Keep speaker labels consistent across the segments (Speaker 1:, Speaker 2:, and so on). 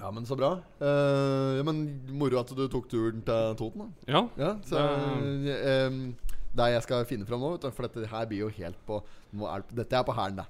Speaker 1: Ja, men så bra. Eh, ja, men Moro at du tok turen til Toten, da.
Speaker 2: Ja.
Speaker 1: Ja, så
Speaker 2: Det-
Speaker 1: eh, Det jeg skal finne fram nå, vet du, for dette her blir jo helt på nå er, det- Dette er på hælen, da.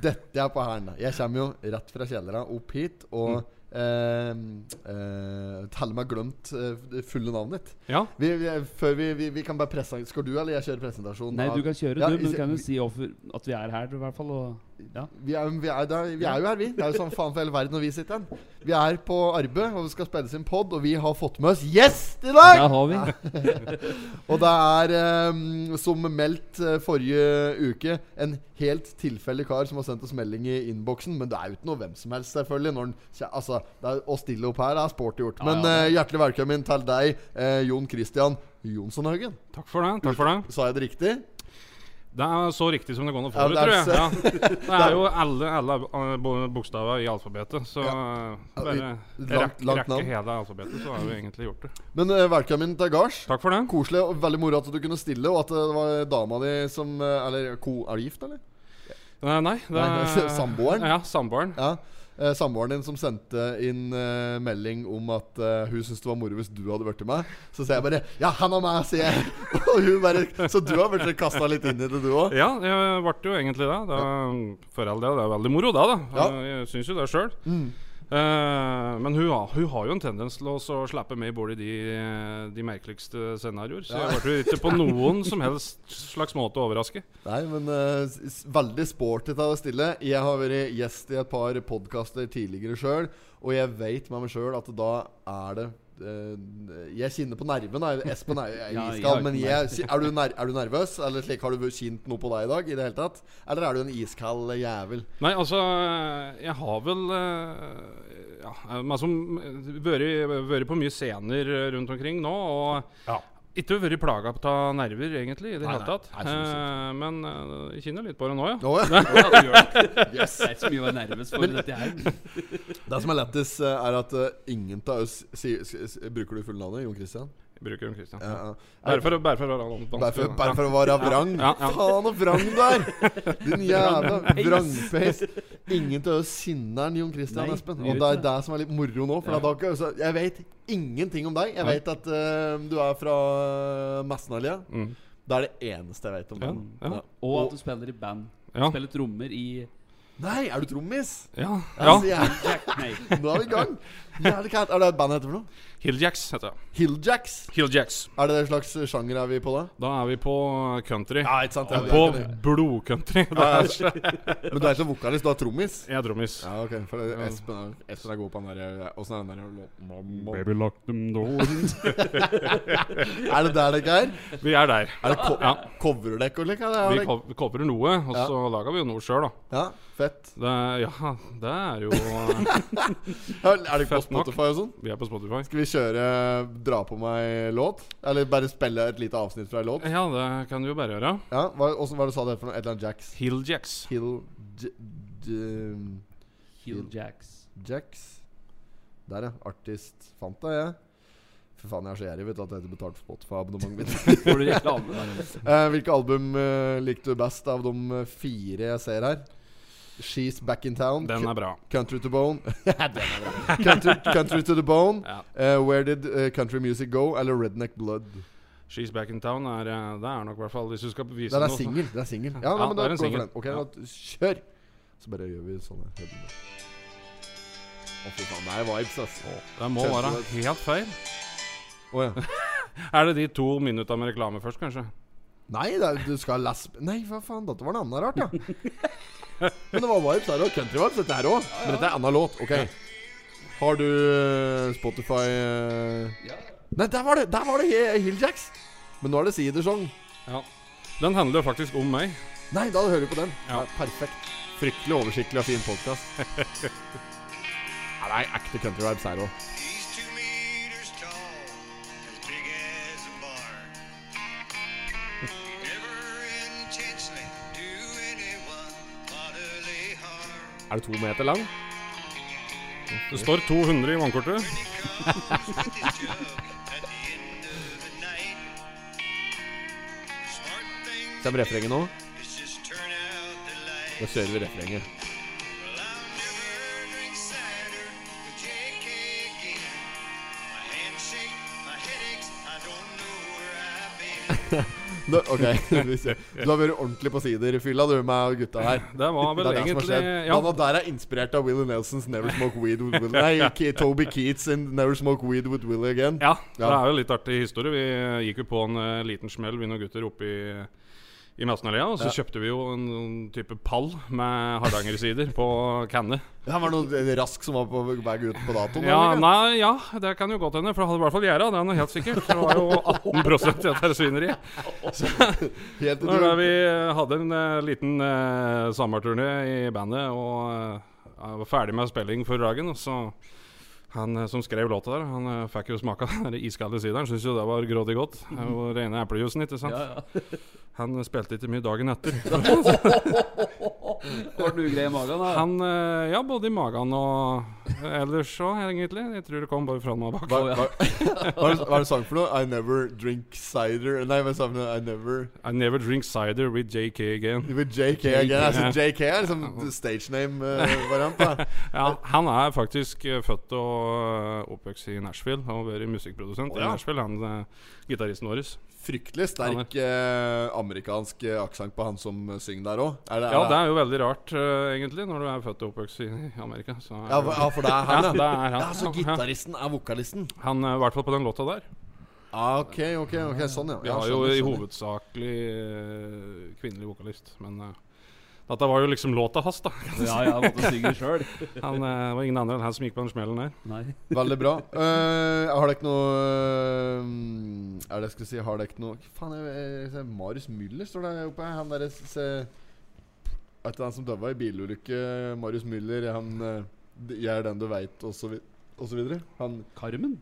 Speaker 1: Dette er på hælen, da. Jeg kommer jo rett fra kjellera opp hit og eh, eh, teller meg glemt eh, det fulle navnet ditt.
Speaker 2: ja.
Speaker 1: Vi, vi, før vi, vi, vi kan bare presse Skal du eller jeg kjøre presentasjonen?
Speaker 3: Nei,
Speaker 1: av-
Speaker 3: du kan kjøre,
Speaker 1: Ja,
Speaker 3: du, men
Speaker 1: vi-
Speaker 3: du kan jo si offer, at vi er her, i hvert fall. Og, ja.
Speaker 1: Vi er, vi, er, der, vi er jo her, vi. Det er jo sånn faen for hele verden når vi sitter her. Vi er på arbeid, og det skal spilles inn pod, og vi har fått med oss gjest i dag!
Speaker 3: Der har vi.
Speaker 1: Og det er, eh, som meldt eh, forrige uke, en helt tilfeldig kar som har sendt oss melding i innboksen. Men det er jo ikke noe hvem som helst, selvfølgelig. Når den, kje- altså, det er, å stille opp her er sporty gjort.
Speaker 3: Ja,
Speaker 1: Men
Speaker 3: ja,
Speaker 1: eh, hjertelig velkommen til deg, eh, Jon Christian Jonsson Haugen.
Speaker 2: Takk for det. takk for Det
Speaker 1: Sa jeg det riktig?
Speaker 2: Det er så riktig som det går an å få
Speaker 1: Ja,
Speaker 2: det,
Speaker 1: det er
Speaker 2: tror jeg. Ja. Det er jo alle, alle eh, bo- bokstaver i alfabetet, så eh,
Speaker 1: Ja,
Speaker 2: bare
Speaker 1: vi-
Speaker 2: rekke,
Speaker 1: langt- langt navn.
Speaker 2: rekke hele alfabetet, så har vi egentlig gjort det.
Speaker 1: Men eh, velkommen til gards.
Speaker 2: Takk for det.
Speaker 1: Koselig og veldig moro at du kunne stille, og at det var dama di som eh, Eller ko, er du gift, eller?
Speaker 2: Nei, Eh, nei, det
Speaker 1: Nei, samboeren?
Speaker 2: Ja, samboeren.
Speaker 1: Ja. Eh, Samboeren din som sendte inn eh, melding om at eh, hun syntes det var moro hvis du hadde blitt med. Så sier jeg bare 'Ja, han og meg', sier jeg. og hun bare Så du har blitt kasta litt inn i det, du òg?
Speaker 2: Ja, det ble jo egentlig det. det var, for all del, det er veldig moro, det. da Eh,
Speaker 1: Ja.
Speaker 2: Jeg syns jo det sjøl.
Speaker 1: Mm.
Speaker 2: Eh, men hun, har- hun har jo en tendens til å så slippe meg bort i de, de merkeligste scenarioer. Så jeg ble jo ikke på noen som helst slags måte overrasket.
Speaker 1: Nei, men eh, s- s- veldig sporty av å stille. Jeg har vært gjest i et par podkaster tidligere sjøl, og jeg veit med meg sjøl at da er det eh, jeg kjenner på nerven. da. Espen er jo jeg
Speaker 3: Ja, jeg
Speaker 1: iskald,
Speaker 3: har
Speaker 1: men
Speaker 3: ikke
Speaker 1: jeg, si- er, du ner, er du nervøs? Eller slik har du kjent noe på deg i dag? I det hele tatt? Eller er du en iskald jævel?
Speaker 2: Nei, altså Jeg har vel eh, ja, meg som eh, vært på mye scener eh, rundt omkring nå. Og
Speaker 1: Ja.
Speaker 2: ikke vært plaga av nerver, egentlig, i det
Speaker 1: Nei,
Speaker 2: hele
Speaker 1: nei.
Speaker 2: tatt.
Speaker 1: Nei, sånn
Speaker 2: Eh, men eh, jeg kjenner litt på det nå, ja.
Speaker 1: Nå, ja.
Speaker 3: Ja, du gjør det.
Speaker 1: Yes.
Speaker 3: Det er ikke så mye å være nervøs for dette her.
Speaker 1: Det som er lettest, eh, er at eh, ingen av oss sier s- s- Bruker du fulle navnet? Jon Christian?
Speaker 2: Jeg bruker Jon Christian.
Speaker 1: Ja, ja.
Speaker 2: Bare for, å- bare for å være vanskelig.
Speaker 1: Bare for, bare for å være vrang.
Speaker 2: Ja, ja.
Speaker 1: Faen og vrang der! Din jævla vrangpeis. Ingen til å sinne enn Jon Christian
Speaker 3: Nei,
Speaker 1: Espen.
Speaker 3: vi
Speaker 1: Og
Speaker 3: gjør
Speaker 1: det
Speaker 3: ikke
Speaker 1: er det som er litt moro nå. For
Speaker 3: Ja.
Speaker 1: da kan jeg også- jeg vet ingenting om deg. Jeg vet at eh, du er fra Messenallia.
Speaker 2: Mm.
Speaker 1: Det er det eneste jeg vet om
Speaker 2: Ja,
Speaker 1: deg.
Speaker 2: ja.
Speaker 3: Og at du spiller i band.
Speaker 2: Ja.
Speaker 3: Spiller trommer i
Speaker 1: Nei, er du trommis?
Speaker 2: Ja. ja.
Speaker 1: Altså, jeg-
Speaker 3: Jack, nei.
Speaker 1: Nå er vi i gang. Jævlig kært. Er det et band heter for noe?
Speaker 2: Hilljacks heter det.
Speaker 1: Hilljacks?
Speaker 2: Hilljacks.
Speaker 1: Er det den slags sjanger er vi på da?
Speaker 2: Da er vi på country.
Speaker 1: Ja, ikke sant?
Speaker 2: på blodcountry. Det er
Speaker 1: Men du er ikke vokalist, du er trommis?
Speaker 2: Jeg er trommis.
Speaker 1: Ja, ok. For det- Espen er, Espen er god på den der eh, Åssen er den der låten?
Speaker 2: Baby lock them doors.
Speaker 1: Er det der dere er?
Speaker 2: Vi er der.
Speaker 1: Er det co
Speaker 2: Ja.
Speaker 1: coverdekk og slik? er det- er
Speaker 2: Vi
Speaker 1: det-
Speaker 2: cov- covrer noe, og
Speaker 1: Ja.
Speaker 2: så lager vi jo noe sjøl, da.
Speaker 1: Ja, fett.
Speaker 2: Det, ja, det er jo
Speaker 1: Er er det ikke på
Speaker 2: Fett nok.
Speaker 1: Spotify og sånn?
Speaker 2: Vi er på Spotify.
Speaker 1: Skal vi kjøre 'Dra på meg' låt? Eller bare spille et lite avsnitt fra en låt?
Speaker 2: Ja, det kan du jo bare gjøre.
Speaker 1: Ja, hva, hvordan, hva du sa det for noe? Et eller annet Jacks?
Speaker 2: Hilljacks.
Speaker 1: Hill J... J-
Speaker 3: Heel Jacks.
Speaker 1: Jacks. Der, ja. Artist fant deg, jeg. Fy faen, jeg er så gjerrig, vet du, at jeg ikke betalte Spotify-abonnementet mitt.
Speaker 3: Får du reklame? der?
Speaker 1: Eh, hvilke album eh, likte du best av de eh, fire jeg ser her? She's Back In Town,
Speaker 2: Den er bra.
Speaker 1: Cu- Country To Bone country, country To The Bone,
Speaker 2: Ja.
Speaker 1: eh, Where Did eh, Country Music Go eller Redneck Blood?
Speaker 2: She's Back In Town er eh, Det er nok i hvert fall Hvis du skal bevise
Speaker 1: Den er
Speaker 2: noe
Speaker 1: singel. Den er singel. Ja,
Speaker 2: Ja,
Speaker 1: nei, men da
Speaker 2: det
Speaker 1: går
Speaker 2: er en
Speaker 1: vi for
Speaker 2: singel.
Speaker 1: den. Ok,
Speaker 2: Ja.
Speaker 1: da, kjør! Så bare gjør vi sånn her. Å, fy faen. Det er vibes, ass. Å
Speaker 2: Det må være helt feil.
Speaker 1: ja.
Speaker 2: Er det de to minutta med reklame først, kanskje?
Speaker 1: Nei, det er, du skal lesbe... Nei, hva faen. Dette var noe annet rart, ja. Men det var vibes her òg. Country vibes, dette her òg. Men dette er annen låt. Ok. Har du eh, Spotify eh,
Speaker 3: Ja.
Speaker 1: Nei, der var det, der var det He- Hilljacks! Men nå er det Sidersong.
Speaker 2: Ja. Den handler jo faktisk om meg.
Speaker 1: Nei, da hører vi på den.
Speaker 2: Ja.
Speaker 1: Ja, perfekt. Fryktelig oversiktlig og fin podkast. det er ekte country vibes her òg.
Speaker 4: He's two meters tall, as big as a barn. Never intentionally do anyone bodily harm.
Speaker 1: Er du to meter lang?
Speaker 2: Det står 200 i vannkortet.
Speaker 4: He comes with his jug at the end of the night. Smart thing
Speaker 1: Kommer refrenget nå?
Speaker 4: is just turn out the light.
Speaker 1: Da kjører vi refrenget.
Speaker 4: Well, I'll never drink cider with J.K.
Speaker 1: Nå- Ok, vi ser. Du har vært ordentlig på sider i fylla, du, med gutta her.
Speaker 2: Det var
Speaker 1: Det er det
Speaker 2: vel
Speaker 1: som har
Speaker 2: egentlig
Speaker 1: skjedd.
Speaker 2: ja,
Speaker 1: Han der er inspirert av Willie Nelsons 'Never Smoke Weed With Willie'. Nei, Ke- Toby Keats in 'Never Smoke Weed With Willie Again'.
Speaker 2: ja, det er jo litt artig historie. Vi eh, gikk jo på en eh, liten smell, vi noen gutter oppe i i Massenallea, og så kjøpte vi jo en, en type pall med hardangersider på kanne.
Speaker 1: Han var noe eh, rask som var på vei ut på datoen?
Speaker 2: Ja,
Speaker 1: eller?
Speaker 2: nei, ja, det kan jo godt hende, for det hadde i hvert fall gjerda. Det er noe helt sikkert. Det var jo 18 i dette svineriet.
Speaker 1: Helt
Speaker 2: Det var da vi eh, hadde en eh, liten uh, sommerturné i bandet og eh, jeg var ferdig med spilling for dagen. Og så han eh, som skrev låta der, han eh, fikk jo smaka den der iskalde sideren. Syntes jo det var grådig godt. Det var rene eplejuicen, ikke sant.
Speaker 3: Ja, ja.
Speaker 2: Han spilte ikke mye dagen etter.
Speaker 3: Var du grei i magen, da?
Speaker 2: Han eh, ja, både i magen og eh, ellers òg, egentlig. Jeg tror det kom bare fram og bak.
Speaker 1: Hva, hva, hva, er det- hva er det sang for noe? I never drink cider Nei, hva sa han? I never
Speaker 2: I never drink cider with JK again.
Speaker 1: With JK again. Altså, JK er liksom stage eh, name-variant.
Speaker 2: Ja, han er faktisk eh, født og eh, oppvokst i Nashville og vært musikkkprodusent
Speaker 1: Å, ja.
Speaker 2: i Nashville, han eh, gitaristen vår.
Speaker 1: Fryktelig sterk eh, amerikansk eh, aksent på han som eh, synger der òg. Er det,
Speaker 2: Ja, det er jo veldig rart, eh, egentlig, når du er født og oppvokst i Amerika. Så er
Speaker 1: ja,
Speaker 2: det-
Speaker 1: for- ja, for det er
Speaker 2: ja,
Speaker 1: han,
Speaker 2: det
Speaker 1: ja.
Speaker 2: er han.
Speaker 1: Ja, så gitaristen er vokalisten?
Speaker 2: Han er i hvert fall på den låta der.
Speaker 1: Ah, ok, ok, ok, sånn, ja.
Speaker 2: Vi
Speaker 1: ja
Speaker 2: har jo
Speaker 1: skjønner,
Speaker 2: i
Speaker 1: skjønner.
Speaker 2: hovedsakelig eh, kvinnelig vokalist, men eh, dette var jo liksom låta hans, da.
Speaker 3: Ja, ja, måtte synge sjøl.
Speaker 2: Han eh, var ingen andre enn han som gikk på den smellen der.
Speaker 3: Nei.
Speaker 1: Veldig bra. Eh, har dere noe eh, Er det jeg skulle si Har dere noe Hva Faen, jeg, jeg, jeg, Marius Müller står der oppe. Han derre se Etter han som døde i bilulykke, Marius Müller, han eh, d- Jeg er den du veit, og så vi- og så videre. Han
Speaker 3: Carmen?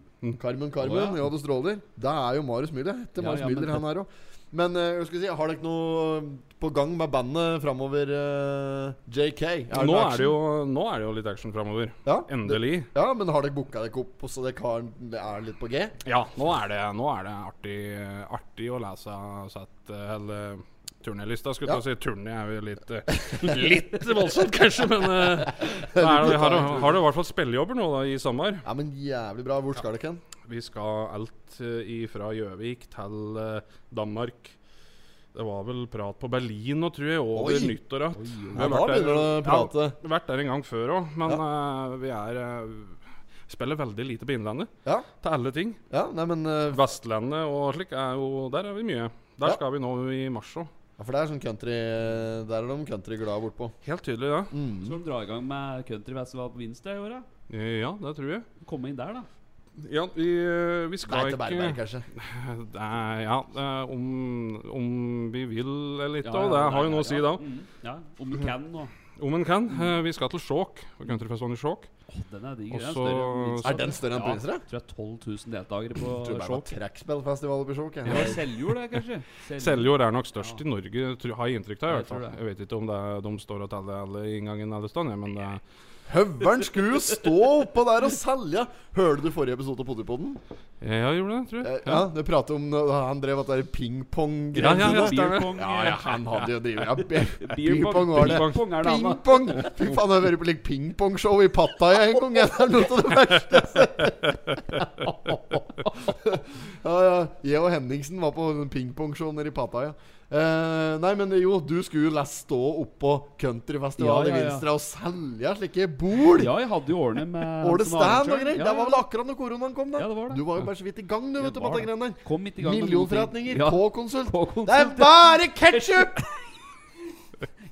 Speaker 1: Carmen, Carmen,
Speaker 3: Å, ja.
Speaker 1: ja. du stråler. Det er jo Marius Müller. Det er
Speaker 3: Ja,
Speaker 1: Marius
Speaker 3: ja, men
Speaker 1: Müller
Speaker 3: det-
Speaker 1: han er òg. Men eh, jeg skulle si, har dere noe på gang med bandet framover, eh, JK? det
Speaker 2: Nå
Speaker 1: noe
Speaker 2: er
Speaker 1: action?
Speaker 2: det jo, nå er det jo litt action framover.
Speaker 1: ja?
Speaker 2: Endelig.
Speaker 1: ja, men har dere booka dere opp, så dere har, det er litt på G?
Speaker 2: Ja, nå er det, nå er det artig, artig å lese sett eller turnélista, eh, skulle jeg
Speaker 1: Ja.
Speaker 2: til å si. Turné er jo litt eh, Litt voldsomt, kanskje, men eh, det er, vi har, har du i hvert fall spillejobber nå da, i sommer.
Speaker 1: Ja, men jævlig bra. Hvor skal dere hen?
Speaker 2: Vi skal alt eh, ifra Gjøvik til eh, Danmark. Det var vel prat på Berlin nå, tror jeg, over
Speaker 1: Oi.
Speaker 2: nyttår. at- Vi
Speaker 1: Ja,
Speaker 2: har
Speaker 1: nå
Speaker 2: vært der-
Speaker 1: begynner du å
Speaker 2: Ja,
Speaker 1: prate.
Speaker 2: vi har vært der en gang før òg, men eh, vi er eh, Spiller veldig lite på Innlandet,
Speaker 1: Ja,
Speaker 2: til alle ting.
Speaker 1: ja nei, men eh,
Speaker 2: Vestlandet og slik er jo Der er vi mye. Der
Speaker 1: Ja.
Speaker 2: skal vi nå i mars òg.
Speaker 1: ja, For det er sånn country Der er de country glad bortpå.
Speaker 2: Helt tydelig, ja.
Speaker 1: Mm.
Speaker 3: Skal de dra i gang med countryfestival på Winster i år, da?
Speaker 2: Eh, Ja, det tror jeg.
Speaker 3: Komme inn der, da.
Speaker 2: Ja, vi, eh, vi
Speaker 1: Nei,
Speaker 2: skal
Speaker 1: til Berberg,
Speaker 2: ikke
Speaker 1: kanskje.
Speaker 2: Nei, Ja, eh, om, om vi vil eller ikke,
Speaker 3: Ja, ja,
Speaker 2: og det
Speaker 3: ja,
Speaker 2: har jo
Speaker 3: ja,
Speaker 2: noe å
Speaker 3: ja.
Speaker 2: si da.
Speaker 3: Mm, Ja, Om du kan nå.
Speaker 2: Om en kan. eh, Vi skal til Skjåk. Countryfestivalen i Skjåk.
Speaker 3: Åh, den er digg.
Speaker 2: Og
Speaker 3: Den er
Speaker 2: så-
Speaker 3: større enn Windsor.
Speaker 1: Er den større enn Prinsere?
Speaker 3: Ja, tror jeg 12 000 deltakere på
Speaker 1: Tror det bare var
Speaker 3: Skjåk.
Speaker 1: trekkspillfestival oppi Skjåk. jeg.
Speaker 3: Det var Seljord, det, kanskje?
Speaker 2: Seljord er nok størst i Norge, tr- har jeg inntrykk av. i
Speaker 3: Jeg
Speaker 2: hvert fall.
Speaker 3: tror det.
Speaker 2: Jeg vet ikke om det er, de står og teller alle inngangen alle steder, men eh, det er
Speaker 1: Høveren skulle jo stå oppå der og selge! Hørte du forrige episode av Potipodden?
Speaker 2: Ja, jeg gjorde det, tror
Speaker 1: Eh,
Speaker 2: jeg.
Speaker 1: Ja, du prater om når han drev at det er pingpong-greier.
Speaker 2: Ja, ja, ja, stemmer.
Speaker 3: Beerpong.
Speaker 1: Ja, ja, han hadde jo drevet ja, be-
Speaker 3: Beerpong
Speaker 1: Pingpong var det.
Speaker 3: Beerpong er det annet.
Speaker 1: Pingpong! Fy faen, jeg har vært på like, pingpongshow i Pattaya en gang. Det er noe av det verste jeg har sett. Ja, ja. Jeg og Henningsen var på en pingpongshow nede i Pattaya. Eh, nei, men jo, du skulle jo lest stå oppå countryfestivalen
Speaker 3: Ja, ja,
Speaker 1: i
Speaker 3: ja.
Speaker 1: Vinstra og selge slike bol!
Speaker 3: Ja, jeg hadde jo årene med
Speaker 1: Åle
Speaker 3: som
Speaker 1: Stand og
Speaker 3: arrangør.
Speaker 1: greier.
Speaker 3: Ja,
Speaker 1: Det var vel akkurat når koronaen kom, da.
Speaker 3: Ja, det var det.
Speaker 1: Du var jo bare så vidt i gang, du,
Speaker 3: Jeg
Speaker 1: vet du, på
Speaker 3: var
Speaker 1: de
Speaker 3: det.
Speaker 1: greiene der.
Speaker 3: Kom midt i gang med noen ting.
Speaker 1: Millionforretninger,
Speaker 3: Ja,
Speaker 1: K-konsult.
Speaker 3: på
Speaker 1: Det er
Speaker 3: konsert.
Speaker 1: bare ketsjup!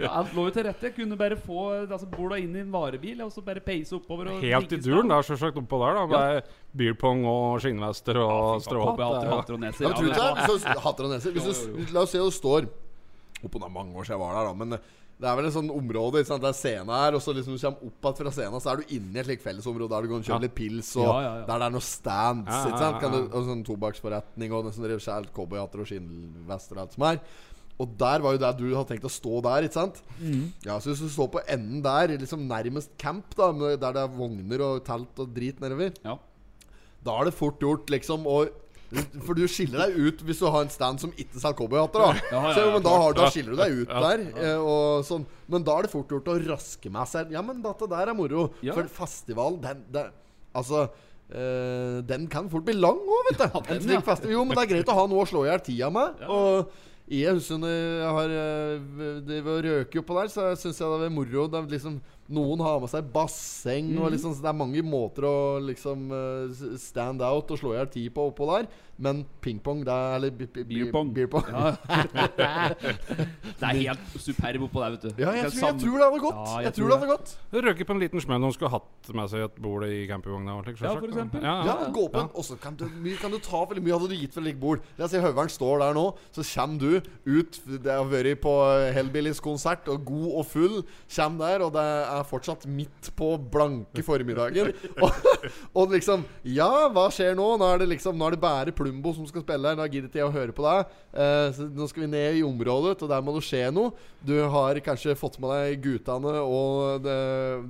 Speaker 3: Ja, alt lå jo til rette. Jeg kunne bare få altså, borda inn i en varebil og så bare peise oppover. Og
Speaker 2: Helt i
Speaker 3: ligge
Speaker 2: duren,
Speaker 3: stand.
Speaker 2: det er selvsagt oppå der, da. Med beerpong og skinnvester og stråhatt.
Speaker 3: Hoppe hatter og
Speaker 2: det er-
Speaker 3: hatter og neser.
Speaker 1: Ja, men tror du
Speaker 3: Ja, men-
Speaker 1: ikke det? Så hatter og neser. Hvis du,
Speaker 3: Jo, jo,
Speaker 1: la oss se du står Oppå det er mange år siden jeg var der, da, men eh, det er vel et sånt område. Ikke sant? Det er scene her, og så liksom du kommer opp igjen fra scenen, så er du inne i et slikt fellesområde der du kan kjøpe
Speaker 2: Ja.
Speaker 1: litt pils, og
Speaker 3: Ja, ja, ja.
Speaker 1: der det er noen stands,
Speaker 2: Ja,
Speaker 1: ikke sant?
Speaker 2: ja,
Speaker 1: Kan du,
Speaker 2: ja.
Speaker 1: og sånn tobakksforretning og sånn skjært cowboyhatter og skinnvester og alt som er. Og der var jo der du hadde tenkt å stå der, ikke sant?
Speaker 3: Mm.
Speaker 1: Ja, så hvis du står på enden der, liksom nærmest camp, da, med- der det er vogner og telt og drit nedover,
Speaker 3: Ja.
Speaker 1: da er det fort gjort liksom å For du skiller deg ut hvis du har en stand som ikke selger cowboyhatter. Da.
Speaker 3: Ja, ja, ja,
Speaker 1: så, jo, men da,
Speaker 2: klart.
Speaker 1: har, da skiller du deg ut
Speaker 2: Ja.
Speaker 1: der. eh, Og sånn. Men da er det fort gjort å raske med seg Ja, men dette der er moro.
Speaker 3: Ja.
Speaker 1: For festival, den, den Altså eh, Den kan fort bli lang òg, vet du.
Speaker 3: den,
Speaker 1: en
Speaker 3: ja.
Speaker 1: slik feste. Jo, men det er greit å ha noe å slå i hjel tida med.
Speaker 3: Ja.
Speaker 1: Og jeg husker når jeg har eh, Det var røke oppå der, så syns jeg det var moro. Det er liksom, noen har med seg basseng,
Speaker 3: Mhm.
Speaker 1: og liksom, så det er mange måter å liksom eh, s- stand out og slå i hjel tid på oppå der. Men pingpong, det er Eller bi- bi- bi-
Speaker 3: Beer pong.
Speaker 1: beer pong.
Speaker 3: Ja. det er helt superb oppå der, vet du.
Speaker 1: Ja,
Speaker 3: Du
Speaker 1: jeg, tror,
Speaker 3: kan
Speaker 1: jeg
Speaker 3: samle-
Speaker 1: tror det hadde gått.
Speaker 3: Ja,
Speaker 1: jeg, tror det hadde gått.
Speaker 2: Røke på en liten smell når hun skulle hatt med seg et bord i campingvogna. og slik,
Speaker 3: Ja,
Speaker 2: selvsagt.
Speaker 3: for eksempel.
Speaker 2: Ja,
Speaker 1: Ja,
Speaker 2: ja.
Speaker 1: gå på en Og så kan du, mye kan du ta Veldig mye hadde du gitt for et likt bord La oss si Høveren står der nå Så kommer du ut Det har vært på Hellbillies konsert Og god og full Kjem der Og det er fortsatt midt på blanke formiddagen og, og liksom Ja, hva skjer nå? Nå er det liksom Nå er det bare Plumbo som skal spille her Nå gidder ikke jeg å høre på deg Eh, så Nå skal vi ned i området Og der må det skje noe Du har kanskje fått med deg guttene Og det,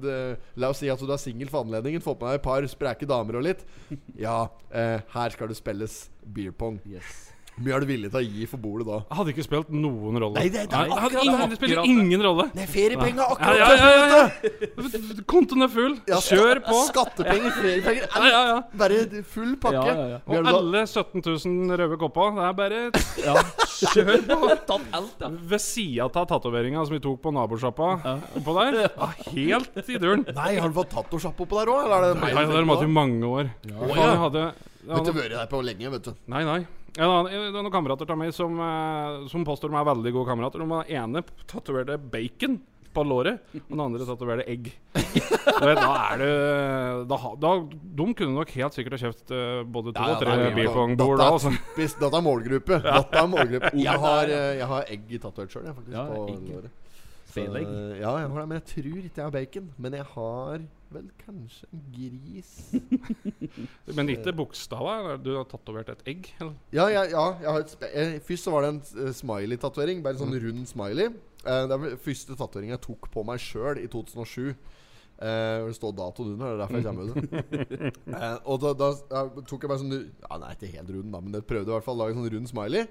Speaker 1: det, La oss si at du er singel for anledningen Fått med deg et par spreke damer og litt ja, eh, her skal det spilles beer pong.
Speaker 3: Yes.
Speaker 1: Mye er du villig til å gi for bordet da?
Speaker 2: Jeg hadde ikke spilt noen rolle.
Speaker 1: Nei, det- det er
Speaker 2: jeg hadde
Speaker 1: akkurat
Speaker 2: ingen,
Speaker 1: det.
Speaker 2: det spiller ingen rolle.
Speaker 1: Nei, feriepenger
Speaker 2: Ja,
Speaker 1: akkurat!
Speaker 2: ja, ja, ja, ja. Kontoen er full.
Speaker 1: Ja,
Speaker 2: Kjør på.
Speaker 1: Skattepenger, feriepenger
Speaker 2: Ja, ja, ja.
Speaker 1: Bare full pakke.
Speaker 3: Ja, ja, ja.
Speaker 1: Mye er
Speaker 2: Og
Speaker 1: det da-
Speaker 2: alle 17 000 røde kopper. Det er bare
Speaker 3: Ja.
Speaker 2: kjør på.
Speaker 3: Tatt alt, ja.
Speaker 2: Ved sida av tatoveringa som vi tok på nabosjappa oppå der. Ja, helt i duren.
Speaker 1: Nei, har du fått tatosjappe oppå der òg? Eller er det
Speaker 2: Nei, jeg hadde hatt i mange år. Faen, jeg hadde, jeg
Speaker 1: Du har
Speaker 2: hadde
Speaker 1: ikke vært der på lenge, vet du.
Speaker 2: Nei, nei. En annen, det er noen kamerater av meg som, eh, som påstår de er veldig gode kamerater. De var ene tatoverte bacon på låret, og den andre tatoverte egg. Du vet, da er det da, ha- da, De kunne nok helt sikkert ha kjøpt eh, både to
Speaker 1: Ja, ja,
Speaker 2: og
Speaker 1: det er
Speaker 2: tre
Speaker 1: mye.
Speaker 2: beer pong-bord da. Altså.
Speaker 1: Hvis dette er målgruppe. Dette er målgruppe. Jeg har, eh, jeg har egg tatovert sjøl, jeg, faktisk.
Speaker 3: Ja,
Speaker 1: på
Speaker 3: egg.
Speaker 1: låret. Så,
Speaker 3: Speilegg.
Speaker 1: eh, ja, jeg har det, men jeg tror ikke jeg har bacon. Men jeg har vel kanskje en gris
Speaker 2: Men ikke bokstava. Du har tatovert et egg. Eller?
Speaker 1: Ja, ja, ja jeg har et spe eh, Først så var det en eh, smiley-tatuering. Bare en sånn rund smiley. Eh, det er den første tatueringen jeg tok på meg sjøl i 2007. Eh, hvor det står datoen under. Det er derfor jeg kommer med det. Eh, og da, da eh, tok jeg bare sånn Ja, Nei, ikke helt rund, da, men jeg prøvde i hvert fall å lage en sånn rund smiley.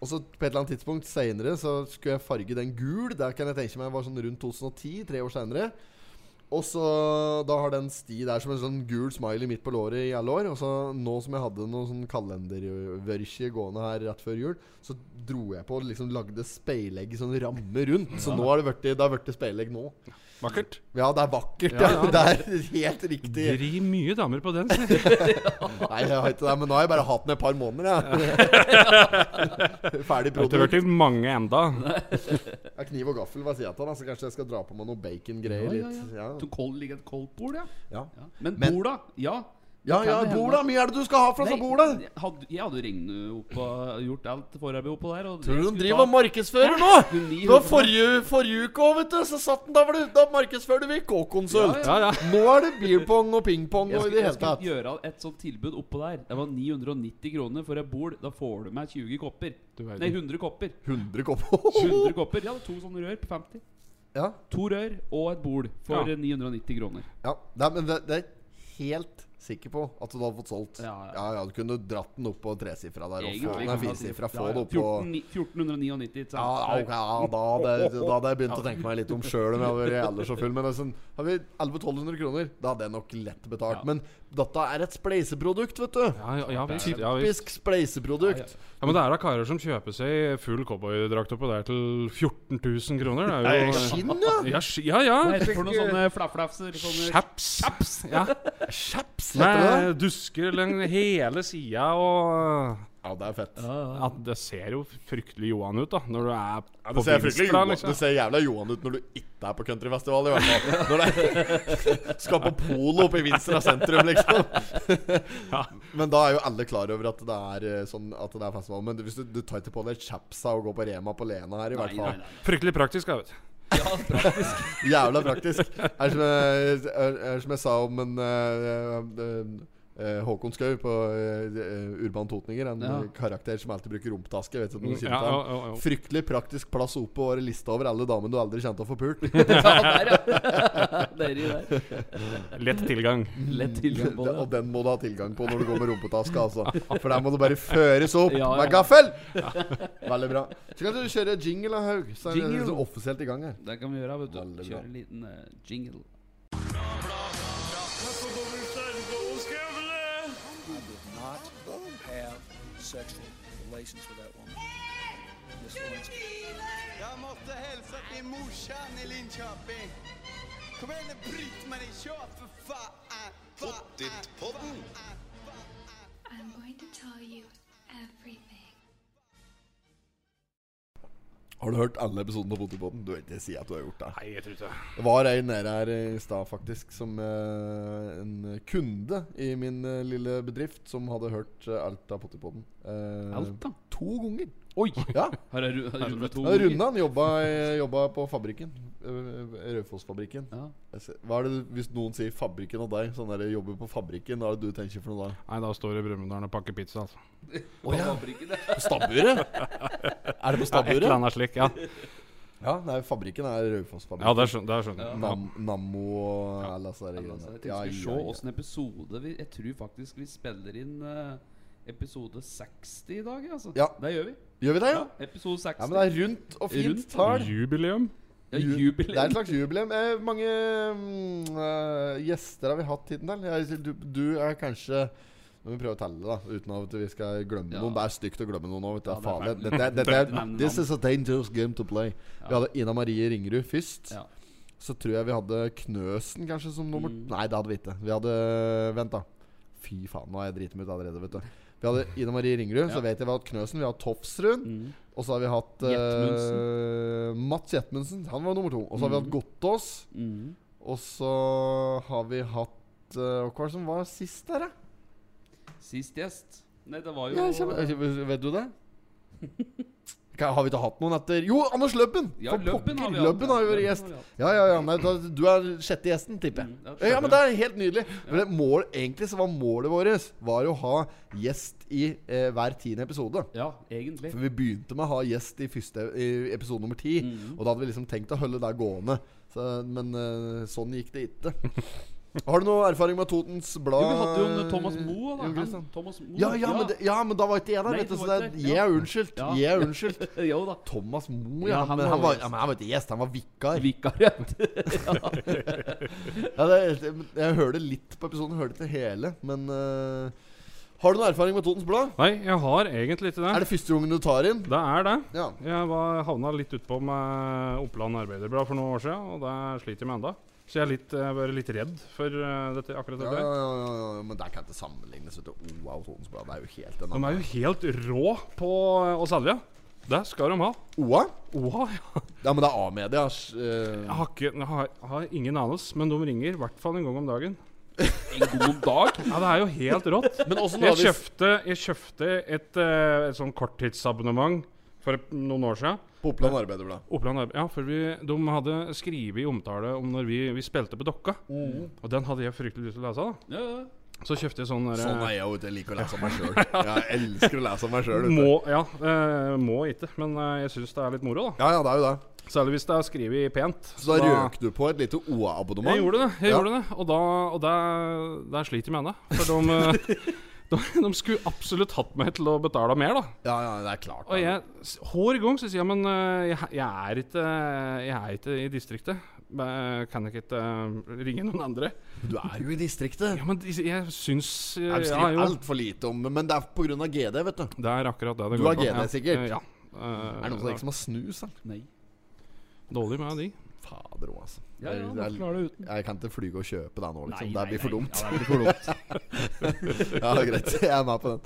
Speaker 1: Og så på et eller annet tidspunkt senere så skulle jeg farge den gul. Der kan jeg tenke meg var sånn rundt 2010, tre år senere. Og så Da har den sti der som en sånn gul smiley midt på låret i alle år. Og så nå som jeg hadde noe sånn kalendervørkje gående her rett før jul, så dro jeg på og liksom lagde speilegg i sånn ramme rundt. Så nå har det vært, det har vært speilegg nå.
Speaker 2: Vakkert.
Speaker 1: Ja, det er vakkert.
Speaker 2: Ja,
Speaker 1: Ja,
Speaker 2: ja.
Speaker 1: Det er helt riktig.
Speaker 2: Dri mye damer på den. sier jeg.
Speaker 1: Nei, jeg har ikke det, men nå har jeg bare hatt den et par måneder, jeg. Ferdig
Speaker 2: Jeg har ikke
Speaker 1: produkt.
Speaker 2: vært i mange enda.
Speaker 1: Ja, kniv og gaffel, hva sier jeg til han? Altså, kanskje jeg skal dra på meg noe bacongreier
Speaker 3: Ja, ja,
Speaker 1: litt. Ja,
Speaker 3: Du kold, ligger et koldt bord, ja.
Speaker 1: ja.
Speaker 3: ja. Men,
Speaker 1: Men-
Speaker 3: borda, ja.
Speaker 1: ja, ja
Speaker 3: Kan det hende?
Speaker 1: bord, da. Mye er det du skal ha fra sånt
Speaker 3: Nei,
Speaker 1: bord, da?
Speaker 3: Jeg hadde, jeg hadde regnet opp og gjort alt forarbeidet oppå der. Og
Speaker 1: Tror du
Speaker 3: jeg
Speaker 1: de
Speaker 3: skulle
Speaker 1: driver og
Speaker 3: ta-
Speaker 1: markedsfører nå?
Speaker 3: Skulle ni
Speaker 1: Nå
Speaker 3: hundre-
Speaker 1: forrige, forrige uke òg, vet du, så satt den da var det Da markedsførte vi K-konsult.
Speaker 2: Ja, ja.
Speaker 1: Nå er det beer pong og ping pong
Speaker 3: Jeg
Speaker 1: og i
Speaker 3: skulle,
Speaker 1: det
Speaker 3: jeg
Speaker 1: hele
Speaker 3: skulle
Speaker 1: tatt.
Speaker 3: gjøre et sånt tilbud oppå der. Det var 990 kroner for et bord. Da får du meg 20 kopper.
Speaker 2: Du verden.
Speaker 3: Nei, 100 kopper.
Speaker 1: 100 kopper.
Speaker 3: 100 kopper. Ja, to sånne rør på 50.
Speaker 1: Ja,
Speaker 3: To rør og et bord for
Speaker 2: Ja.
Speaker 3: 990 kroner.
Speaker 1: ja. Nei, men det, det er jeg helt sikker på at du hadde fått solgt. Ja,
Speaker 3: Ja, ja.
Speaker 1: ja. Du kunne dratt den opp på tresifra der og få Nei,
Speaker 3: Egentlig kan man si-
Speaker 1: firesifra.
Speaker 3: Ja,
Speaker 1: Få
Speaker 3: ja.
Speaker 1: det opp på
Speaker 3: 14 ni- 1499. ikke sant?
Speaker 1: ja, ok, ja, da hadde jeg- da hadde jeg begynt å tenke meg litt om sjøl om jeg hadde vært ellers så full. Men liksom, har vi 1100-1200 kroner, da hadde jeg nok lett betalt.
Speaker 3: Ja.
Speaker 1: Men dette er et spleiseprodukt, vet du.
Speaker 2: Ja, ja, ja, visst, ja, visst.
Speaker 1: Typisk spleiseprodukt.
Speaker 2: Ja, Men det er da karer som kjøper seg full cowboydrakt oppå der til 14 000 kroner. Det er jo
Speaker 1: Skinn, ja!
Speaker 2: Ja, sk- ja. ja.
Speaker 3: Hva heter det for noen sånne flafflafser? Sånne
Speaker 2: Chaps. Ja.
Speaker 1: Chaps, heter det.
Speaker 2: Med dusker langs hele sida og
Speaker 1: Ja, det er fett.
Speaker 2: ja, Det ser jo fryktelig Johan ut, da, når du er på liksom.
Speaker 1: Det ser, fryktelig
Speaker 2: Vinstra,
Speaker 1: Johan, det ser jævla Johan ut når du ikke er på countryfestival, i hvert fall. Når du er- skal på polo oppe i Vinstra sentrum, liksom. Men da er jo alle klar over at det er eh, sånn At det er festival. Men hvis du, du tar ikke på deg chapsa og går på Rema på Lena her, i hvert
Speaker 3: Nei, nei,
Speaker 1: fall.
Speaker 3: nei.
Speaker 2: Fryktelig praktisk, jeg vet
Speaker 1: Jævla praktisk. Det er som jeg, er, er som jeg sa om en eh, eh, eh, Håkon Skau på eh, eh, Urban Totninger, en
Speaker 3: Ja.
Speaker 1: karakter som alltid bruker rumpetaske. Vet du, når du
Speaker 2: Mm, Ja,
Speaker 1: kjenner til han.
Speaker 2: ja, ja, ja.
Speaker 1: Fryktelig praktisk plass oppe på våre lista over alle damene du aldri kjente å få pult.
Speaker 3: Ja, der, ja. Dere der.
Speaker 2: Lett tilgang.
Speaker 3: Lett tilgang på
Speaker 1: Og
Speaker 3: det.
Speaker 1: den må du ha tilgang på når du går med rumpetaske, altså. For der må du bare føres opp
Speaker 3: Ja, ja.
Speaker 1: med gaffel! Veldig bra. Så kan du kjøre jingle, da, Haug. Så er det
Speaker 3: Jingle.
Speaker 1: liksom offisielt i gang her.
Speaker 3: Det kan vi gjøre, vet du.
Speaker 1: Veldig bra.
Speaker 3: Kjøre en liten eh, jingle.
Speaker 4: Skål!
Speaker 5: relations with that woman. Miss Lewinsky.
Speaker 4: Jeg måtte hilse til morsan i Linköping. Kom igjen, Britt-Marie, kjør for faen! Pottitpodden!
Speaker 6: I'm going to tell you everything.
Speaker 1: Har du hørt alle episodene av Potipodden? Du vil ikke si at du har gjort det.
Speaker 2: Nei, jeg tror ikke det.
Speaker 1: Det var en nede her i stad, faktisk, som eh, en kunde i min eh, lille bedrift som hadde hørt eh, alt av Potipodden. Eh,
Speaker 3: Alt, da?
Speaker 1: To ganger.
Speaker 2: Oi!
Speaker 1: Ja.
Speaker 3: Har jeg ru- har jeg runda to
Speaker 1: Ja, Runda han jobba, i- jobba på fabrikken. eh, Raufoss-fabrikken.
Speaker 3: Ja.
Speaker 1: Jeg ser- Hva er det du- Hvis noen sier 'fabrikken' og deg, sånn der 'jobber på fabrikken', hva er det du tenker for noe da?
Speaker 2: Nei, da står det i Brumunddal og pakker pizza, altså.
Speaker 1: Å ja.
Speaker 3: Fabrikken, ja.
Speaker 1: På stabburet? er det på
Speaker 2: Ja, et eller
Speaker 1: stabburet?
Speaker 2: annet slik, ja.
Speaker 1: Ja, nei, fabrikken er Raufoss-fabrikken.
Speaker 2: Ja, det skjønner, det skjønner jeg.
Speaker 1: Nam Nammo og
Speaker 2: Ja.
Speaker 1: alle disse der
Speaker 3: Ja, men altså,
Speaker 1: greiene.
Speaker 3: Jeg tenkte vi skulle se åssen episode vi Jeg tror faktisk vi spiller inn eh, episode 60 i dag. Altså.
Speaker 1: Ja.
Speaker 3: Det gjør vi.
Speaker 1: Gjør vi det, ja?
Speaker 3: Ja, episode 60.
Speaker 1: Ja, men det er rundt og fint
Speaker 3: Rundt.
Speaker 1: tall.
Speaker 2: Jubileum.
Speaker 3: Ja,
Speaker 1: Ju-
Speaker 3: jubileum.
Speaker 1: Det er et slags jubileum. Eh, mange mm, eh, gjester har vi hatt hittil. Jeg- Du, du er kanskje Nå må vi prøve å telle, da uten at vi skal glemme
Speaker 3: Ja.
Speaker 1: noen. Det er stygt å glemme noen nå. vet du.
Speaker 3: Ja, det er
Speaker 1: Farlig.
Speaker 3: fælt.
Speaker 1: Dette, er- dette,
Speaker 3: Fælt navn.
Speaker 1: er- this is a dangerous game to play. Vi
Speaker 3: Ja.
Speaker 1: hadde Ina Marie Ringerud først.
Speaker 3: Ja.
Speaker 1: Så tror jeg vi hadde Knøsen kanskje som nummer
Speaker 3: Mm.
Speaker 1: Nei, det hadde vi ikke. Vi hadde Vent, da. Fy faen, nå har jeg driti meg ut allerede. vet du Vi hadde Ina Marie Ringerud,
Speaker 3: Ja.
Speaker 1: så vet jeg vi har hatt Knøsen. Vi har hatt Tofsrud.
Speaker 3: Mm.
Speaker 1: Og så har vi hatt eh, Mats Jetmundsen. Han var nummer to. Og så har vi
Speaker 3: Mhm.
Speaker 1: hatt Gottaas.
Speaker 3: Mm.
Speaker 1: Og så har vi hatt eh, Hva var det som var sist der, da?
Speaker 3: Sist gjest. Nei, det var jo
Speaker 1: Ja, kjem- eh, vet du det? Hva, har vi ikke hatt noen etter Jo, Anders Løbben!
Speaker 3: Ja,
Speaker 1: For
Speaker 3: Løbben
Speaker 1: pokker,
Speaker 3: har vi hatt.
Speaker 1: Løbben har jo vært
Speaker 3: Løbben
Speaker 1: gjest.
Speaker 3: har vi hatt.
Speaker 1: Ja, ja, ja. Nei, da, du er sjette gjesten, tipper jeg.
Speaker 3: Mm, ja,
Speaker 1: Ja,
Speaker 3: skjønner.
Speaker 1: men det er helt nydelig. Men det mål, egentlig så var målet vårt Var å ha gjest i eh, hver tiende episode.
Speaker 3: Ja, egentlig.
Speaker 1: For vi begynte med å ha gjest i, første, i episode nummer ti. Og da hadde vi liksom tenkt å holde det gående. Så, men eh, sånn gikk det ikke. Har du noe erfaring med Totens Blad?
Speaker 3: Jo, vi hadde jo en eh, Thomas Moe, da.
Speaker 1: Jon
Speaker 3: Han,
Speaker 1: Christian?
Speaker 3: Thomas Moe.
Speaker 1: Ja, ja, Men det, ja, men da var ikke jeg der.
Speaker 3: Nei,
Speaker 1: vet du,
Speaker 3: du
Speaker 1: så
Speaker 3: var
Speaker 1: det,
Speaker 3: ikke der.
Speaker 1: jeg
Speaker 3: Ja.
Speaker 1: er unnskyldt.
Speaker 3: Ja.
Speaker 1: Jeg er unnskyldt.
Speaker 3: Jo da.
Speaker 1: Thomas Moe, ja.
Speaker 3: Ja, han
Speaker 1: men,
Speaker 3: var
Speaker 1: han var,
Speaker 3: gjest.
Speaker 1: ja, men han var ikke gjest, han var vikar.
Speaker 3: Vikar, ja.
Speaker 1: Ja, det, er- jeg, jeg hører det litt på episoden, hører det til hele, men eh, Har du noe erfaring med Totens Blad?
Speaker 2: Nei, jeg har egentlig ikke
Speaker 1: Er
Speaker 2: det.
Speaker 1: det første gangen du tar inn?
Speaker 2: Det er det.
Speaker 1: Ja.
Speaker 2: Jeg var, havna litt utpå med Oppland Arbeiderblad for noen år siden, og der sliter jeg med enda. Så jeg er litt, jeg er bare litt redd for eh, dette, akkurat
Speaker 1: Ja,
Speaker 2: dette.
Speaker 1: ja,
Speaker 2: her.
Speaker 1: ja, ja, ja, men der kan ikke sammenlignes. Vet du. Wow, Totens Blad det er jo helt en
Speaker 2: De er
Speaker 1: annen.
Speaker 2: jo helt rå på eh, å selge. Det skal de ha.
Speaker 1: OA?
Speaker 2: Oha, ja.
Speaker 1: Ja, men det er A-media. s- eh,
Speaker 2: Jeg har, ikke, jeg har, jeg har ingen anelse, men de ringer i hvert fall en gang om dagen.
Speaker 3: En god dag.
Speaker 2: Ja, det er jo helt rått.
Speaker 1: Men åssen
Speaker 2: Jeg
Speaker 1: har vi
Speaker 2: kjøpte, jeg kjøpte et, eh, et sånn korttidsabonnement for et- noen år siden.
Speaker 1: På Oppland Arbeiderblad.
Speaker 2: Oppland Arbe- Ja, for vi, de hadde skrevet i omtale om når vi, vi spilte på Dokka.
Speaker 1: Mm.
Speaker 2: Og den hadde jeg fryktelig lyst til å lese. da
Speaker 3: Ja, ja.
Speaker 2: Så kjøpte jeg sånn der,
Speaker 1: Sånn er jeg jo ute. Jeg liker å lese om meg sjøl. Jeg elsker å lese om meg sjøl.
Speaker 2: Må, ja, eh, må ikke, men eh, jeg syns det er litt moro, da.
Speaker 1: Ja, ja, det er jo det.
Speaker 2: Særlig hvis det er skrevet pent.
Speaker 1: Så da røk du på et lite OA-abonnement?
Speaker 2: Jeg gjorde det, jeg
Speaker 1: Ja.
Speaker 2: gjorde det. Og, da, og der, der sliter jeg med henne. For de, eh, de, de skulle absolutt hatt meg til å betale mer, da.
Speaker 1: Ja, ja, det er klart. da.
Speaker 2: Og jeg, s- hver gang så sier jeg men eh, jeg, jeg, er ikke, jeg er ikke i distriktet. Men, eh, Kan jeg ikke eh, ringe noen andre?
Speaker 1: Du er jo i distriktet.
Speaker 2: Ja, men de- jeg syns eh,
Speaker 1: Jeg
Speaker 2: ja,
Speaker 1: skriver
Speaker 2: jo,
Speaker 1: altfor lite om det, men det er pga. GD, vet du.
Speaker 2: Det er akkurat det det
Speaker 1: Du
Speaker 2: går
Speaker 1: har GD
Speaker 2: Ja,
Speaker 1: sikkert?
Speaker 2: eh, Ja. Eh,
Speaker 1: Er det noen som ikke som har snus? da?
Speaker 3: Nei.
Speaker 2: Dårlig med de.
Speaker 1: Fader òg, altså.
Speaker 3: Ja, ja,
Speaker 1: Det
Speaker 3: må
Speaker 1: er-
Speaker 3: klare det uten.
Speaker 1: Jeg kan ikke flyge og kjøpe det nå, liksom.
Speaker 3: Nei,
Speaker 1: det
Speaker 3: nei,
Speaker 1: blir for
Speaker 3: nei.
Speaker 1: dumt.
Speaker 3: Ja, det blir for dumt.
Speaker 1: Ja, greit. Jeg er med på den.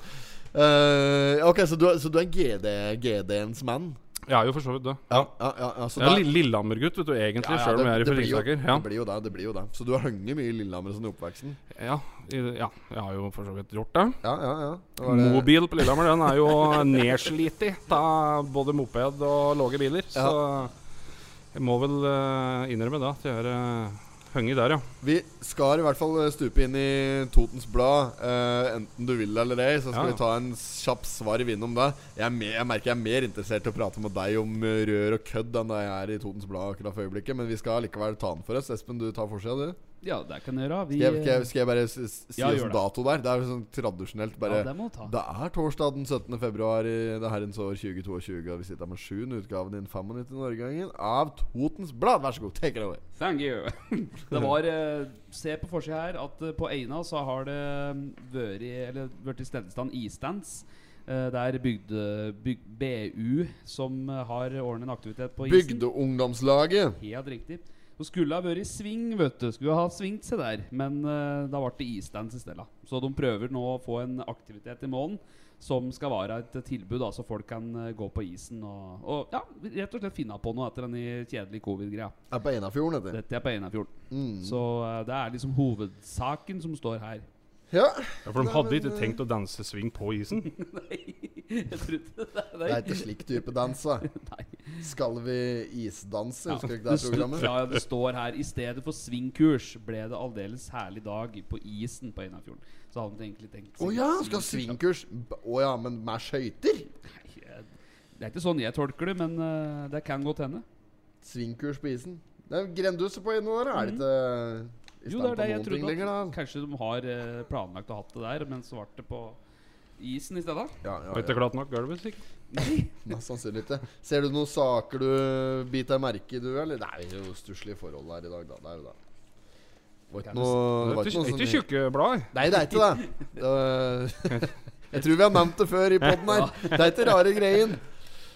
Speaker 1: Eh, ok, så du, er- så du er GD, GD-ens mann?
Speaker 2: Jeg er jo for så vidt det.
Speaker 1: Ja. ja, ja, ja så
Speaker 2: Jeg er
Speaker 1: der-
Speaker 2: lill- Lillehammer-gutt, vet du, egentlig,
Speaker 1: Ja, ja,
Speaker 2: selv om
Speaker 1: det-
Speaker 2: jeg er
Speaker 1: det
Speaker 2: fra
Speaker 1: blir jo-
Speaker 2: Ringsaker. Ja.
Speaker 1: Det blir jo det. det blir jo det Så du har hengt mye i Lillehammer og sånn i oppveksten?
Speaker 2: Ja, i, ja, jeg har jo for så vidt gjort det.
Speaker 1: Ja, ja, ja. Det var det-
Speaker 2: Mobil på Lillehammer den er jo nedslitt i av både moped og lave biler. Så jeg må vel eh, innrømme det, at jeg er uh, hengt der, ja.
Speaker 1: Vi skal i hvert fall eh, stupe inn i Totens Blad, eh, enten du vil eller ei. Så skal
Speaker 2: Ja.
Speaker 1: vi ta en kjapp svarv innom det. Jeg, er mer, jeg merker jeg er mer interessert i å prate med deg om eh, rør og kødd enn det jeg er i Totens Blad akkurat for øyeblikket, men vi skal likevel ta den for oss. Espen, du tar forsida, du.
Speaker 3: Ja, det kan jeg gjøre. Vi,
Speaker 1: Skal jeg, skal jeg, skal jeg bare s- s- si
Speaker 3: Ja,
Speaker 1: oss
Speaker 3: gjør
Speaker 1: en
Speaker 3: det.
Speaker 1: dato der? Det er jo sånn tradisjonelt bare
Speaker 3: ja, det må du ta.
Speaker 1: Det er torsdag den 17. februar i det herrens år 2022, og vi sitter med sjuende utgaven i den 95-årgangen av Totens Blad. Vær så god, take it away.
Speaker 3: Thank you. det var eh, Se på forsida her at eh, på Eina så har det mm, vært Eller vært i stillestand isdans. Eh, Det er bygde, byg, BU som eh, har ordnet en aktivitet på isen.
Speaker 1: Bygdeungdomslaget.
Speaker 3: Helt riktig. Så skulle ha vært i sving, vet du. Skulle ha svingt seg der. Men eh, da ble det isdans i stedet. Så de prøver nå å få en aktivitet i måneden som skal være et tilbud, da, så folk kan eh, gå på isen og, og ja, rett og slett finne på noe etter den kjedelige covid-greia.
Speaker 1: Er på Einafjorden, dette.
Speaker 3: Dette er på Einafjorden.
Speaker 1: Mm.
Speaker 3: Så eh, det er liksom hovedsaken som står her.
Speaker 1: Ja.
Speaker 2: Ja, for de hadde
Speaker 1: eh,
Speaker 2: ikke tenkt å danse swing på isen.
Speaker 3: Jeg trodde det.
Speaker 1: Det er ikke slik type dans, da.
Speaker 3: Nei.
Speaker 1: Skal vi isdanse? Husker du ikke
Speaker 3: Det
Speaker 1: det
Speaker 3: sto-
Speaker 1: programmet?
Speaker 3: Ja, det står her I stedet for svingkurs ble det aldeles herlig dag på isen på Einarfjorden. Så hadde han egentlig tenkt
Speaker 1: Å ja, skal ha svingkurs. B- Å ja, men med skøyter?
Speaker 3: Nei, jeg- Det er ikke sånn jeg tolker det, men eh, det kan godt hende.
Speaker 1: Svingkurs på isen. Det er grenduset på inne der, er det ikke i
Speaker 3: Mhm. Jo, det
Speaker 1: stand
Speaker 3: er
Speaker 1: på
Speaker 3: det jeg
Speaker 1: noen ting lenger,
Speaker 3: trodde. At,
Speaker 1: da?
Speaker 3: kanskje de har eh, planlagt å hatt det der, men så ble det på isen i stedet?
Speaker 1: Ja,
Speaker 2: Var
Speaker 1: ja,
Speaker 2: ikke
Speaker 1: ja.
Speaker 2: glatt nok gulvet, sikkert.
Speaker 3: Nei.
Speaker 1: Mest sannsynlig ikke. Ser du noen saker du biter merke i, du, eller? Det er jo stusslige forhold her i dag, da. Det er jo det. Det var ikke noe
Speaker 2: Det
Speaker 1: det
Speaker 2: er
Speaker 1: var
Speaker 2: ikke-
Speaker 1: ikke
Speaker 2: det
Speaker 1: noe
Speaker 2: er ikke
Speaker 1: sånn
Speaker 2: tjukke blad.
Speaker 1: Nei, det er ikke det. det var- jeg tror vi har nevnt det før i poden her. Det er ikke rare greien.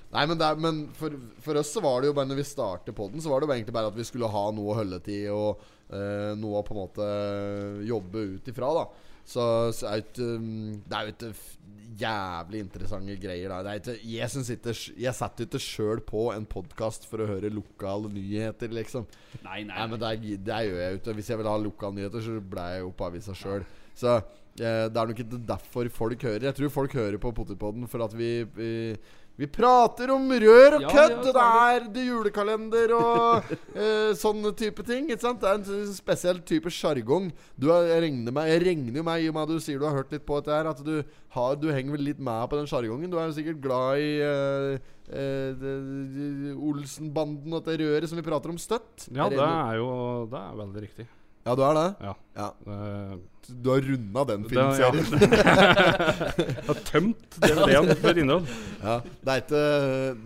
Speaker 1: Nei, men, det er, men for, for oss så var det jo bare når vi startet poden, så var det jo egentlig bare at vi skulle ha noe å holde til og eh, noe å på en måte eh, jobbe ut ifra, da. Så, så er jo ikke, um, det er jo ikke f- jævlig interessante greier, da. Det er ikke, jeg synes ikke sj- Jeg setter ikke sjøl på en podkast for å høre lokale nyheter, liksom.
Speaker 3: Nei, nei.
Speaker 1: Nei, men det, er, det gjør jeg jo ikke. Hvis jeg vil ha lukka nyheter, så ble jeg jo på avisa sjøl. Så eh, det er nok ikke derfor folk hører. Jeg tror folk hører på Potipodden for at vi, vi vi prater om rør og
Speaker 3: Ja,
Speaker 1: kødd!
Speaker 3: ja,
Speaker 1: og det er det julekalender og eh, sånne type ting. Ikke sant? Det er en s- spesiell type sjargong. Du har- Jeg regner med- jeg regner jo med, i og med at du sier du har hørt litt på dette, her at du, har, du henger vel litt med på den sjargongen. Du er jo sikkert glad i eh, eh, det- Olsenbanden og det røret som vi prater om støtt.
Speaker 2: Ja,
Speaker 1: Jeg
Speaker 2: det
Speaker 1: regner-
Speaker 2: er jo Det er veldig riktig.
Speaker 1: ja, du er det?
Speaker 2: Ja.
Speaker 1: Ja.
Speaker 2: Det-
Speaker 1: Du har runda den
Speaker 2: Det- ja.
Speaker 1: filmserien.
Speaker 2: Jeg har tømt DVD-en for innhold.
Speaker 1: Ja. Det er ikke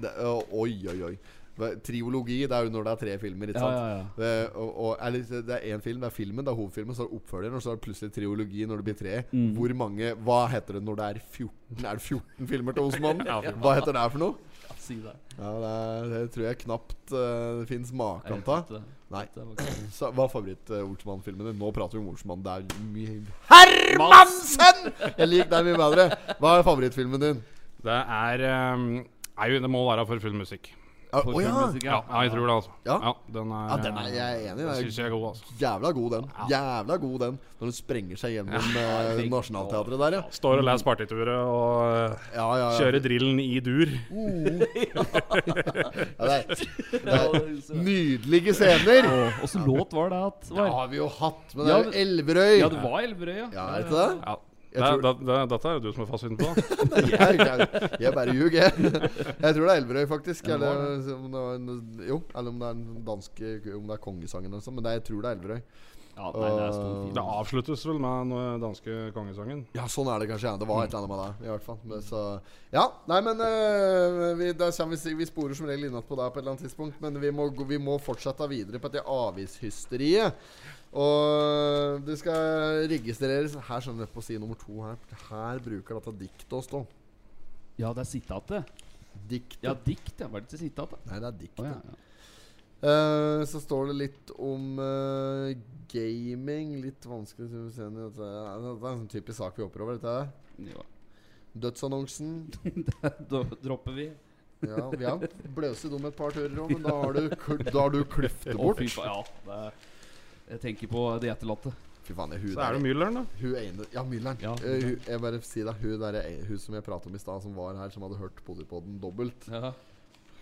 Speaker 1: det, å, Oi, oi, oi. Hva- Triologi, det er jo når det er tre filmer, ikke
Speaker 3: Ja,
Speaker 1: sant?
Speaker 3: ja, ja.
Speaker 1: Det, og, og, eller, det er én film, det er filmen, det er hovedfilmen, så er det oppfølgeren, og så er det plutselig triologi når det blir tre. Hvor mange Hva heter det når det er 14 Er det 14 filmer til Osmannen? Hva heter det her for noe?
Speaker 3: Ja, si det.
Speaker 1: Ja, det, er, det tror jeg knapt eh, det fins
Speaker 3: Jeg
Speaker 1: maken
Speaker 3: vet
Speaker 1: av.
Speaker 3: ikke.
Speaker 1: Nei.
Speaker 3: Det var ikke-
Speaker 1: Så, hva er favoritt-Olsmann-filmen din? Nå prater vi om Olsmann. Det er mye Hermansen! Jeg liker deg mye bedre. Hva er favorittfilmen din?
Speaker 2: Det er ehm, Nei, det må være for full musikk.
Speaker 1: Å
Speaker 3: For
Speaker 1: ja!
Speaker 3: filmmusikk,
Speaker 2: Ja, jeg tror det, altså.
Speaker 1: Ja.
Speaker 2: den er,
Speaker 1: Ja, den er- jeg er enig i det.
Speaker 2: den synes jeg er god, altså.
Speaker 1: Jævla god den. Jævla god den Når den sprenger seg gjennom eh,
Speaker 3: fint.
Speaker 1: Nationaltheatret der, ja.
Speaker 2: Står og leser partituret og eh,
Speaker 1: Ja, ja, ja.
Speaker 2: kjører drillen i dur.
Speaker 1: ja det er
Speaker 3: Ja, det er-
Speaker 1: nydelige scener!
Speaker 3: Og så låt var det at
Speaker 1: Det
Speaker 3: var.
Speaker 1: har vi jo hatt, men det
Speaker 3: Ja,
Speaker 1: er jo
Speaker 3: men-
Speaker 1: Elverøy.
Speaker 3: Ja, det var Elverøy, ja.
Speaker 1: Ja, er det ikke det?
Speaker 2: Ja.
Speaker 1: Jeg
Speaker 2: Det,
Speaker 1: tror-
Speaker 2: det, det, dette er jo du som er fasiten på. da.
Speaker 1: Jeg, jeg, jeg bare ljuger, jeg. Jeg tror det er Elverøy, faktisk.
Speaker 3: Ja, det var
Speaker 1: Eller om det var en, jo, eller om det er en danske Om det er kongesangen eller noe sånt, men det, jeg tror det er Elverøy.
Speaker 3: Ja, nei, det er stor film.
Speaker 2: Det avsluttes vel med den eh, danske kongesangen.
Speaker 1: Ja, sånn er det kanskje. Ja. Det var
Speaker 3: Mm.
Speaker 1: et eller annet med det. I hvert fall men, så, Ja, nei, men øh, vi, da kommer vi, si- vi sporer som regel innatt på deg på et eller annet tidspunkt. Men vi må, gå- vi må fortsette videre på dette avishysteriet. Og det skal registreres Her skjønner du på side nummer to her Her bruker dette diktet å stå.
Speaker 3: Ja, det er sitatet.
Speaker 1: Diktet.
Speaker 3: Ja, dikt. Ja. Var det ikke sitatet?
Speaker 1: Nei, det er
Speaker 3: Å,
Speaker 1: diktet.
Speaker 3: ja, ja.
Speaker 1: Eh, så står det litt om eh, gaming. Litt vanskelig å se inn i dette. Ja, Det er en sånn typisk sak vi hopper over. Dette her.
Speaker 3: Jo.
Speaker 1: Dødsannonsen.
Speaker 3: Da dropper vi.
Speaker 1: Ja, vi har bløset om et par turer òg, men da har du, kl- da har du kløft det
Speaker 3: Å,
Speaker 1: bort.
Speaker 3: fy faen, ja, det er, jeg tenker på de etterlatte.
Speaker 1: Fy faen, det er hun
Speaker 2: Så er det Mülleren, da.
Speaker 1: Hun ene Ja, Mylleren.
Speaker 3: Ja,
Speaker 1: Eh, hun- jeg bare sier deg, hun, der, er- hun som jeg pratet om i stad, som var her, som hadde hørt Polipodden dobbelt.
Speaker 3: Ja.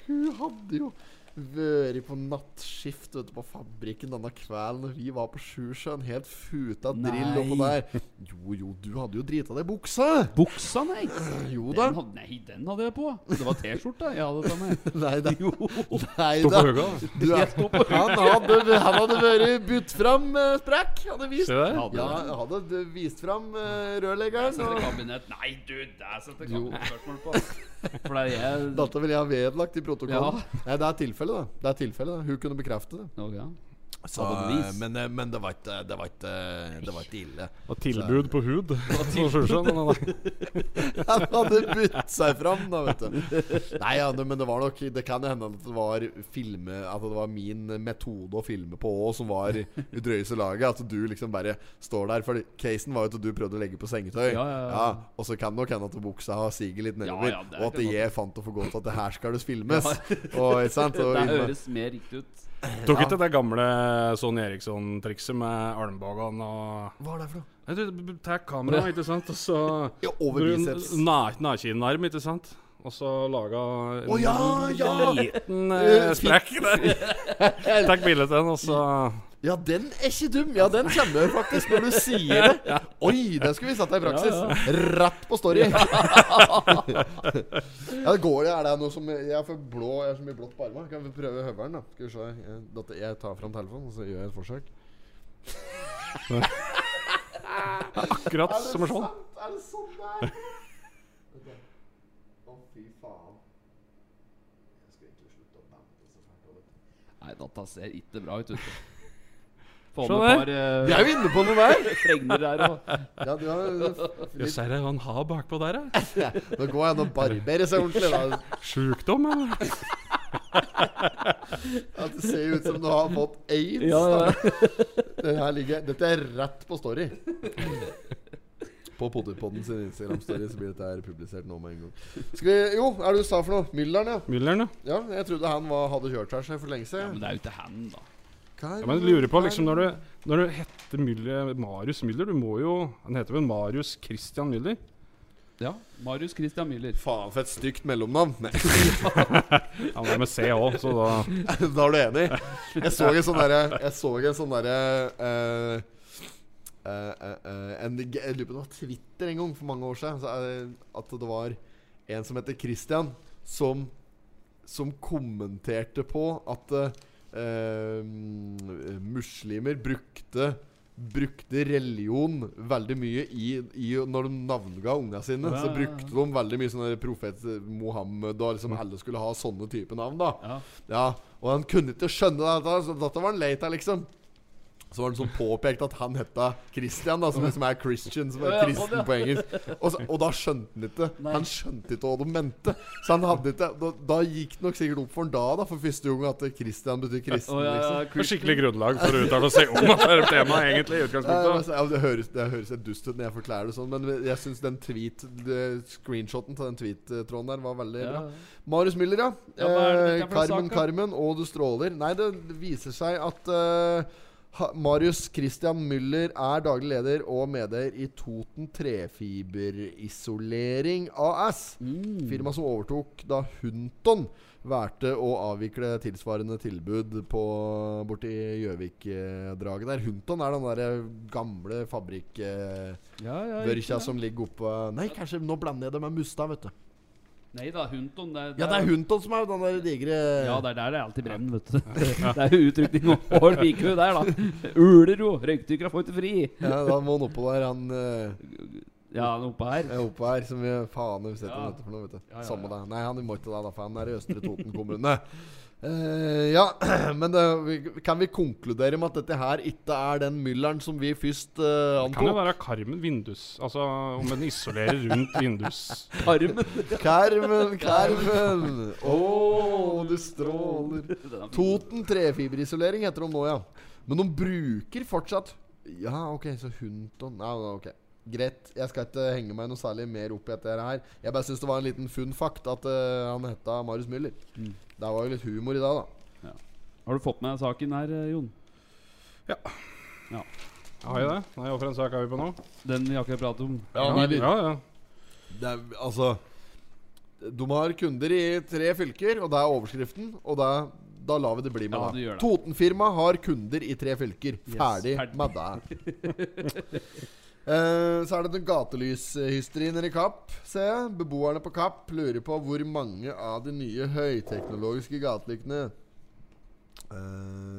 Speaker 1: Hun hadde jo vært på nattskift vet du, på fabrikken denne kvelden når vi var på Sjusjøen. Helt futa drill oppå
Speaker 3: Nei.
Speaker 1: der. Jo, jo, du hadde jo drita deg i buksa!
Speaker 3: Buksa, nei!
Speaker 1: Jo da.
Speaker 3: Den hadde, nei, den hadde jeg på. Det var T-skjorta jeg hadde på meg.
Speaker 1: Nei da.
Speaker 3: Jo.
Speaker 1: Nei
Speaker 2: Sto på
Speaker 1: da.
Speaker 2: hugga. da.
Speaker 1: Du er
Speaker 3: Jeg sto på
Speaker 1: Han hadde, han hadde vært budt fram eh, sprekk. Hadde vist
Speaker 2: Se der.
Speaker 3: Hadde
Speaker 1: Ja,
Speaker 3: den.
Speaker 1: jeg hadde d- vist fram eh, rørleggeren.
Speaker 3: Setter
Speaker 1: Og
Speaker 3: kabinett Nei, du, der setter
Speaker 1: Jo.
Speaker 3: kabinettspørsmål på. For det er jeg
Speaker 1: dette ville jeg ha vedlagt i protokollen.
Speaker 3: Ja.
Speaker 1: Nei, det er tilfellet, da. Det er tilfellet da Hun kunne bekrefte det.
Speaker 3: Å, ja.
Speaker 1: Så,
Speaker 3: Abonnevis.
Speaker 1: men, eh, men det var ikke Det var ikke, eh, det var ikke ille.
Speaker 2: Og tilbud på hud. Så skjønner jeg det, da.
Speaker 1: Han hadde budt seg fram, da, vet du. Nei, ja, det, men det var nok Det kan hende at det var filme At det var min metode å filme på òg som var i drøyeste laget. At du liksom bare står der. For casen var jo at du prøvde å legge på sengetøy.
Speaker 3: Ja, ja, ja.
Speaker 1: og så kan det nok hende at buksa har siget litt nedover.
Speaker 3: Ja, ja, det er
Speaker 1: og at
Speaker 3: det godt.
Speaker 1: jeg fant det for godt at det her skal det filmes. Og, ikke sant? Og,
Speaker 3: Det
Speaker 1: inn-
Speaker 3: høres mer riktig ut.
Speaker 2: Tok ikke det gamle Sonny Eriksson-trikset med armbågene og
Speaker 1: hva er det for noe?
Speaker 2: Nei, du, du tar kameraet, ikke sant, og så
Speaker 1: Ja, over
Speaker 2: Brun-
Speaker 1: biceps.
Speaker 2: na- Nakenarm, ikke sant. Og så laga en
Speaker 1: Å ja, ja!
Speaker 2: liten eh,
Speaker 1: Eh,
Speaker 2: sprekk der. Takk bilde til den, og så
Speaker 1: Ja, den er ikke dum! Ja, den kommer jeg faktisk når du sier det. Oi, den skulle vi satt i praksis. Rett på story. Ja, det går det. Er det noe som Jeg er for blå Jeg er så mye blått på armene. Kan vi prøve høvelen, da? Skal vi se. Jeg, dette- jeg tar fram telefonen, og så gjør jeg et forsøk.
Speaker 2: akkurat som sånn.
Speaker 1: Er det sånn det er? Å, fy faen. Jeg skal egentlig slutte å bampe så fælt. over det.
Speaker 3: Nei, data ser ikke bra ut. vet du. Få
Speaker 2: Se der.
Speaker 3: med et par
Speaker 1: Vi
Speaker 3: eh,
Speaker 1: er jo inne på noe der!
Speaker 3: fregner der og
Speaker 1: Ja, du har
Speaker 2: Jøss, er det hva han har bakpå der, ja?
Speaker 1: Nå går jeg an å barbere seg ordentlig, da.
Speaker 2: Sjukdom, eller?
Speaker 1: At det ser ut som du har fått aids.
Speaker 3: Ja, ja.
Speaker 1: Det her ligger, dette er rett på story. På Potterpodden sin Instagram-story så blir dette her publisert nå med en gang. Skal vi, jo, hva er det du sa for noe? Mylleren, ja.
Speaker 2: Mülleren, ja.
Speaker 1: ja. Jeg trodde han var, hadde kjørt her seg for lenge
Speaker 3: Ja,
Speaker 1: siden.
Speaker 3: Men det er jo ikke han, da.
Speaker 2: Ja, men jeg lurer på, liksom, når du, når du heter Müller, Marius Müller Du må jo Han heter vel Marius Christian Müller?
Speaker 3: Ja, Marius Christian Müller.
Speaker 1: Faen for et stygt mellomnavn. Nei,
Speaker 2: Han er med C òg, så da
Speaker 1: da er du enig? Jeg så en sånn derre Jeg så en sånn derre eh, eh, eh, eh, en- Jeg lurer på om det var Twitter en gang for mange år siden. Så, eh, at det var en som heter Christian, som, som kommenterte på at eh, eh, muslimer brukte Brukte religion veldig mye i, i Når de navnga unga sine,
Speaker 3: Ja,
Speaker 1: så
Speaker 3: ja, ja.
Speaker 1: brukte de veldig mye sånne profet Mohammed og liksom alle skulle ha sånne type navn, da.
Speaker 3: Ja.
Speaker 1: Ja, og han kunne ikke skjønne dette, så dette var han lei av, liksom. Så var det sånn påpekt at han heta Christian, da, som liksom er Christian, som
Speaker 3: Ja,
Speaker 1: er
Speaker 3: ja, sånn, ja.
Speaker 1: kristen på engelsk. Og, så, og da skjønte han ikke.
Speaker 3: Nei.
Speaker 1: Han skjønte ikke hva de mente. Så han hadde ikke Da, da gikk det nok sikkert opp for han da, da, for første gang at Christian betyr kristen,
Speaker 3: Og,
Speaker 1: liksom.
Speaker 3: ja,
Speaker 2: På skikkelig grunnlag for å uttale seg om at det er temaet, egentlig. i
Speaker 1: Ja, ja, men
Speaker 2: utgangspunktet
Speaker 1: så- ja, det, høres, det høres helt dust ut når jeg forklarer det sånn, men jeg syns den tweet det- Screenshoten til den tweet-tråden der var veldig bra.
Speaker 3: ja.
Speaker 1: Marius Müller, ja.
Speaker 3: Ja, hva er
Speaker 1: Eh,
Speaker 3: det dette er for
Speaker 1: Carmen,
Speaker 3: sak, da?
Speaker 1: Carmen og Du stråler. Nei, det viser seg at eh, ha- Marius Christian Müller er daglig leder og medeier i Toten Trefiberisolering AS.
Speaker 3: Mm.
Speaker 1: Firmaet som overtok da Hunton valgte å avvikle tilsvarende tilbud på borti Gjøvik-draget der. Hunton er den der gamle fabrikkbørkja
Speaker 3: Ja, ja, ikke sant.
Speaker 1: som ligger oppå Nei, kanskje nå blander jeg det med Mustad, vet du.
Speaker 3: Nei da, Hunton. Det,
Speaker 1: Ja, det er Hunton som er den der digre
Speaker 3: Ja, det er der det er alltid brenner, vet du. Det er jo utrykning og hår liker vi der, da. Uler jo. Røykdykkere får ikke fri.
Speaker 1: Ja, da må han oppå der, han eh,
Speaker 3: Ja, han er oppe her.
Speaker 1: er oppå her, som vi faen har sett
Speaker 3: Ja.
Speaker 1: dette for noe, vet du.
Speaker 3: Ja, ja,
Speaker 1: Samme
Speaker 3: ja.
Speaker 1: det. Nei, han må ikke det, da, for han er i Østre Toten kommune. Eh, ja, men det, vi- kan vi konkludere med at dette her ikke er den mylleren som vi først eh,
Speaker 2: Kan jo
Speaker 1: antok?
Speaker 2: være Carmen vindus Altså om den isolerer rundt vindus.
Speaker 3: Armen.
Speaker 1: Karmen, Karmen! Å, du stråler.
Speaker 3: Den er fin.
Speaker 1: Toten trefiberisolering heter de nå, ja. Men de bruker fortsatt Ja, OK, så Hunton Nei, nei, ok. Greit. Jeg skal ikke henge meg noe særlig mer opp i dette her. Jeg bare syns det var en liten fun fact at eh, han heta Marius Müller.
Speaker 3: Mm.
Speaker 1: Der var jo litt humor i dag, da.
Speaker 3: Har du fått med deg saken her, eh, Jon?
Speaker 2: Har jeg det? Nei, hvorfor en sak er vi på nå?
Speaker 3: Den vi akkurat pratet om.
Speaker 2: ja, ja.
Speaker 1: det er, altså De har kunder i tre fylker, og det er overskriften. Og det er, da lar vi det bli med
Speaker 3: Ja,
Speaker 1: det.
Speaker 3: du gjør det.
Speaker 1: Totenfirmaet har kunder i tre fylker.
Speaker 3: Yes,
Speaker 1: Ferdig
Speaker 3: ferdig.
Speaker 1: med det. Eh, så er det den gatelyshysteriet nede i Kapp. ser jeg. Beboerne på Kapp lurer på hvor mange av de nye høyteknologiske gatelyktene eh,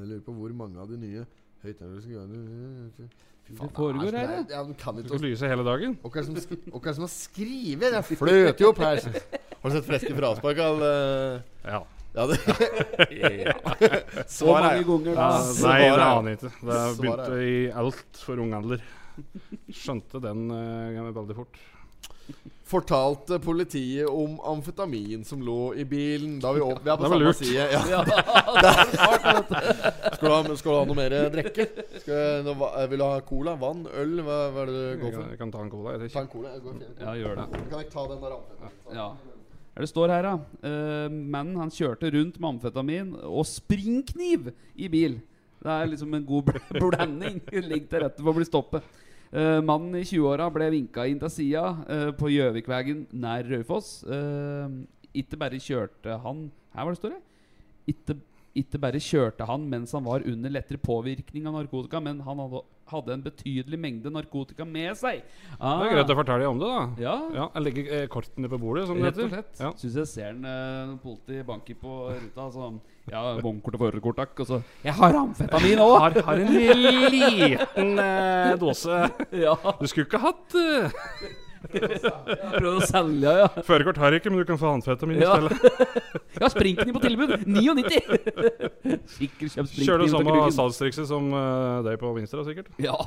Speaker 1: Lurer på hvor mange av de nye høyteknologiske gatelyktene Fy faen,
Speaker 3: Det foregår
Speaker 1: er så-
Speaker 3: her,
Speaker 1: det er- ja, de kan
Speaker 2: Du
Speaker 1: ikke
Speaker 2: skal lyse hele dagen.
Speaker 1: og hva er det som, sk og hva er det som har skrevet? Jeg fløter jo opp her. Har du sett freske fraspark av eh,
Speaker 2: Ja.
Speaker 1: Ja, det,
Speaker 3: Så mange ganger da.
Speaker 1: Ja,
Speaker 2: Nei,
Speaker 1: Svaret
Speaker 2: det
Speaker 1: er-
Speaker 2: aner jeg ikke. Det
Speaker 1: Svaret er-
Speaker 2: begynte i alt for ung alder. Skjønte den eh, veldig fort.
Speaker 1: fortalte politiet om amfetamin som lå i bilen da vi, opp, vi er på
Speaker 2: Det var
Speaker 1: samme
Speaker 2: lurt.
Speaker 1: side. Ja.
Speaker 3: Ja, det var klart, vet du.
Speaker 1: Skal, du ha, skal du ha noe mer drikke? Skal, nå, hva- eh, vil du ha cola? Vann? Øl? Hva, hva er det du
Speaker 2: Jeg
Speaker 1: går
Speaker 2: kan,
Speaker 1: for?
Speaker 2: jeg kan ta en cola. Jeg,
Speaker 1: Ta en cola. Jeg går for en cola.
Speaker 3: Ja, gjør det.
Speaker 1: Kan jeg ta den der amfetaminen?
Speaker 3: Ja. Her Det står her, da. Eh, Mannen han kjørte rundt med amfetamin og springkniv i bil. Det er liksom en god bl- blanding. Ligger til rette for å bli stoppet. Eh, mannen i 20-åra ble vinka inn til sida eh, på Gjøvikvegen nær Raufoss. Eh, ikke bare kjørte han Her var det står det. Ikke, ikke bare kjørte han mens han var under lettere påvirkning av narkotika, men han hadde, hadde en betydelig mengde narkotika med seg. Ah.
Speaker 2: Det er greit å fortelle om det, da.
Speaker 3: Ja.
Speaker 2: Ja, jeg legger eh, kortene på bordet, som det
Speaker 3: Rett
Speaker 2: heter.
Speaker 3: og slett.
Speaker 2: Ja.
Speaker 3: Syns jeg ser en eh, politi banke på ruta. Sånn Ja, vognkort og førerkort, takk. Og så Jeg har amfetamin òg!
Speaker 2: Har, har en liten eh, dåse
Speaker 3: ja,
Speaker 2: Du skulle ikke hatt eh,
Speaker 3: prøvd å selge, ja.
Speaker 2: Førerkort har jeg ikke, men du kan få amfetamin i
Speaker 3: Ja.
Speaker 2: stedet.
Speaker 3: Jeg har sprinkni på tilbud! 99! Sikkert kjøpt sprinkni.
Speaker 2: Kjører det
Speaker 3: ut av
Speaker 2: samme
Speaker 3: Krüger.
Speaker 2: salgstrikset som eh, deg på Vinstra, sikkert.
Speaker 3: Ja.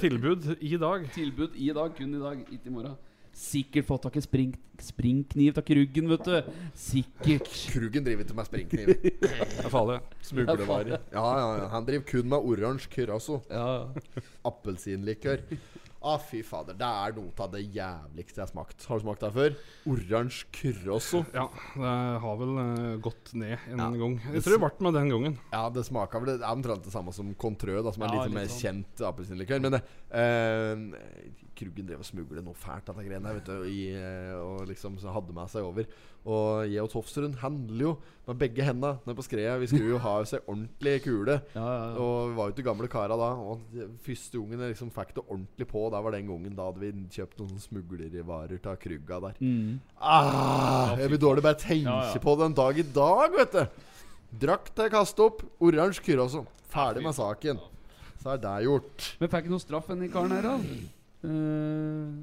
Speaker 2: Tilbud i dag.
Speaker 3: Tilbud i dag, kun i dag, ikke i morgen. Sikkert fått tak i spring, springkniv tak i ryggen, vet du. Sikkert.
Speaker 1: Krugen driver ikke med springkniv.
Speaker 2: Det er farlig.
Speaker 1: Smuglervarer. Ja, ja, ja. Han driver kun med oransje curacao.
Speaker 3: Ja.
Speaker 1: Appelsinlikør. Ah, fy fader. Det er noe av det jævligste jeg har smakt. Har du smakt det før? Oransje curacao.
Speaker 2: Ja, det har vel eh, gått ned en
Speaker 1: Ja.
Speaker 2: gang. Jeg tror det ble med den gangen.
Speaker 1: Ja, det smaker vel Det er omtrent det samme som Contrø, da, som er
Speaker 3: Ja,
Speaker 1: litt
Speaker 3: litt
Speaker 1: mer
Speaker 3: sånn.
Speaker 1: kjent appelsinlikør. Men eh, Krugen drev og smuglet noe fælt av de greiene der, vet du. I, eh, og liksom så hadde med seg over. Og jeg og Tofsrud handler jo med begge hendene nede på skredet. Vi skulle jo ha seg ordentlig kule.
Speaker 3: Ja, ja, ja.
Speaker 1: Og vi var jo til gamle kara da. Og de første gangen jeg liksom fikk det ordentlig på, da var den gangen da hadde vi kjøpt noen smuglervarer av Kruga der.
Speaker 3: Mm.
Speaker 1: Ah, jeg blir dårlig bare tenke
Speaker 3: Ja, ja.
Speaker 1: på den dag i dag, vet du. Drakk til jeg kastet opp. Oransje Curacao. Ferdig med saken. Så er det gjort.
Speaker 3: Men fikk ikke noe straff, den karen her, da. Eh,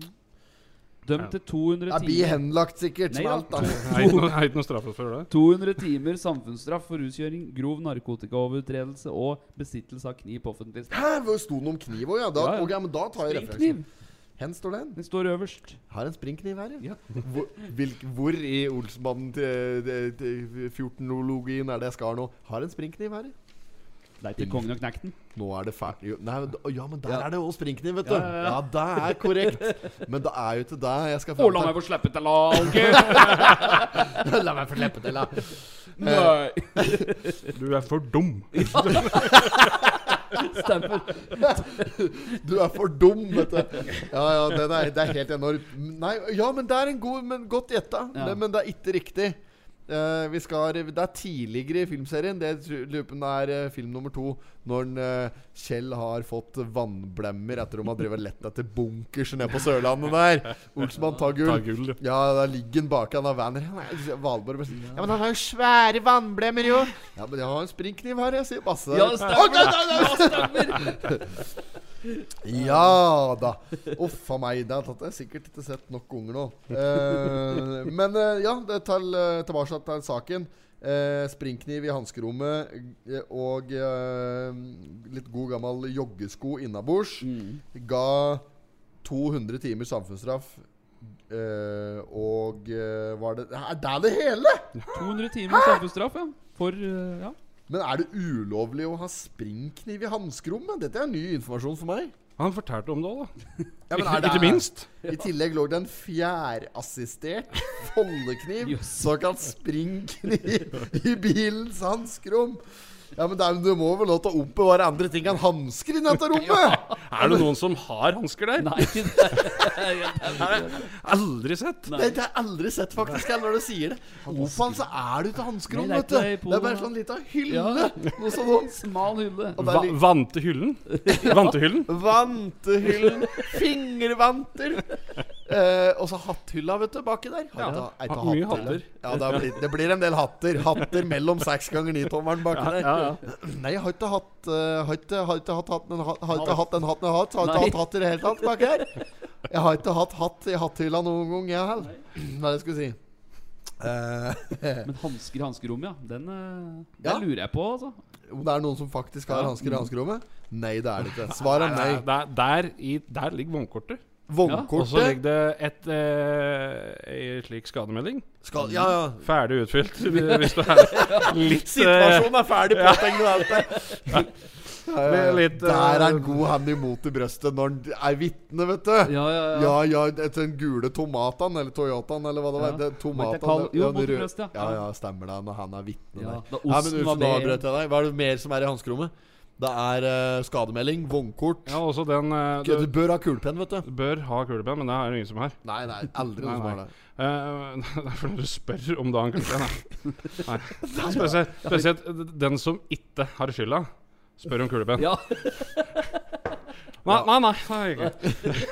Speaker 3: dømt til 200
Speaker 1: Jeg blir
Speaker 3: timer.
Speaker 1: henlagt sikkert. som
Speaker 3: Nei da.
Speaker 1: alt, da.
Speaker 2: Jeg er ikke noe- jeg er ikke noe straffet for det.
Speaker 3: 200 timer samfunnsstraff for ruskjøring, grov narkotikaovertredelse og besittelse av kniv på offentlig sted.
Speaker 1: Hæ, hvor sto den om kniv òg, ja? Da,
Speaker 3: Ja, ja.
Speaker 1: ok, men da tar jeg referansen.
Speaker 3: Springkniv!
Speaker 1: Hen står den?
Speaker 3: Den står øverst.
Speaker 1: Har en springkniv her, ja.
Speaker 3: Ja.
Speaker 1: Hvor, hvilk, hvor i Olsmannen til- til- til 14-ologien er det jeg skal nå? Har en springkniv her, ja.
Speaker 3: Det er ikke kongen og knekten.
Speaker 1: Nå er det ferdig jo, Nei, d- ja, men der
Speaker 3: Ja.
Speaker 1: er det òg springkniv, vet du.
Speaker 3: Ja,
Speaker 1: Ja,
Speaker 3: ja, ja.
Speaker 1: det er korrekt. Men det er jo ikke det jeg skal
Speaker 3: Å, la meg få slippe til laget!
Speaker 1: La meg få slippe til, da.
Speaker 3: Nei!
Speaker 2: Du er for dum.
Speaker 3: Stemmer.
Speaker 1: Du er for dum, vet du. Ja, ja, det er, det er helt enormt. Nei, ja, men det er en god Men godt gjetta.
Speaker 3: Ja.
Speaker 1: Det- Men det er ikke riktig. Eh, vi skal, det er tidligere i filmserien. Det tru- lurer på om det er eh, film nummer to. Når en, eh, Kjell har fått vannblemmer etter om han driver og lett etter bunkers nede på Sørlandet der. Olsmann tar
Speaker 2: Ta
Speaker 1: gull.
Speaker 2: gull.
Speaker 1: Ja, der ligger han bak han av Vanner. Han er- Valborg bare sier, Ja, men han har jo svære vannblemmer, jo. Ja, men jeg har en springkniv her, jeg, sier Basse.
Speaker 3: Ja, det stemmer.
Speaker 1: Å, nei, nei, nei.
Speaker 3: Ja, stemmer.
Speaker 1: Ja da. Uff a meg. Det har jeg sikkert ikke sett nok unger nå. Eh, men eh, ja, det tar eh, tilbake til saken. Eh, springkniv i hanskerommet eh, og eh, litt god gammel joggesko innabords
Speaker 3: Mm.
Speaker 1: ga 200 timer samfunnsstraff. eh, og eh, var det Er det det hele?!
Speaker 3: 200 timer samfunnsstraff, ja. For eh, ja.
Speaker 1: Men er det ulovlig å ha springkniv i hanskerommet? Dette er ny informasjon for meg.
Speaker 2: Han fortalte om det òg, da.
Speaker 1: Ja, men
Speaker 2: Ikke-
Speaker 1: er det-
Speaker 2: Ikke minst.
Speaker 1: I tillegg lå det en fjærassistert foldekniv,
Speaker 3: Jøss.
Speaker 1: såkalt springkniv, i bilens hanskrom. Ja, men det er, du må vel lov til å oppbevare andre ting enn hansker i dette rommet!
Speaker 2: Er det noen som har hansker der?
Speaker 3: Nei, det er
Speaker 2: Aldri sett.
Speaker 1: Det det har jeg aldri sett, faktisk, jeg, når du sier det. Opal, så er du til hanskerom,
Speaker 3: Nei,
Speaker 1: vet
Speaker 3: det
Speaker 1: du.
Speaker 3: er ikke det
Speaker 1: Det
Speaker 3: i
Speaker 1: er bare
Speaker 3: Polen,
Speaker 1: sånn lita
Speaker 3: Ja.
Speaker 1: hylle. Noe sånn
Speaker 3: smal hylle.
Speaker 1: Og det er
Speaker 2: Va
Speaker 1: litt-
Speaker 2: vantehyllen? Vantehyllen?
Speaker 1: Vantehyllen. Fingervanter. Eh, og så hatthylla, vet du, baki der. Har
Speaker 2: Ja,
Speaker 1: du ta- ei ta
Speaker 2: ha- mye
Speaker 1: hatthylla?
Speaker 2: hatter.
Speaker 1: Ja, det blir, det blir en del hatter. Hatter mellom seks ganger ni-tommeren baki der.
Speaker 2: Ja, ja.
Speaker 1: Nei, jeg har ikke hatt eh, Har ikke, har ikke hatt hatten en hatt Har ikke hatt en hatten en hatt Har ikke
Speaker 3: Nei.
Speaker 1: hatt hatt i det hele tatt bak her Jeg har ikke hatt hatt i hatthylla noen gang jeg heller Hva er det jeg skulle si Eh,
Speaker 3: Men hansker i hanskerommet, ja. Den, eh, den
Speaker 1: Ja.
Speaker 3: lurer jeg på, altså.
Speaker 1: om det er noen som faktisk har
Speaker 3: Ja.
Speaker 1: hansker i hanskerommet? Nei, det er det ikke. Svaret er nei.
Speaker 2: Der, der, i, der ligger vognkortet. Og så ligger
Speaker 1: Vognkortet
Speaker 2: det et eh, ei slik skademelding.
Speaker 1: skal Ja, ja.
Speaker 2: Ferdig utfylt, hvis du er litt eh,
Speaker 1: Situasjonen er ferdig påtegnet alt det. Ja, ja, ja.
Speaker 2: Litt, eh,
Speaker 1: Der er en god hand imot i brøstet når han er vitne, vet du.
Speaker 3: Ja, ja, ja.
Speaker 1: Ja, ja, etter den gule tomataen, eller Toyotaen, eller hva det var.
Speaker 3: Ja.
Speaker 1: Det,
Speaker 3: Var ikke
Speaker 1: tomataen,
Speaker 3: det kall- jo,
Speaker 1: ja, den
Speaker 3: mot i
Speaker 1: rø-
Speaker 3: brøstet, ja.
Speaker 1: ja, ja, stemmer det. Når han er vitne
Speaker 3: Ja,
Speaker 1: der.
Speaker 3: da
Speaker 1: Ja, men
Speaker 3: osten
Speaker 1: Uff,
Speaker 3: var
Speaker 1: nå
Speaker 3: med.
Speaker 1: brøt jeg deg. Hva er det mer som er i hanskerommet? Det er eh, skademelding, vognkort.
Speaker 2: Ja, også den eh,
Speaker 1: Du
Speaker 2: du,
Speaker 1: bør ha kulepenn, vet du.
Speaker 2: bør ha kulepenn, men det er det ingen som har.
Speaker 1: Nei, nei, aldri noen
Speaker 2: Nei,
Speaker 1: som har
Speaker 2: nei.
Speaker 1: det.
Speaker 2: Eh, det er fordi du spør om du har en kulepenn. ja. Nei. Spesielt, spesielt den som ikke har skylda, spør om kulepenn.
Speaker 3: Ja.
Speaker 2: Nei, nei, nei. nei ikke.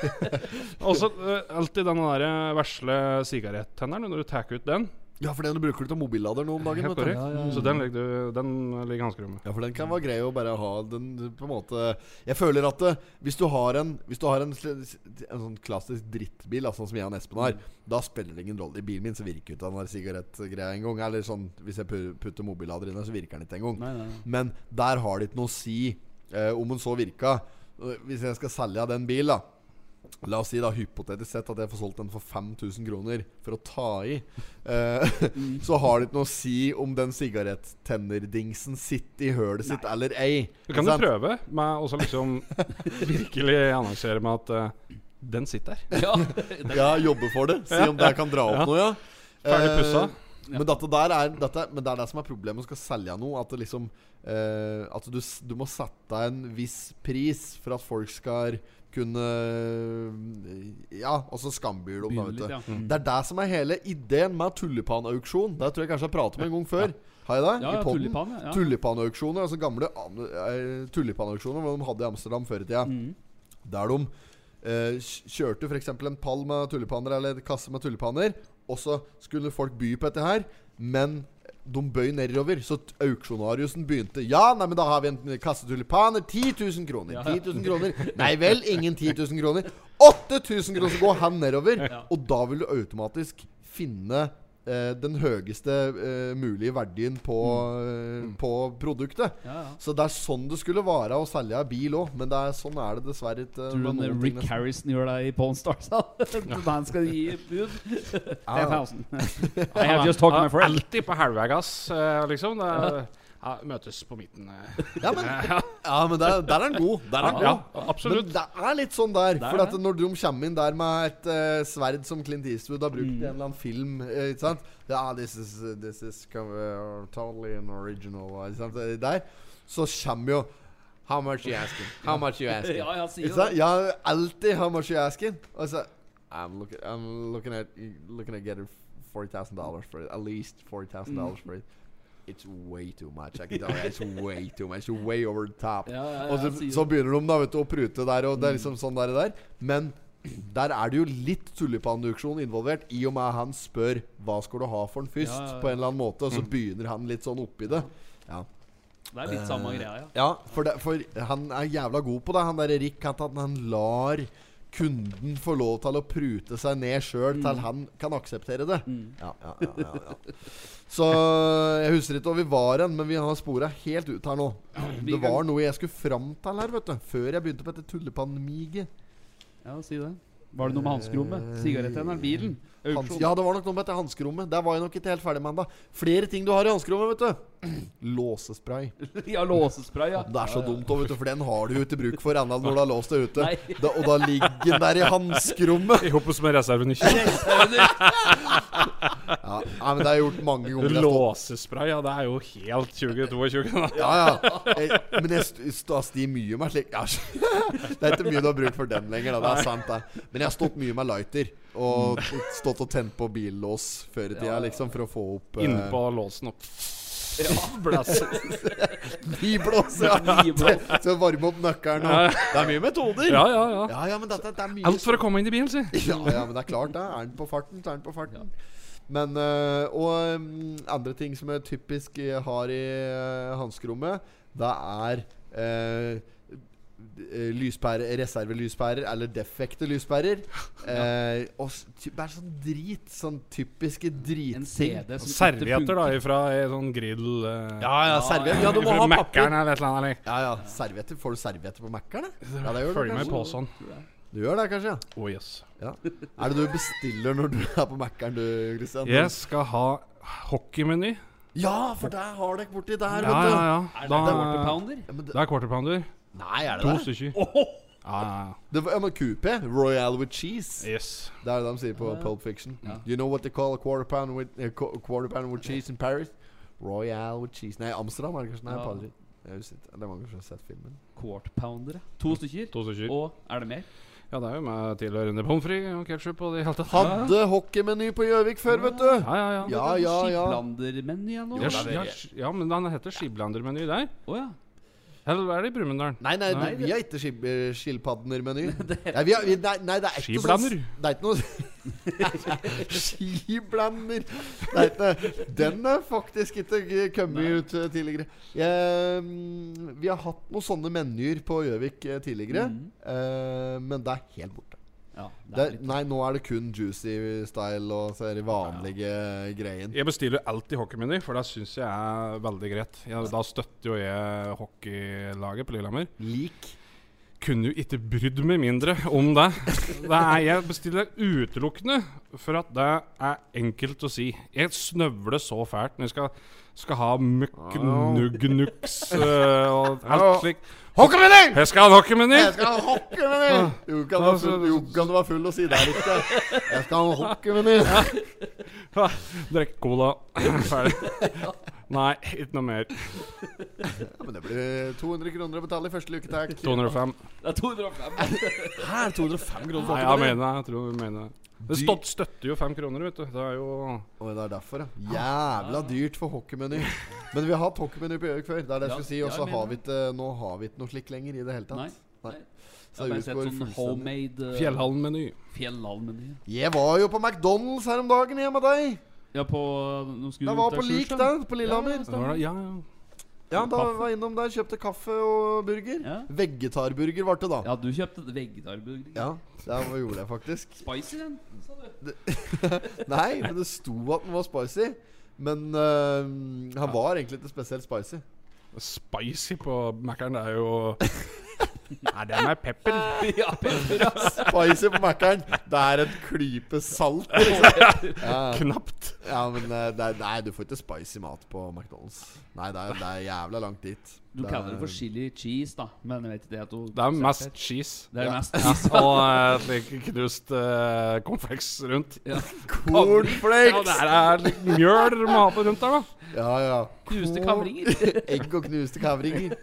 Speaker 2: Også eh, alltid den derre vesle sigarettenneren, når du tar ut den.
Speaker 1: Ja, for den bruker du til mobillader nå om dagen.
Speaker 2: Helt
Speaker 1: Vet du.
Speaker 2: korrekt. Så den ligger, du, den ligger i hanskerommet.
Speaker 1: Ja, for den kan være grei å bare ha den på en måte Jeg føler at eh, hvis du har en Hvis du har en, sl- en sånn klassisk drittbil, altså, sånn som jeg og Espen har, da spiller det ingen rolle. I bilen min så virker ikke den der sigarettgreia engang. Eller sånn hvis jeg pu- putter mobillader inn der, så virker den ikke engang.
Speaker 3: Nei, nei, nei.
Speaker 1: Men der har det ikke noe å si eh, om den så virka. Eh, Hvis jeg skal selge av den bilen, da. La oss si da hypotetisk sett at jeg får solgt den for 5000 kroner for å ta i. Eh,
Speaker 3: Mm.
Speaker 1: Så har det ikke noe å si om den sigarettennerdingsen sitter i hølet sitt eller ei.
Speaker 2: Du
Speaker 1: Ikke
Speaker 2: kan jo
Speaker 1: sant?
Speaker 2: prøve med å liksom virkelig annonsere med at eh, den sitter der.
Speaker 3: Ja.
Speaker 1: Ja, jobbe for det. Si om det kan dra opp noe, ja.
Speaker 2: Ferdig pussa.
Speaker 1: Eh, Men dette der er dette, Men det er det som er problemet når du skal selge noe. At det liksom eh, At du, s- du må sette en viss pris for at folk skal kunne Ja, altså skambyle om det,
Speaker 3: Begynne
Speaker 1: vet du.
Speaker 3: litt, ja.
Speaker 1: Det er det som er hele ideen med tullipanauksjon. Det tror jeg kanskje jeg har pratet om en gang før. Har jeg det?
Speaker 3: Ja,
Speaker 1: I
Speaker 3: ja,
Speaker 1: podden?
Speaker 3: tulipan, ja, ja.
Speaker 1: Tulipanauksjoner, altså gamle an- eh, tulipanauksjoner Hva de hadde i Amsterdam før i tida.
Speaker 3: Mm.
Speaker 1: Der de eh, kj- kjørte f.eks. en pall med tulipaner eller en kasse med tulipaner, og så skulle folk by på dette her, men de bøy nedover, så t- auksjonariusen begynte Ja, nei, men da har vi en kasse tulipaner. 10 000 kroner. 10 000 kroner. Nei vel, ingen 10 000 kroner. 8000 kroner, så går han nedover. Og da vil du automatisk finne eh, den høyeste eh, mulige verdien på, eh, på produktet.
Speaker 3: ja, ja.
Speaker 1: Så det er sånn det skulle være å selge en bil òg, men det er, sånn er det dessverre ikke.
Speaker 3: Tror du
Speaker 1: med
Speaker 3: den
Speaker 1: noen ting
Speaker 3: Rick
Speaker 1: nesten.
Speaker 3: Harrison gjør det i Pawn Stars? da? At Han skal gi et bud? 5000. I have just talked to my
Speaker 2: Ja,
Speaker 3: friend.
Speaker 2: Alltid på halvveis, eh, liksom. Det er, ja, møtes på midten. eh.
Speaker 1: Ja, men, ja, men der, der er den god. Der er den god.
Speaker 2: Ja, absolutt.
Speaker 1: Men det er litt sånn der.
Speaker 3: er
Speaker 1: For at når de kommer inn der med et eh, sverd som Clint Eastwood har brukt i en eller annen film eh, Ikke sant? Ja, this is, this is co- uh, totally an original Ikke sant? Eh, Der. Så kommer jo How much you asking? How much you asking?
Speaker 3: Ja, jeg sier
Speaker 1: Ikke
Speaker 3: jo
Speaker 1: sant?
Speaker 3: det.
Speaker 1: Ja, alltid how much you asking? Og så I'm looking, I'm looking at looking at getting $40,000 for it. At least $40,000
Speaker 3: Mm.
Speaker 1: for it. It's way too much. I can tell you, it's way too much. Way over the top.
Speaker 3: Ja, ja, ja,
Speaker 1: Og så,
Speaker 3: jeg sier Mm.
Speaker 1: så
Speaker 3: det.
Speaker 1: begynner de da, vet du, å prute der, og det er liksom sånn der, der. Men der er det jo litt tulipanauksjon involvert, i og med at han spør hva skal du ha for den først,
Speaker 3: Ja, ja, ja.
Speaker 1: på en eller annen måte, og så begynner han litt sånn oppi det. Ja. Eh,
Speaker 3: Det er litt samme greia, ja.
Speaker 1: Ja, for, det, for han er jævla god på det, han derre Rick. At han, han lar kunden få lov til å prute seg ned sjøl
Speaker 3: Mm.
Speaker 1: til han kan akseptere det. Ja, ja, ja, ja, ja. Så jeg husker ikke hvor vi var hen, men vi har spora helt ut her nå.
Speaker 3: vi
Speaker 1: Det
Speaker 3: kan-
Speaker 1: var noe jeg skulle fram til her, vet du. Før jeg begynte på dette tullepanmiget.
Speaker 3: Ja, si det. Var det noe med hanskerommet? Sigarettenneren? Bilen?
Speaker 1: Hans,
Speaker 3: Auksjon?
Speaker 1: Eh, ja, det var nok noe med dette hanskerommet. Der var jeg nok ikke helt ferdig med ennå. Flere ting du har i hanskerommet, vet du. Låsespray.
Speaker 3: Ja, låsespray, ja.
Speaker 1: Det er så
Speaker 3: Ja, ja.
Speaker 1: dumt, også, vet du, for den har du jo ikke bruk for ennå når du har låst deg ute.
Speaker 3: Nei.
Speaker 1: Da, og da ligger den der i hanskerommet.
Speaker 2: I hopus med reservenykker.
Speaker 1: Ja, nei, men det har jeg gjort mange ganger. jeg står-
Speaker 2: Låsespray, ja. Det er jo helt 2022. da.
Speaker 1: Ja, ja. Jeg, men jeg st- st- stiv mye med slik ja, Det er ikke mye du har bruk for den lenger, da. Det er sant, det. Men jeg har stått mye med lighter. Og stått og tent på billås før i tida, liksom, for å få opp eh,
Speaker 2: Innpå låsen opp. Blæs.
Speaker 1: Biblås, ja.
Speaker 3: Biblås.
Speaker 1: Så varme opp nøkkelen og Det er mye metoder.
Speaker 2: Ja, ja, ja.
Speaker 1: ja, ja men dette, det er mye
Speaker 2: Alt for å komme inn i bilen, si.
Speaker 1: Ja, ja, men det er klart det. Er den på farten, så er den på farten. Men øh, Og øhm, andre ting som jeg eh, typisk øh, har i øh, hanskerommet, det er øh, eh, lyspære, reservelyspærer eller defekte lyspærer. Eh, og s- ty- bare sånn drit. Sånn typiske
Speaker 3: En
Speaker 1: dritting.
Speaker 3: CD som
Speaker 2: Servietter, da, ifra ei sånn grill eh,
Speaker 1: Ja, ja, serviett. Ja, du må
Speaker 2: Fra
Speaker 1: ha
Speaker 2: Mækkern
Speaker 1: papir.
Speaker 2: eller et eller annet.
Speaker 1: Ja, ja, servietter. Får du servietter på Mækkern? da? Ja, det gjør du
Speaker 2: Følg med sånn. i
Speaker 1: kanskje.
Speaker 2: posen.
Speaker 1: Du gjør det kanskje, ja.
Speaker 2: Oh, yes.
Speaker 1: ja. Er det du bestiller når du er på Mækkern, du, Christian?
Speaker 2: Jeg skal ha hockeymeny.
Speaker 1: Ja, for der har dere borti der,
Speaker 2: Ja, ja,
Speaker 1: vet du.
Speaker 2: ja.
Speaker 3: Er det quarter
Speaker 2: Da,
Speaker 3: pounder?
Speaker 1: Ja, men det,
Speaker 2: det er quarter pounder.
Speaker 1: nei, er
Speaker 2: To
Speaker 1: det det?
Speaker 2: stykker. Ja, ja, ja.
Speaker 1: det var, ja, men QP. Royal with cheese.
Speaker 2: Yes.
Speaker 1: Det er det de sier på Pulp Fiction. You know what they call a quarter pound with, eh, qu- quarter pound with cheese in Paris? Royal with cheese Nei, Amsterdam er det kanskje. Nei,
Speaker 3: Ja.
Speaker 1: Paris. Jeg husker ikke. Det er mange som har sett filmen.
Speaker 3: Quart pounder, ja. To stykker.
Speaker 2: To stykker.
Speaker 3: Og er det mer?
Speaker 2: Ja, det er jo med tilhørende pommes frites og ketsjup og det hele tatt.
Speaker 1: Hadde hockeymeny på Gjøvik før, vet du!
Speaker 2: Ja, ja, ja.
Speaker 1: Ja, ja, ja.
Speaker 3: Skiblandermeny eller
Speaker 2: Ja,
Speaker 3: noe?
Speaker 2: sk- ja, sk- ja, men den heter Skiblander-meny der.
Speaker 3: Å ja.
Speaker 2: Eller er det i Brumunddal?
Speaker 1: Nei, nei, nei,
Speaker 2: Nei,
Speaker 1: vi har ikke skib- eh, skilpadder-meny. Nei, vi har, vi, nei, nei, det er ikke
Speaker 2: Skiblander.
Speaker 1: sånn s- Det er ikke noe s- Skiblander! Det er ikke, den er faktisk ikke g- kommet ut eh, tidligere. Jeg, mm, vi har hatt noen sånne menyer på Gjøvik eh, tidligere, eh, men det er helt borte.
Speaker 3: ja Mm. det
Speaker 1: Det
Speaker 3: er
Speaker 1: er,
Speaker 3: litt.
Speaker 1: nei, nå er det kun juicy style og så er det vanlige greien.
Speaker 2: Jeg bestiller alltid hockeymeny, for det syns jeg er veldig greit. Jeg, da støtter jo jeg hockeylaget på Lillehammer.
Speaker 1: Lik.
Speaker 2: Kunne jo ikke brydd meg mindre om det. det er, jeg bestiller utelukkende for at det er enkelt å si. Jeg snøvler så fælt når jeg skal, skal ha møkk nugg-nuks og alt slikt.
Speaker 1: Hockeymeny!
Speaker 2: Jeg skal ha en hockeymeny!
Speaker 1: Jeg skal ha hockeymeny!
Speaker 3: Ah.
Speaker 1: Jo, kan du være full, jo, kan du være full og si det er ikke Jeg skal ha hockeymeny!
Speaker 2: Drikke cola. Ferdig. Nei, ikke noe mer.
Speaker 1: Ja, men det blir 200 kroner å betale i første luke, takk.
Speaker 2: 205.
Speaker 3: Det er 205.
Speaker 1: Her, 205 kroner
Speaker 2: Nei, jeg mener det. Jeg tror jeg mener det. Det stått, støtter jo fem kroner, vet du. Det er jo
Speaker 1: Og det er derfor,
Speaker 3: Ah,
Speaker 1: ja. Jævla dyrt for hockeymeny. Men vi har hatt hockeymeny på Gjøvik før. Det er det jeg
Speaker 3: Ja,
Speaker 1: skulle si.
Speaker 3: ja,
Speaker 1: Og så
Speaker 3: jeg
Speaker 1: har
Speaker 3: mener
Speaker 1: vi ikke eh, Nå har vi ikke noe slikt lenger i det hele
Speaker 3: Nei.
Speaker 1: tatt. Nei.
Speaker 3: Jeg har bare sett
Speaker 1: utgår
Speaker 3: sånn
Speaker 1: fullstendig.
Speaker 3: homemade eh,
Speaker 2: Fjellhallen-meny.
Speaker 3: Fjellhalmeny.
Speaker 1: Jeg var jo på McDonald's her om dagen hjemme med deg.
Speaker 3: Ja, på Nå skulle
Speaker 1: Jeg
Speaker 3: vi
Speaker 1: var
Speaker 3: til
Speaker 1: på Lik
Speaker 3: Sjusjøen.
Speaker 1: der, på Lillehammer.
Speaker 2: Det var det- Ja, ja.
Speaker 1: Ja, da
Speaker 2: Kaffe.
Speaker 1: var jeg innom der, kjøpte kaffe og burger.
Speaker 3: Ja.
Speaker 1: Vegetarburger ble det da.
Speaker 3: Ja, du kjøpte vegetarburger.
Speaker 1: Ja, det gjorde jeg faktisk.
Speaker 3: Spicy, den, sa du.
Speaker 1: Nei, men det sto at den var spicy. Men øh, han var egentlig ikke spesielt spicy.
Speaker 2: Spicy på Mækkern, det er jo Nei, det er med pepper.
Speaker 3: ja, pepper, ass.
Speaker 1: Spicy på Mækkern. Det er et klype salt. liksom.
Speaker 2: Knapt.
Speaker 1: Ja, men eh, det er, Nei, du får ikke spicy mat på McDonald's. Nei, det er, det er jævla langt dit.
Speaker 3: Du kaller det for
Speaker 1: er-
Speaker 3: chili cheese, da. Men jeg vet ikke det at hun
Speaker 2: Det er mest cheese.
Speaker 3: Det er
Speaker 1: Ja.
Speaker 3: mest cheese.
Speaker 2: Og eh, et like knust uh, cornflakes rundt.
Speaker 3: Ja.
Speaker 2: Ja,
Speaker 1: Cornflakes!
Speaker 2: det er litt mjøl de har på rundt der, da.
Speaker 1: Ja, ja.
Speaker 3: Knuste
Speaker 1: Corn-
Speaker 3: kavringer.
Speaker 1: Egg og knuste kavringer.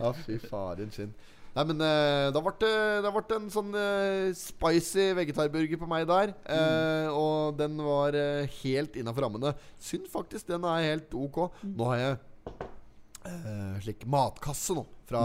Speaker 1: Ja, fy faren sin. Nei, men eh, da ble det da ble det en sånn eh, spicy vegetarburger på meg der. eh,
Speaker 3: Mm.
Speaker 1: Og den var eh, helt innafor rammene. Synd faktisk den er helt ok.
Speaker 3: Mm.
Speaker 1: Nå har jeg eh, slik matkasse nå. Fra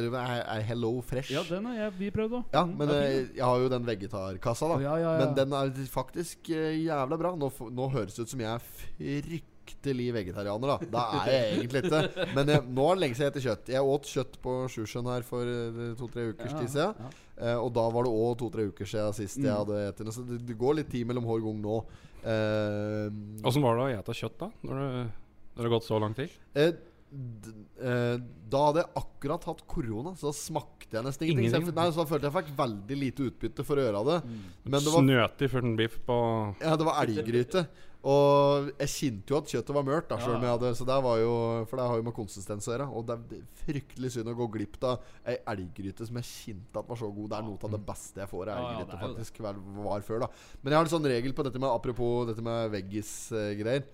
Speaker 1: eh, Hello Fresh.
Speaker 3: Ja, den har jeg, vi prøvd òg.
Speaker 1: Ja, men eh, jeg har jo den vegetarkassa, da.
Speaker 3: Å, ja, ja, ja.
Speaker 1: Men den er faktisk eh, jævla bra. Nå, f- nå høres det ut som jeg er fryktelig vegetarianer, da. Da er jeg egentlig ikke Men jeg, nå er det lenge siden jeg spiser kjøtt. Jeg åt kjøtt på Sjusjøen her for eh, to-tre ukers tid siden. Eh, og da var det òg to-tre uker siden sist
Speaker 3: Mm.
Speaker 1: jeg hadde spist den. Så det, det går litt tid mellom hver gang nå. Eh,
Speaker 2: Åssen var det å ete kjøtt, da? Når det, når det har gått så lang tid?
Speaker 1: Eh, d eh, da hadde jeg akkurat hatt korona, så da smakte jeg nesten ingenting. Så jeg,
Speaker 2: Ingenting.
Speaker 1: f- nei, så da følte jeg fikk veldig lite utbytte for å gjøre det.
Speaker 3: Mm.
Speaker 1: Men det var,
Speaker 2: Snøtig furten biff på
Speaker 1: ja, det var elggryte. Og jeg kjente jo at kjøttet var mørt, da, selv om jeg hadde, så det var jo, for det har jo med konsistens å gjøre. Og det er det er fryktelig synd å gå glipp av ei elggryte som jeg kjente at var så god. Det er noe av det beste jeg får av
Speaker 3: Ja, ja, det
Speaker 1: elggryte,
Speaker 3: er jo det.
Speaker 1: faktisk. Vel, var før, da. Men jeg har en sånn regel på dette med Apropos dette med eh, veggis-greier.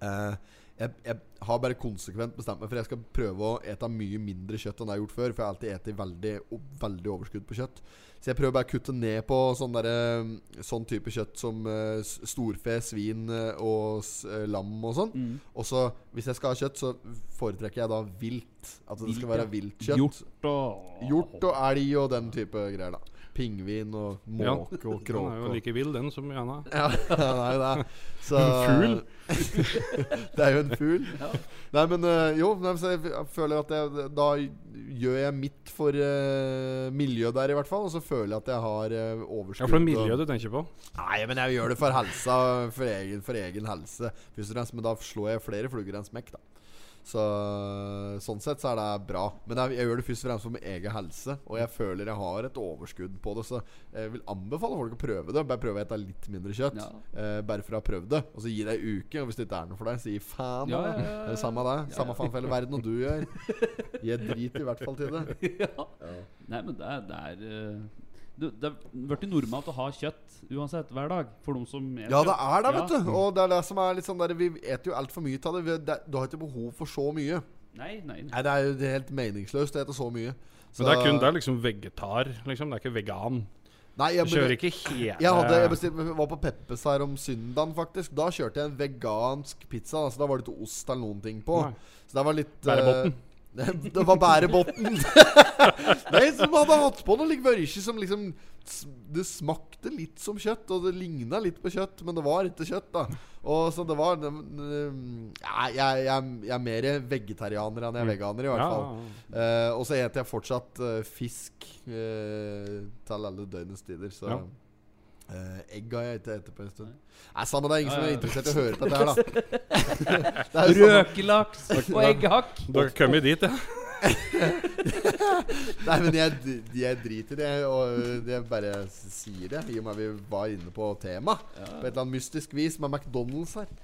Speaker 1: Eh, jeg, jeg har bare konsekvent bestemt meg for jeg skal prøve å ete mye mindre kjøtt enn jeg har gjort før. For jeg har alltid spist veldig, o- veldig overskudd på kjøtt. Så jeg prøver bare å kutte ned på sånn, derre, mm, sånn type kjøtt som eh, s- storfe, svin eh, og s- eh, lam og
Speaker 3: Mm.
Speaker 1: sånn. Og så, hvis jeg skal ha kjøtt, så foretrekker jeg da vilt. At det
Speaker 3: Vilt,
Speaker 1: skal være
Speaker 3: ja.
Speaker 1: vilt kjøtt.
Speaker 3: Hjort og
Speaker 1: Hjort og elg og den type greier, da. pingvin og måke og
Speaker 2: Den er jo
Speaker 1: kråke. og-
Speaker 2: like vill, den, som gjerne.
Speaker 1: Ja, han er jo det. Så,
Speaker 2: En
Speaker 1: det er jo en fugl. Nei, men øh, jo, nei, men så jeg f- føler at jeg, da gjør jeg mitt for øh, miljøet der, i hvert fall. Og så føler jeg at jeg har øh, overskudd.
Speaker 2: Ja, for det er
Speaker 1: og-
Speaker 2: miljøet du tenker på.
Speaker 1: Nei, men jeg gjør det for helsa. For egen, for egen helse. Først og fremst, men da slår jeg flere fluger i en smekk, da. Så Sånn sett så er det bra. Men jeg, jeg gjør det først og fremst for min egen helse. Og jeg føler jeg har et overskudd på det, så jeg vil anbefale folk å prøve det. Bare prøve å spise litt mindre kjøtt.
Speaker 3: Ja.
Speaker 1: Eh, bare for å ha prøvd det. Og så gi det ei uke. Og hvis det ikke er noe for deg, si faen.
Speaker 3: Ja,
Speaker 1: da.
Speaker 3: ja, ja,
Speaker 1: Eh, Samme det.
Speaker 3: ja.
Speaker 1: Samme faen for hele verden og du gjør. Gi drit i hvert fall til det.
Speaker 3: ja. Nei, men det er, det er eh, du, Det er blitt normalt å ha kjøtt uansett, hver dag. For de som spiser
Speaker 1: Ja, det er det, vet
Speaker 3: Ja.
Speaker 1: du. Og det er det som er litt sånn der Vi et jo altfor mye av det. Vi- det. Du har ikke behov for så mye.
Speaker 3: Nei, nei, nei.
Speaker 1: Nei, det er jo det er helt meningsløst å ete så mye. Så-
Speaker 2: Men det er kun det er liksom vegetar, liksom. Det er ikke vegan.
Speaker 1: Nei, jeg,
Speaker 2: Du kjører
Speaker 1: men,
Speaker 2: ikke hele
Speaker 1: jeg, hadde, jeg bestilte- var på Peppes her om søndagen, faktisk. Da kjørte jeg en vegansk pizza. Altså, da var det ikke ost eller noen ting på.
Speaker 2: Nei.
Speaker 1: Så det var litt
Speaker 2: Bærebotn.
Speaker 1: eh, det var bærebotn. Nei, som hadde hatt på noe like børse som liksom s- Det smakte litt som kjøtt, og det ligna litt på kjøtt, men det var ikke kjøtt, da. Og så det var det- mm, Nei, jeg, jeg, jeg er mer vegetarianer enn jeg er veganer, i hvert
Speaker 2: Mm. Ja,
Speaker 1: fall.
Speaker 2: ja, ja.
Speaker 1: Eh, og så eter jeg fortsatt eh, fisk eh, til alle døgnets tider, så
Speaker 2: Ja.
Speaker 1: eh, Egg har jeg ikke spist på en stund. Nei, samme det er ingen som
Speaker 3: Ja,
Speaker 1: er
Speaker 3: ja.
Speaker 1: interessert i å høre på dette her, da. det er jo samme-
Speaker 3: Røkelaks og eggehakk.
Speaker 2: Du har kommet dit, ja.
Speaker 1: Nei, men jeg, d- jeg driter i det, og jeg bare sier det, i og med at vi var inne på tema På et eller annet mystisk vis med McDonald's her.
Speaker 2: Det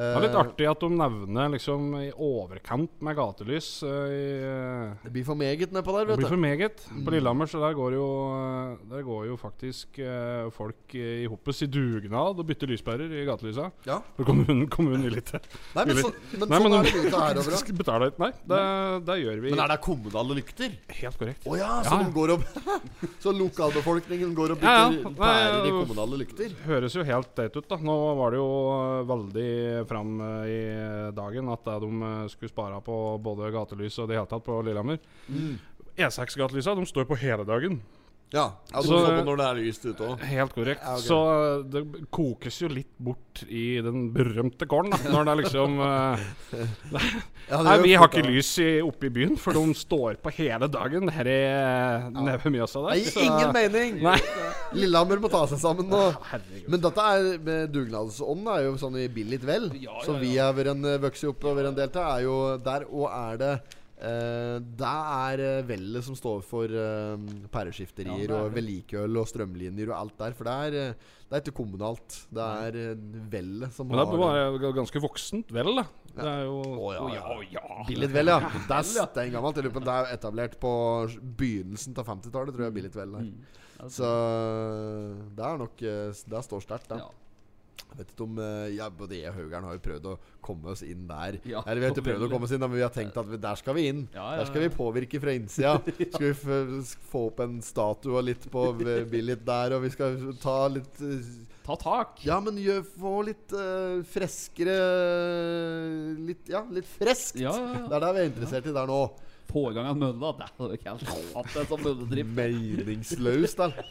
Speaker 2: er litt
Speaker 1: Eh,
Speaker 2: artig at de nevner liksom i overkant med gatelys. eh, i, eh,
Speaker 1: Det blir for meget nedpå der,
Speaker 2: Det blir
Speaker 1: vet
Speaker 2: for
Speaker 1: du. Mm.
Speaker 2: meget. På Lillehammer så der går jo, eh, der går jo faktisk eh, folk eh, i hoppes i dugnad og bytter lyspærer i gatelysa.
Speaker 1: Ja.
Speaker 2: For kommunen, kommunen vil ikke.
Speaker 1: Nei, men,
Speaker 2: Vil
Speaker 1: så, men
Speaker 2: Nei,
Speaker 1: sånn
Speaker 2: men-
Speaker 1: er det ute her over. da.
Speaker 2: Skal betale et- Nei, det, det gjør vi.
Speaker 1: Men er det kommunale lykter?
Speaker 2: Helt korrekt.
Speaker 1: Å ja, så,
Speaker 2: Ja.
Speaker 1: de går opp, så lokalbefolkningen går og
Speaker 2: Ja,
Speaker 1: bytter
Speaker 2: ja.
Speaker 1: pærer i
Speaker 2: Nei,
Speaker 1: kommunale lykter?
Speaker 2: Høres jo helt teit ut, da. Nå var det jo eh, veldig fram eh, i dagen at eh, de eh, skulle spare på både gatelys og det hele tatt på Lillehammer.
Speaker 1: Mm.
Speaker 2: E6-gatelysa de står på hele dagen.
Speaker 1: Ja. Altså,
Speaker 2: Så-
Speaker 1: sånn når det er lyst ute òg.
Speaker 2: Helt korrekt.
Speaker 1: Ja, ok.
Speaker 2: Så eh, det b- kokes jo litt bort i den berømte kålen, da. Når det er liksom eh,
Speaker 1: Ja, det
Speaker 2: Nei,
Speaker 1: gjør
Speaker 2: vi
Speaker 1: fort,
Speaker 2: har ikke
Speaker 1: da.
Speaker 2: lys i, oppe i byen, for de står på hele dagen her i eh, nede ved Mjøsa der.
Speaker 1: Det
Speaker 2: så-
Speaker 1: gir ingen mening!
Speaker 2: Nei.
Speaker 1: Lillehammer må ta seg sammen nå.
Speaker 2: Herregud.
Speaker 1: Men dette er med dugnadsånden er jo sånn i billig vel.
Speaker 3: Ja, ja,
Speaker 1: Som vi har vært en vokst opp over en del til, er jo der og er det eh, det er eh, vellet som står for eh, pæreskifterier
Speaker 3: Ja, det er
Speaker 1: og
Speaker 3: det.
Speaker 1: vedlikehold og strømlinjer og alt der. For det er, eh, det er ikke kommunalt. Det er eh, vellet som
Speaker 2: Men det
Speaker 1: har
Speaker 2: er bare g- ganske voksent vel, da. Det er jo
Speaker 1: Å, ja, ja.
Speaker 2: Å, ja.
Speaker 1: Billig vel, ja. Det er steingammelt. Jeg lurer på om Det er etablert på begynnelsen av 50-tallet,
Speaker 3: Mm.
Speaker 1: tror jeg. Billig vel her. Så det er nok eh, s- Det står sterkt, det.
Speaker 3: ja.
Speaker 1: Jeg vet ikke om eh, ja, Både jeg og Haugern har jo prøvd å komme oss inn der.
Speaker 3: Ja,
Speaker 1: Eller vi har ikke prøvd å
Speaker 3: veldig.
Speaker 1: komme oss inn, da, men vi har tenkt at vi, der skal vi inn.
Speaker 3: Ja, ja,
Speaker 1: Der skal
Speaker 3: ja.
Speaker 1: vi påvirke fra innsida. Skal vi f få opp en statue og litt på v- Billit der, og vi skal ta litt eh,
Speaker 3: Ta tak.
Speaker 1: Ja, men gjør, få litt eh, freskere Litt Ja, litt freskt.
Speaker 3: Ja, ja, ja.
Speaker 1: Det er det vi er interessert i der nå.
Speaker 3: Få i gang en mølle. Det hadde ikke jeg hatt en sånn mølledrift.
Speaker 1: Meningsløst, da.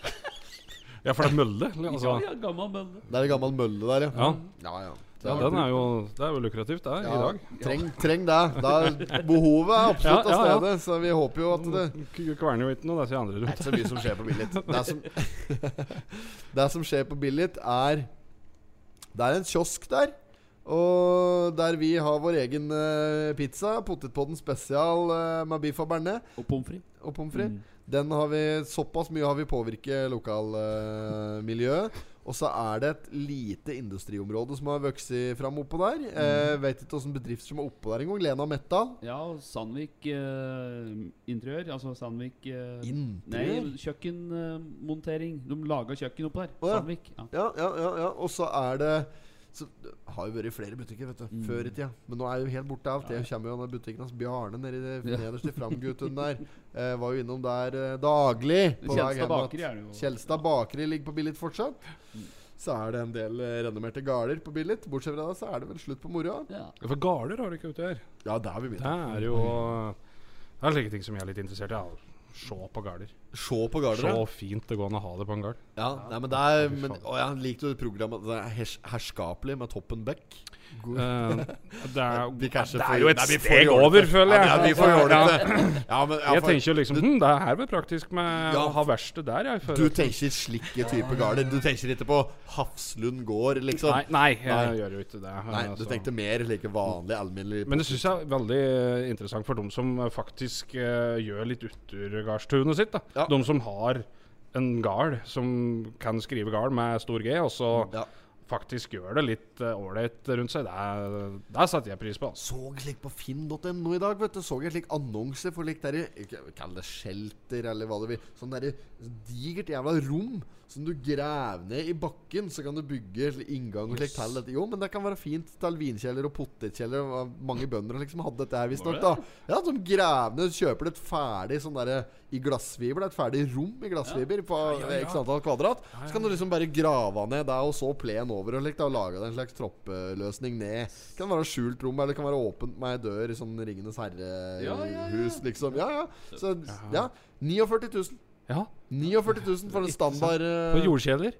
Speaker 2: ja, for det er mølle. Altså.
Speaker 3: Ja, ja, gammel mølle.
Speaker 1: Det er en gammel mølle der, ja.
Speaker 2: Ja.
Speaker 1: Ja, ja.
Speaker 2: ja, den er jo Det er jo lukrativt, det, i dag.
Speaker 1: Treng, treng det. Da behovet er absolutt
Speaker 2: Ja, ja, ja.
Speaker 1: av stedet, så vi håper jo at det
Speaker 2: K- Kverner jo ikke noe, det sier andre
Speaker 1: Det
Speaker 2: rundt.
Speaker 1: er ikke så mye som skjer på Billit. Det som, det som skjer på Billit, er Det er en kiosk der. Og der vi har vår egen eh, pizza, potetpodden spesial eh, med biff og bearnés
Speaker 3: Og pommes frites.
Speaker 1: og pommes frites.
Speaker 3: Mm.
Speaker 1: Den har vi Såpass mye har vi påvirket lokalmiljøet. og så er det et lite industriområde som har vokst fram oppå der.
Speaker 3: Mm.
Speaker 1: Eh, vet ikke åssen bedrift som er oppå der engang. Lena Metall.
Speaker 3: Ja, og Sandvik eh, interiør. Altså Sandvik eh, Nei,
Speaker 1: Interiør?
Speaker 3: kjøkkenmontering. De laga kjøkken oppå der.
Speaker 1: Å, ja.
Speaker 3: Sandvik. Ja.
Speaker 1: Ja, ja, ja, ja. Og så er det så det har jo vært flere butikker vet du,
Speaker 3: Mm.
Speaker 1: før i tida. Men nå er det jo helt borte alt. Jeg kommer jo av den butikken hans Bjarne nede i det
Speaker 3: Ja.
Speaker 1: nederst i Framguttun der. Eh, var jo innom der eh, daglig. på vei
Speaker 3: Kjelstad
Speaker 1: hjem at-
Speaker 3: bakeri er det jo.
Speaker 1: Kjelstad Bakeri ligger på Billit fortsatt. Så er det en del eh, renommerte garder på Billit. Bortsett fra det, så er det vel slutt på moroa.
Speaker 3: Ja.
Speaker 2: Ja, For garder har du ikke ute her.
Speaker 1: Ja, der har vi
Speaker 2: Det
Speaker 1: begynt.
Speaker 2: er jo Det er slike ting som jeg er litt interessert i. Ja. Se på garder.
Speaker 1: Se på
Speaker 2: Se
Speaker 1: gardere.
Speaker 2: fint det går an å ha det på en gard.
Speaker 1: Ja, nei, men det er men, Å, jeg likte jo programmet det er hers, Herskapelig med Toppen Beck.
Speaker 2: Eh, det er,
Speaker 1: Vi kanskje
Speaker 2: det
Speaker 1: får-
Speaker 2: er jo et
Speaker 1: nei, vi får gjøre
Speaker 2: steg
Speaker 1: det.
Speaker 2: over, føler jeg.
Speaker 1: Ja, vi får gjøre
Speaker 2: Ja.
Speaker 1: det. Ja, men, ja,
Speaker 2: Jeg
Speaker 1: for,
Speaker 2: tenker jo liksom hm, Det er vel praktisk med
Speaker 1: Ja.
Speaker 2: å ha verksted der, jeg. For
Speaker 1: du tenker slike type garder. Du tenker ikke på Hafslund gård, liksom.
Speaker 2: nei,
Speaker 1: Nei,
Speaker 2: nei, jeg
Speaker 1: Nei.
Speaker 2: gjør jo ikke det.
Speaker 1: du
Speaker 2: altså.
Speaker 1: tenkte mer slike vanlige, alminnelige
Speaker 2: Men det syns jeg er veldig eh, interessant for dem som eh, faktisk eh, gjør litt uturgardstunet sitt. da
Speaker 1: Ja.
Speaker 2: De som har en gard som kan skrive gard med stor G, og så
Speaker 1: Ja.
Speaker 2: faktisk gjør det litt eh, ålreit rundt seg. Det, er- det setter jeg pris på. Altså.
Speaker 1: Så slik på finn.no i dag, vet du. Så jeg slik annonse for litt der i- ikke- Kall det shelter, eller hva det vil. Sånn derre digert jævla rom som du graver ned i bakken. Så kan du bygge slik inngang og slikt til dette. Jo, men det kan være fint til vinkjeller og potetkjeller. og Mange bønder liksom hadde dette her, visstnok. da. Ja, de graver ned, kjøper et ferdig sånn derre i glassfiber. Det er et ferdig rom i glassfiber på x antall kvadrat. Så kan du liksom bare grave ned der og så plen over og slikt. da, Og lage deg en slags troppeløsning ned. Det kan være skjult rom, eller det kan være åpent med ei dør i sånn Ringenes herre-hus,
Speaker 3: Ja, ja, ja.
Speaker 1: liksom. Ja, ja. Så ja. 49 000.
Speaker 2: Ja.
Speaker 1: 49 000 for en standard eh,
Speaker 2: Og jordkjeler.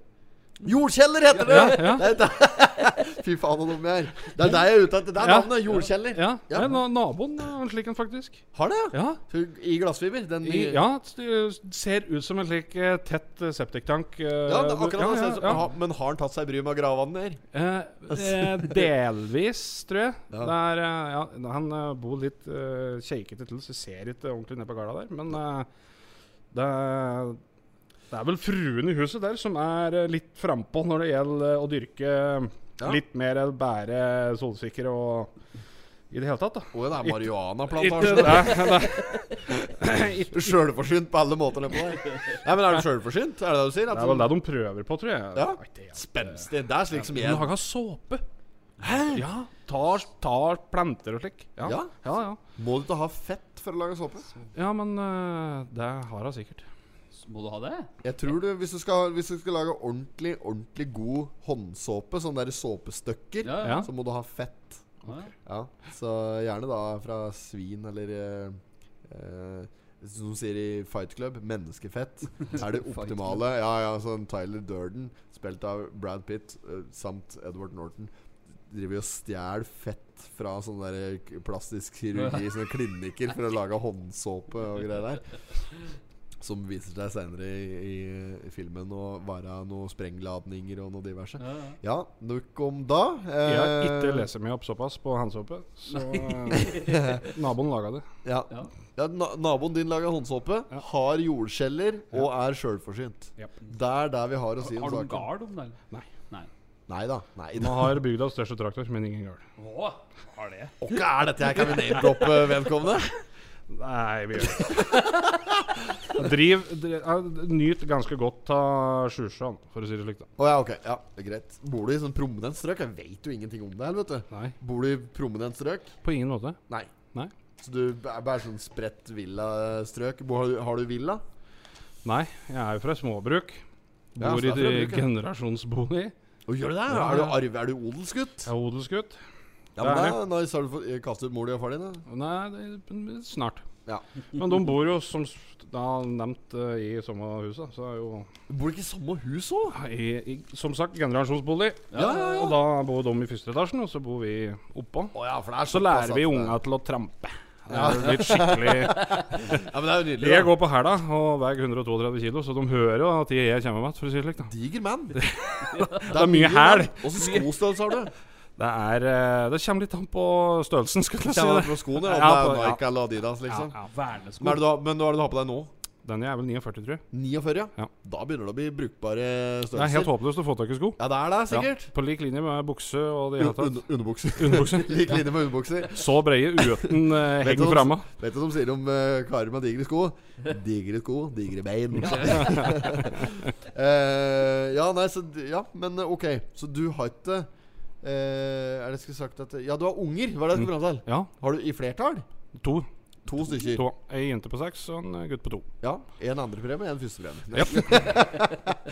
Speaker 1: Jordkjeller heter det!
Speaker 2: Ja, ja.
Speaker 1: Det er det- Fy faen, så dumme jeg er. Det er deg jeg er ute etter. Det er
Speaker 2: Ja.
Speaker 1: navnet. Jordkjeller.
Speaker 2: Ja.
Speaker 1: Ja.
Speaker 2: men na- Naboen har en slik en, faktisk.
Speaker 1: Har det, ja?
Speaker 2: Ja.
Speaker 1: I glassfiber? Den
Speaker 2: I, ja, det ser ut som en slik eh, tett eh, septiktank. eh,
Speaker 1: Ja, det er akkurat det.
Speaker 2: ja,
Speaker 1: ser ut som-
Speaker 2: ja.
Speaker 1: Ha- Men har han tatt seg bryet med å grave den ned?
Speaker 2: Eh, eh, delvis, tror jeg.
Speaker 1: Ja.
Speaker 2: Det er, eh, ja, han eh, bor litt eh, keikete til, så ser ikke ordentlig ned på gårda der. Men eh, det, er, det er vel fruen i huset der som er eh, litt frampå når det gjelder eh, å dyrke
Speaker 1: Ja.
Speaker 2: litt mer eller bære solsikker og i det hele tatt, da.
Speaker 1: Å ja, det er
Speaker 2: Ikke-
Speaker 1: marihuanaplantasjen.
Speaker 2: det- det-
Speaker 1: Sjølforsynt på alle måter nedpå der. Nei, men er du sjølforsynt? Er det det du sier? At
Speaker 2: Det er vel det de prøver på, tror jeg.
Speaker 1: Ja.
Speaker 2: Nei, det er-
Speaker 1: Spenstig. Det er slik som jeg
Speaker 2: Laga såpe. Hæ? Ja. Tar, tar planter og slik.
Speaker 1: Ja.
Speaker 2: ja, ja.
Speaker 1: Må du ikke ha fett for å lage såpe?
Speaker 2: Ja, men eh, det har hun sikkert.
Speaker 3: Så Må du ha det?
Speaker 1: Jeg tror du, Hvis du skal, hvis du skal lage ordentlig ordentlig god håndsåpe, sånne der såpestykker,
Speaker 3: Ja,
Speaker 2: Ja.
Speaker 3: ja.
Speaker 1: så må du ha fett.
Speaker 3: ja.
Speaker 1: Ja, Så gjerne da fra svin eller eh, eh, Som de sier i Fight Club, menneskefett er det optimale. Ja, ja, sånn Tyler Durden, spilt av Brad Pitt eh, samt Edward Norton, driver jo og stjeler fett fra sånne der k- plastisk kirurgi, sånne klinikker, for å lage håndsåpe og greier der. Som viser seg senere i, i, i filmen å være noen sprengladninger og noe diverse.
Speaker 3: Ja, ja.
Speaker 1: Ja, nok om da.
Speaker 2: Jeg har
Speaker 1: Eh,
Speaker 2: ikke lest meg opp såpass på handsåpe, så eh, naboen laga det.
Speaker 1: Ja.
Speaker 3: Ja.
Speaker 1: Ja, na naboen din lager håndsåpe,
Speaker 2: Ja.
Speaker 1: har jordskjeller og er sjølforsynt.
Speaker 2: Japp.
Speaker 1: Det er der vi har å si om
Speaker 3: Har du en
Speaker 1: saken.
Speaker 3: gard om den?
Speaker 2: Nei.
Speaker 3: Nei.
Speaker 1: Nei da. Nei da.
Speaker 2: Nå har bygdas største traktor, men ingen gard.
Speaker 3: Å, har det?
Speaker 1: Åkke er dette her? Kan vi name-droppe vedkommende?
Speaker 2: Nei, vi gjør det ikke. Driv, dri- eh, Nyt ganske godt av Sjusjøen, for å si det slik, da.
Speaker 1: Å ja, ok. Ja, det er greit. Bor du i sånn prominent strøk? Jeg veit jo ingenting om det her, vet du.
Speaker 2: Nei,
Speaker 1: Bor du i prominent strøk?
Speaker 2: på ingen måte.
Speaker 1: Nei.
Speaker 2: Nei.
Speaker 1: Så du er bare sånn spredt villastrøk? Bor- Har, du- har du villa?
Speaker 2: Nei, jeg er jo fra småbruk.
Speaker 1: Ja,
Speaker 2: Bor
Speaker 1: så
Speaker 2: i
Speaker 1: det er
Speaker 2: de
Speaker 1: fra bruket.
Speaker 2: generasjonsbolig.
Speaker 1: Å, gjør du det?
Speaker 2: Ja,
Speaker 1: Er, du
Speaker 2: ja.
Speaker 1: arv, er du odelsgutt?
Speaker 2: Jeg er odelsgutt.
Speaker 1: Ja, men
Speaker 2: det er
Speaker 1: da, nice. Har du fått eh, kastet ut mor di og far din? da?
Speaker 2: Nei, det, snart.
Speaker 1: Ja.
Speaker 2: Men de bor jo, som s- da nevnt, eh, i samme hus, da. Så er jo
Speaker 1: Bor du ikke i samme hus òg?
Speaker 2: I, i, som sagt, generasjonsbolig.
Speaker 1: Ja, ja, ja.
Speaker 2: Og da bor de i første etasjen, og så bor vi oppå.
Speaker 1: Å ja, for det er
Speaker 2: Så
Speaker 1: såpass
Speaker 2: lærer vi
Speaker 1: at- eh,
Speaker 2: unga til å trampe. Det er jo litt skikkelig
Speaker 1: Ja, men det er jo nydelig.
Speaker 2: Jeg
Speaker 1: da.
Speaker 2: går på hæla og veier 132 kilo, så de hører jo at jeg kommer med, for å si det slik. da
Speaker 1: Diger mann. Det
Speaker 2: er mye hæl.
Speaker 1: Åssen skostørrelse har du?
Speaker 2: Det er eh, Det kommer litt an på størrelsen, skulle jeg si.
Speaker 1: Kjenner du
Speaker 2: det
Speaker 1: på skoene? Om
Speaker 2: Ja,
Speaker 1: det
Speaker 2: på-
Speaker 1: er
Speaker 2: ja.
Speaker 1: Nike eller Adidas, liksom?
Speaker 2: Ja, ja.
Speaker 3: Vernesko.
Speaker 1: Men, er det du har, men hva er det du har på deg nå?
Speaker 2: Den er vel 49, tror jeg.
Speaker 1: 49?
Speaker 2: Ja.
Speaker 1: Da begynner det å bli brukbare
Speaker 2: Det er helt
Speaker 1: størrelser.
Speaker 2: håpløst å få tak i sko.
Speaker 1: Ja, det er det, sikkert.
Speaker 2: Ja, på lik linje med bukse og det
Speaker 1: Un
Speaker 2: hele tatt.
Speaker 1: un- underbukser.
Speaker 2: Underbukse.
Speaker 1: Lik linje med underbukser.
Speaker 2: Så breie uten eh,
Speaker 1: Vet du
Speaker 2: heng
Speaker 1: hva-
Speaker 2: framme.
Speaker 1: Vet du hva de sier om eh, karer med digre sko? Digre sko, digre bein. Eh, ja, nei, så d- Ja, men eh, OK. Så du har ikke eh, Er det jeg skulle sagt at Ja, du har unger. Hva er det
Speaker 2: Mm.
Speaker 1: jeg skulle fram til?
Speaker 2: Ja,
Speaker 1: Har du i flertall?
Speaker 2: to.
Speaker 1: To stykker.
Speaker 2: to. Ei jente på seks og en eh, gutt på to.
Speaker 1: Ja. En andrepremie, en førstepremie.
Speaker 2: Ja.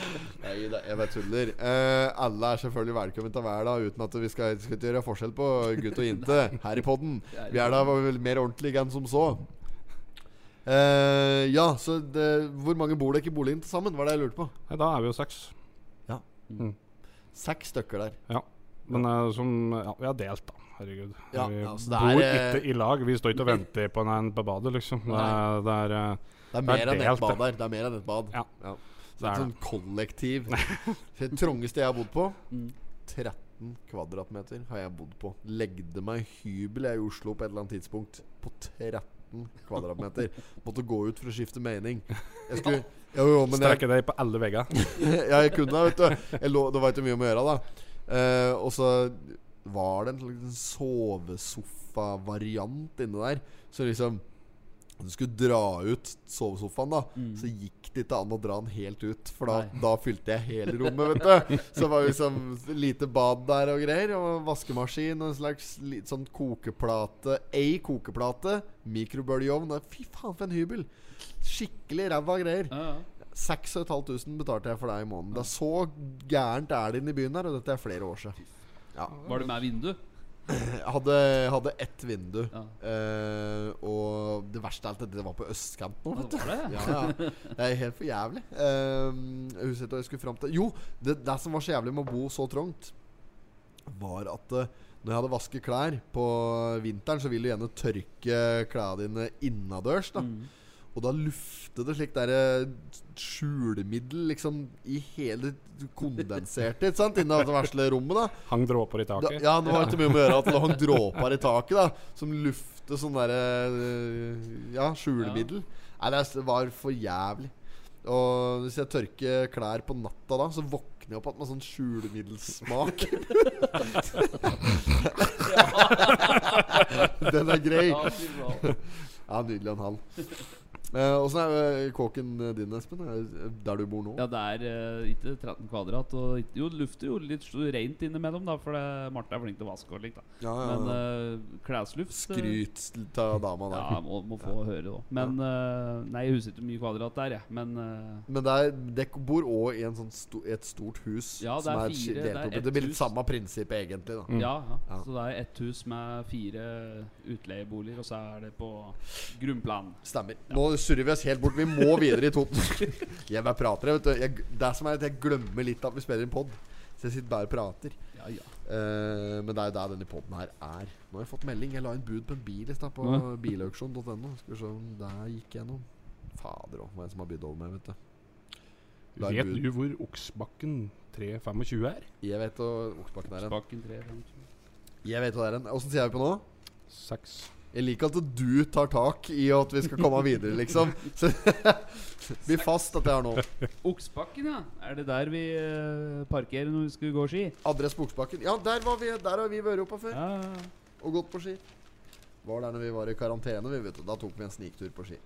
Speaker 1: Nei da, jeg bare tuller. Eh, alle er selvfølgelig velkommen til å være da, uten at vi skal, skal ikke gjøre forskjell på gutt og jente her i podden. Vi er da vel mer ordentlige enn som så. Eh, Eh, ja, så det, hvor mange bor det ikke i boligen til sammen? Var det jeg lurte på.
Speaker 2: Nei, da er vi jo seks.
Speaker 1: Seks stykker der.
Speaker 2: Ja. Men eh, som Ja, vi har delt, da. Herregud.
Speaker 1: Ja,
Speaker 2: vi
Speaker 1: ja, så det
Speaker 2: bor
Speaker 1: er, eh,
Speaker 2: ikke i lag. Vi står ikke og venter på en på badet, liksom. Det er, det er, eh,
Speaker 1: Det er mer
Speaker 2: Det er
Speaker 1: enn ett
Speaker 2: delt,
Speaker 1: bad
Speaker 2: det.
Speaker 1: der. Det er mer enn ett bad.
Speaker 2: Ja.
Speaker 1: Så det er et sånn kollektiv. Det trongeste jeg har bodd på,
Speaker 3: Mm.
Speaker 1: 13 kvadratmeter har jeg bodd på. Legde meg hybel jeg i Oslo på et eller annet tidspunkt på 13 kvadratmeter. Måtte gå ut for å skifte mening. Jeg skulle Jo, jo, men jeg,
Speaker 2: strekker deg på alle veggene.
Speaker 1: ja, jeg kunne det, vet du. Jeg lå, det var ikke mye om å gjøre, da. Eh, og så var det en slags sovesofa-variant inne der. Så liksom Du skulle dra ut sovesofaen, da. Så gikk det ikke an å dra den helt ut, for da,
Speaker 3: Nei.
Speaker 1: da fylte jeg hele rommet, vet du. Så det var liksom lite bad der og greier. Og vaskemaskin og en slags li- sånn kokeplate. Ei kokeplate, mikrobølgeovn. og Fy faen, for en hybel! Skikkelig ræva greier.
Speaker 3: Ja, ja.
Speaker 1: 6500 betalte jeg for deg i måneden. Det er så gærent er det inne i byen her, og dette er flere år siden. Ja.
Speaker 3: Var det med vindu?
Speaker 1: Jeg hadde, hadde ett vindu,
Speaker 3: Ja.
Speaker 1: eh, og det verste er at det var på østkanten.
Speaker 3: Ja,
Speaker 1: Vet du.
Speaker 3: det var det.
Speaker 1: Ja, ja. Det er helt for jævlig. Eh, jeg husker ikke hva jeg skulle fram til Jo, det, det som var så jævlig med å bo så trangt, var at eh, når jeg hadde vasket klær på vinteren, så vil du gjerne tørke klærne dine innadørs. da
Speaker 3: Mm.
Speaker 1: og da luftet det slik derre skjulemiddel liksom i hele kondenserte, ikke sant? Inne i det versle rommet, da.
Speaker 2: Hang dråper i
Speaker 1: da.
Speaker 2: taket.
Speaker 1: Ja, det var ikke mye om å gjøre at det hang dråper i taket, da. Som luftet sånn derre øh, Ja, skjulemiddel. Nei, det er- var for jævlig. Og hvis jeg tørker klær på natta da, så våkner jeg opp igjen med sånn skjulemiddelsmak. Den er grei.
Speaker 3: Ja, fy faen.
Speaker 1: Ja, nydelig en halv. Eh, Åssen er eh, kåken din, Espen? Er det Der du bor nå?
Speaker 3: ja, det er eh, ikke 13 kvadrat. Og ikke- jo, det lufter jo litt så rent innimellom, da, for det, Marte er flink til å vaske og likt. da
Speaker 1: Ja, ja,
Speaker 3: Men
Speaker 1: ja.
Speaker 3: eh, klesluft eh,
Speaker 1: Skryt av dama der.
Speaker 3: Ja, må, må få høre det òg. Men eh, Nei, jeg husker ikke hvor mye kvadrat det er, jeg. Men eh,
Speaker 1: Men det er, dere bor òg i en sånn sto, et stort hus.
Speaker 3: Ja, det er
Speaker 1: sk-
Speaker 3: fire, det er
Speaker 1: opp i-
Speaker 3: ett
Speaker 1: det blir litt
Speaker 3: hus. Mm.
Speaker 1: samme prinsipp, egentlig. da
Speaker 3: ja, ja.
Speaker 1: Mm. Ja.
Speaker 3: Så det er ett hus med fire utleieboliger, og så er det på grunnplan.
Speaker 1: Stemmer. Nå surrer vi oss helt bort. Vi må videre i Toten. jeg bare prater, jeg, vet du. Jeg, det som er at jeg glemmer litt at vi spiller en pod. Så jeg sitter bare og prater.
Speaker 3: Ja, ja.
Speaker 1: Eh, men det er jo der denne poden her er. Nå har jeg fått melding. Jeg la inn bud på en bil i stad på
Speaker 3: Ja.
Speaker 1: bilauksjon.no. Skal vi se om det her gikk gjennom. Fader òg, hva er det som har bydd over meg, vet du. La
Speaker 2: Vet
Speaker 1: inn bud.
Speaker 2: du hvor Oksbakken 325 er?
Speaker 1: Jeg vet hva Oksbakken er en.
Speaker 3: Spaken tre, fem, sju.
Speaker 1: Jeg vet hva det er en. Åssen sier jeg det på nå?
Speaker 2: Seks.
Speaker 1: Jeg liker at du tar tak i at vi skal komme videre, liksom. Så Bli fast at jeg har nå.
Speaker 3: Oksbakken, ja. Er det der vi eh, parkerer når vi skulle gå ski?
Speaker 1: Adresse på Oksbakken. Ja, der, var vi, der har vi vært oppe før.
Speaker 3: Ja, ja, ja.
Speaker 1: Og gått på ski. Var der når vi var i karantene, vi, vet du. Da tok vi en sniktur på ski.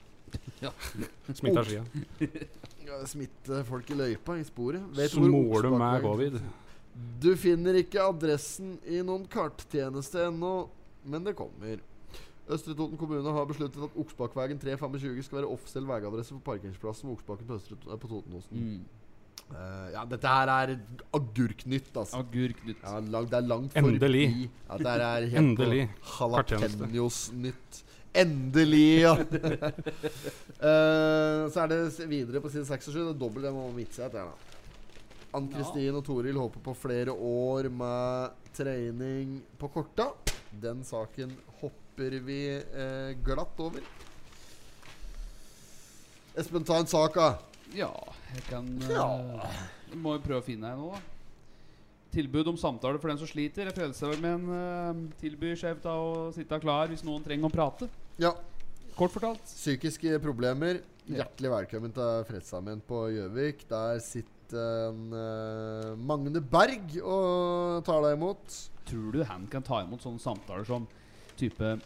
Speaker 2: Smitta skia.
Speaker 1: Ja, Smitte folk i løypa, i sporet. Vet du hvor
Speaker 2: Småler du
Speaker 1: Oksbakken
Speaker 2: med
Speaker 1: er?
Speaker 2: covid?
Speaker 1: Du finner ikke adressen i noen karttjeneste ennå, men det kommer. Østre Toten kommune har besluttet at Oksbakkvegen 325 skal være offisiell veiadresse for parkeringsplassen ved Oksbakken på, Østre, eh, på Totenåsen.
Speaker 3: Mm.
Speaker 1: Eh, ja, dette her er agurknytt, altså.
Speaker 3: Agurknytt.
Speaker 1: Ja, lang, det er langt
Speaker 2: Endelig.
Speaker 1: forbi. Ja, det her er helt
Speaker 2: Endelig. Karttjeneste.
Speaker 1: Jalapeños-nytt. Endelig, ja! Eh, så er det s- videre på side 6 og 7. Det er dobbelt det må vitse etter. her, da. Ann Kristin og Toril håper på flere år med trening på korta. Den saken hopper vi eh, glatt over. Espen, ta en sak, da.
Speaker 3: Ja, jeg kan
Speaker 1: Ja.
Speaker 3: eh, Må jo prøve å finne en nå, da. Tilbud om samtale for den som sliter. Frelsesarmeen uh, tilbyr sjef da å sitte klar hvis noen trenger å prate.
Speaker 1: Ja.
Speaker 3: Kort fortalt.
Speaker 1: Psykiske problemer.
Speaker 3: Ja.
Speaker 1: Hjertelig velkommen til Fredsarmeen på Gjøvik. Der sitter en, eh, Magne Berg og tar deg imot.
Speaker 3: Tror du han kan ta imot sånne samtaler som type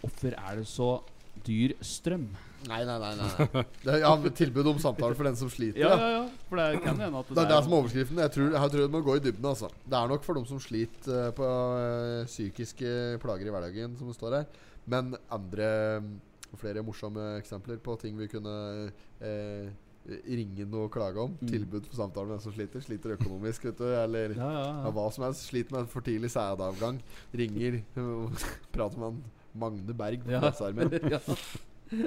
Speaker 3: Hvorfor er det så dyr strøm?
Speaker 1: Nei, nei, nei. nei, nei. Det er, ja, men tilbud om samtale for den som sliter.
Speaker 3: Ja,
Speaker 1: Ja,
Speaker 3: ja, ja. For det kan hende at
Speaker 1: Det er det som er overskriften. Jeg tror, jeg tror det må gå i dybden. altså Det er nok for dem som sliter eh, på eh, psykiske plager i hverdagen, som det står her. Men andre mm, flere morsomme eksempler på ting vi kunne eh, ringe noe og klage om.
Speaker 3: Mm.
Speaker 1: Tilbud for samtale med den som sliter. Sliter økonomisk, vet du. Eller
Speaker 3: Ja, ja,
Speaker 1: Ja,
Speaker 3: ja.
Speaker 1: hva som helst. Sliter med en for tidlig sædavgang. Ringer og prater med han Magne Berg på
Speaker 3: Ja.
Speaker 1: Frelsesarmeen.
Speaker 3: ja.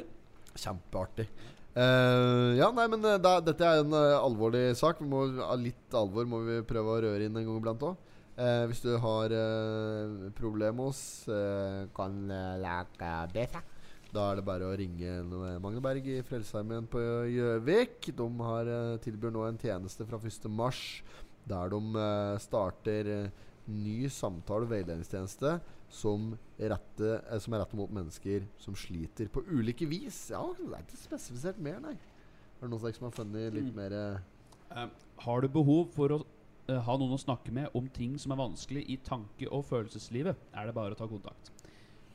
Speaker 1: Kjempeartig. Eh, ja, nei, men eh, da, dette er en eh, alvorlig sak. Vi må, av litt alvor må vi prøve å røre inn en gang iblant òg. hvis du har eh, problemos, eh, kan eh, lage bedre. Da er det bare å ringe no- Magne Berg i Frelsesarmeen på Gjøvik. De har, eh, tilbyr nå en tjeneste fra 1. mars der de eh, starter eh, ny samtale- og veiledningstjeneste som, rette, eh, som er rettet mot mennesker som sliter på ulike vis. Ja, det er ikke spesifisert mer, nei. Er det noen som liksom har funnet litt
Speaker 3: Mm.
Speaker 1: mer eh,
Speaker 3: Har du behov for å eh, ha noen å snakke med om ting som er vanskelig i tanke- og følelseslivet, er det bare å ta kontakt.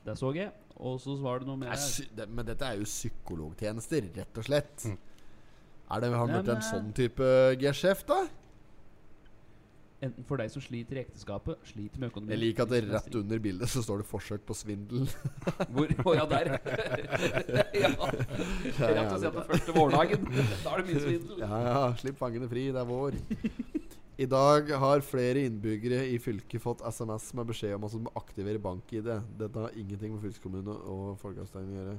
Speaker 3: Det så jeg. Og så var det noe
Speaker 1: nei,
Speaker 3: med
Speaker 1: sy- det, Men dette er jo psykologtjenester, rett og slett. Er det, har det
Speaker 3: Mm. Ja,
Speaker 1: blitt
Speaker 3: men- eh,
Speaker 1: en sånn type geskjeft, da?
Speaker 3: Enten for deg som sliter i ekteskapet, sliter med økonomien
Speaker 1: Jeg liker at det rett under bildet så står det 'forsøk på svindel'.
Speaker 3: Hvor, å, ja, der. ja. Rett og slett den første vårdagen. Da er det mye svindel.
Speaker 1: Ja, ja, slipp fangene fri, det er vår. I dag har flere innbyggere i fylket fått SMS med beskjed om at de må aktivere bank-ID. Dette har ingenting med fylkeskommune og folkeavstemning å gjøre.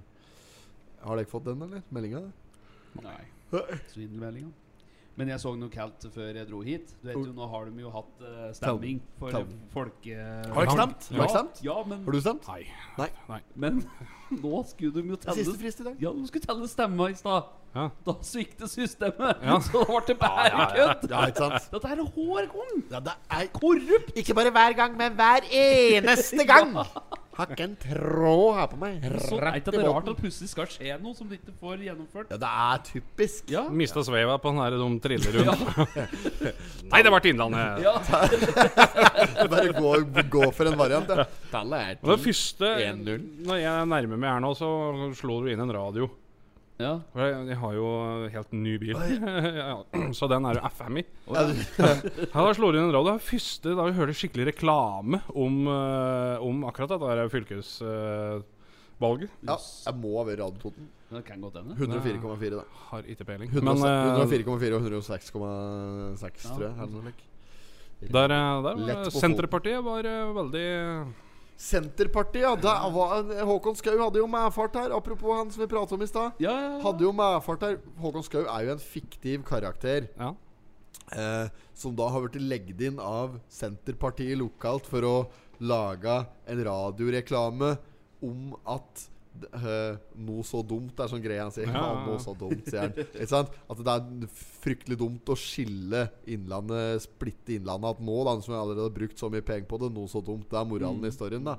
Speaker 1: Har dere fått den, eller? Meldinga?
Speaker 3: Nei. Svindelmeldinga. Men jeg så noe kaldt før jeg dro hit. Du vet jo, Nå har de jo hatt eh, stemming for
Speaker 1: Tell.
Speaker 3: folke...
Speaker 1: Har dere stemt? Har
Speaker 3: Ja,
Speaker 1: dere stemt?
Speaker 3: ja men,
Speaker 1: Har du stemt?
Speaker 2: Nei.
Speaker 3: men nå skulle de jo telle
Speaker 1: Siste frist i dag.
Speaker 3: Ja, de skulle telle stemma i stad.
Speaker 2: Ja.
Speaker 3: Da svikter systemet,
Speaker 2: Ja.
Speaker 3: så det ble bærekutt.
Speaker 1: Ja, ikke sant?
Speaker 3: Dette her er hårkong!
Speaker 1: Ja, det er korrupt! Ikke bare hver gang, men hver eneste gang! Har ikke en tråd her på meg.
Speaker 3: Så er
Speaker 1: Rett
Speaker 3: ikke
Speaker 1: i
Speaker 3: det rart
Speaker 1: båten.
Speaker 3: at plutselig skal skje noe som du ikke får gjennomført?
Speaker 1: Ja, det er typisk.
Speaker 3: Ja.
Speaker 2: Mista sveiva på den her de triller rundt. Nei, det ble Innlandet!
Speaker 3: Ja.
Speaker 1: Bare gå, gå for en variant, ja. Tallet
Speaker 2: Og det første
Speaker 1: 1-0.
Speaker 2: Når jeg nærmer meg her nå, så slo du inn en radio.
Speaker 3: ja.
Speaker 2: For Jeg, jeg har jo helt ny bil, Ja, så den er jo FM i. Ja, da slår du inn en radio. Det er første da vi hører skikkelig reklame om, eh, om akkurat dette her fylkesvalget.
Speaker 1: Ja, jeg må ha vært Radiototen.
Speaker 3: Det kan godt hende.
Speaker 1: 104,4, da.
Speaker 2: Har ikke peiling.
Speaker 1: 100
Speaker 2: Men eh,
Speaker 1: 104,4 og 106,6, tror jeg.
Speaker 3: Ja.
Speaker 1: er det noe slik.
Speaker 2: der, eh, der
Speaker 1: Lett
Speaker 2: var
Speaker 1: på foten.
Speaker 2: Senterpartiet var eh, veldig
Speaker 1: Senterpartiet, ja. Da var, Håkon Skau hadde jo medfart her. Apropos han som vi pratet om i stad.
Speaker 3: Ja, ja, ja.
Speaker 1: Hadde jo medfart her. Håkon Skau er jo en fiktiv karakter.
Speaker 2: Ja.
Speaker 1: eh, som da har blitt legget inn av Senterpartiet lokalt for å lage en radioreklame om at d- eh, noe så dumt er sånn greie han sier. Ja,
Speaker 2: Ja, ja, ja.
Speaker 1: noe så dumt, sier han. Ikke sant? At det er fryktelig dumt å skille Innlandet, splitte Innlandet. At nå, da, som jeg allerede har brukt så mye penger på det, noe så dumt. Det er moralen i historien, da.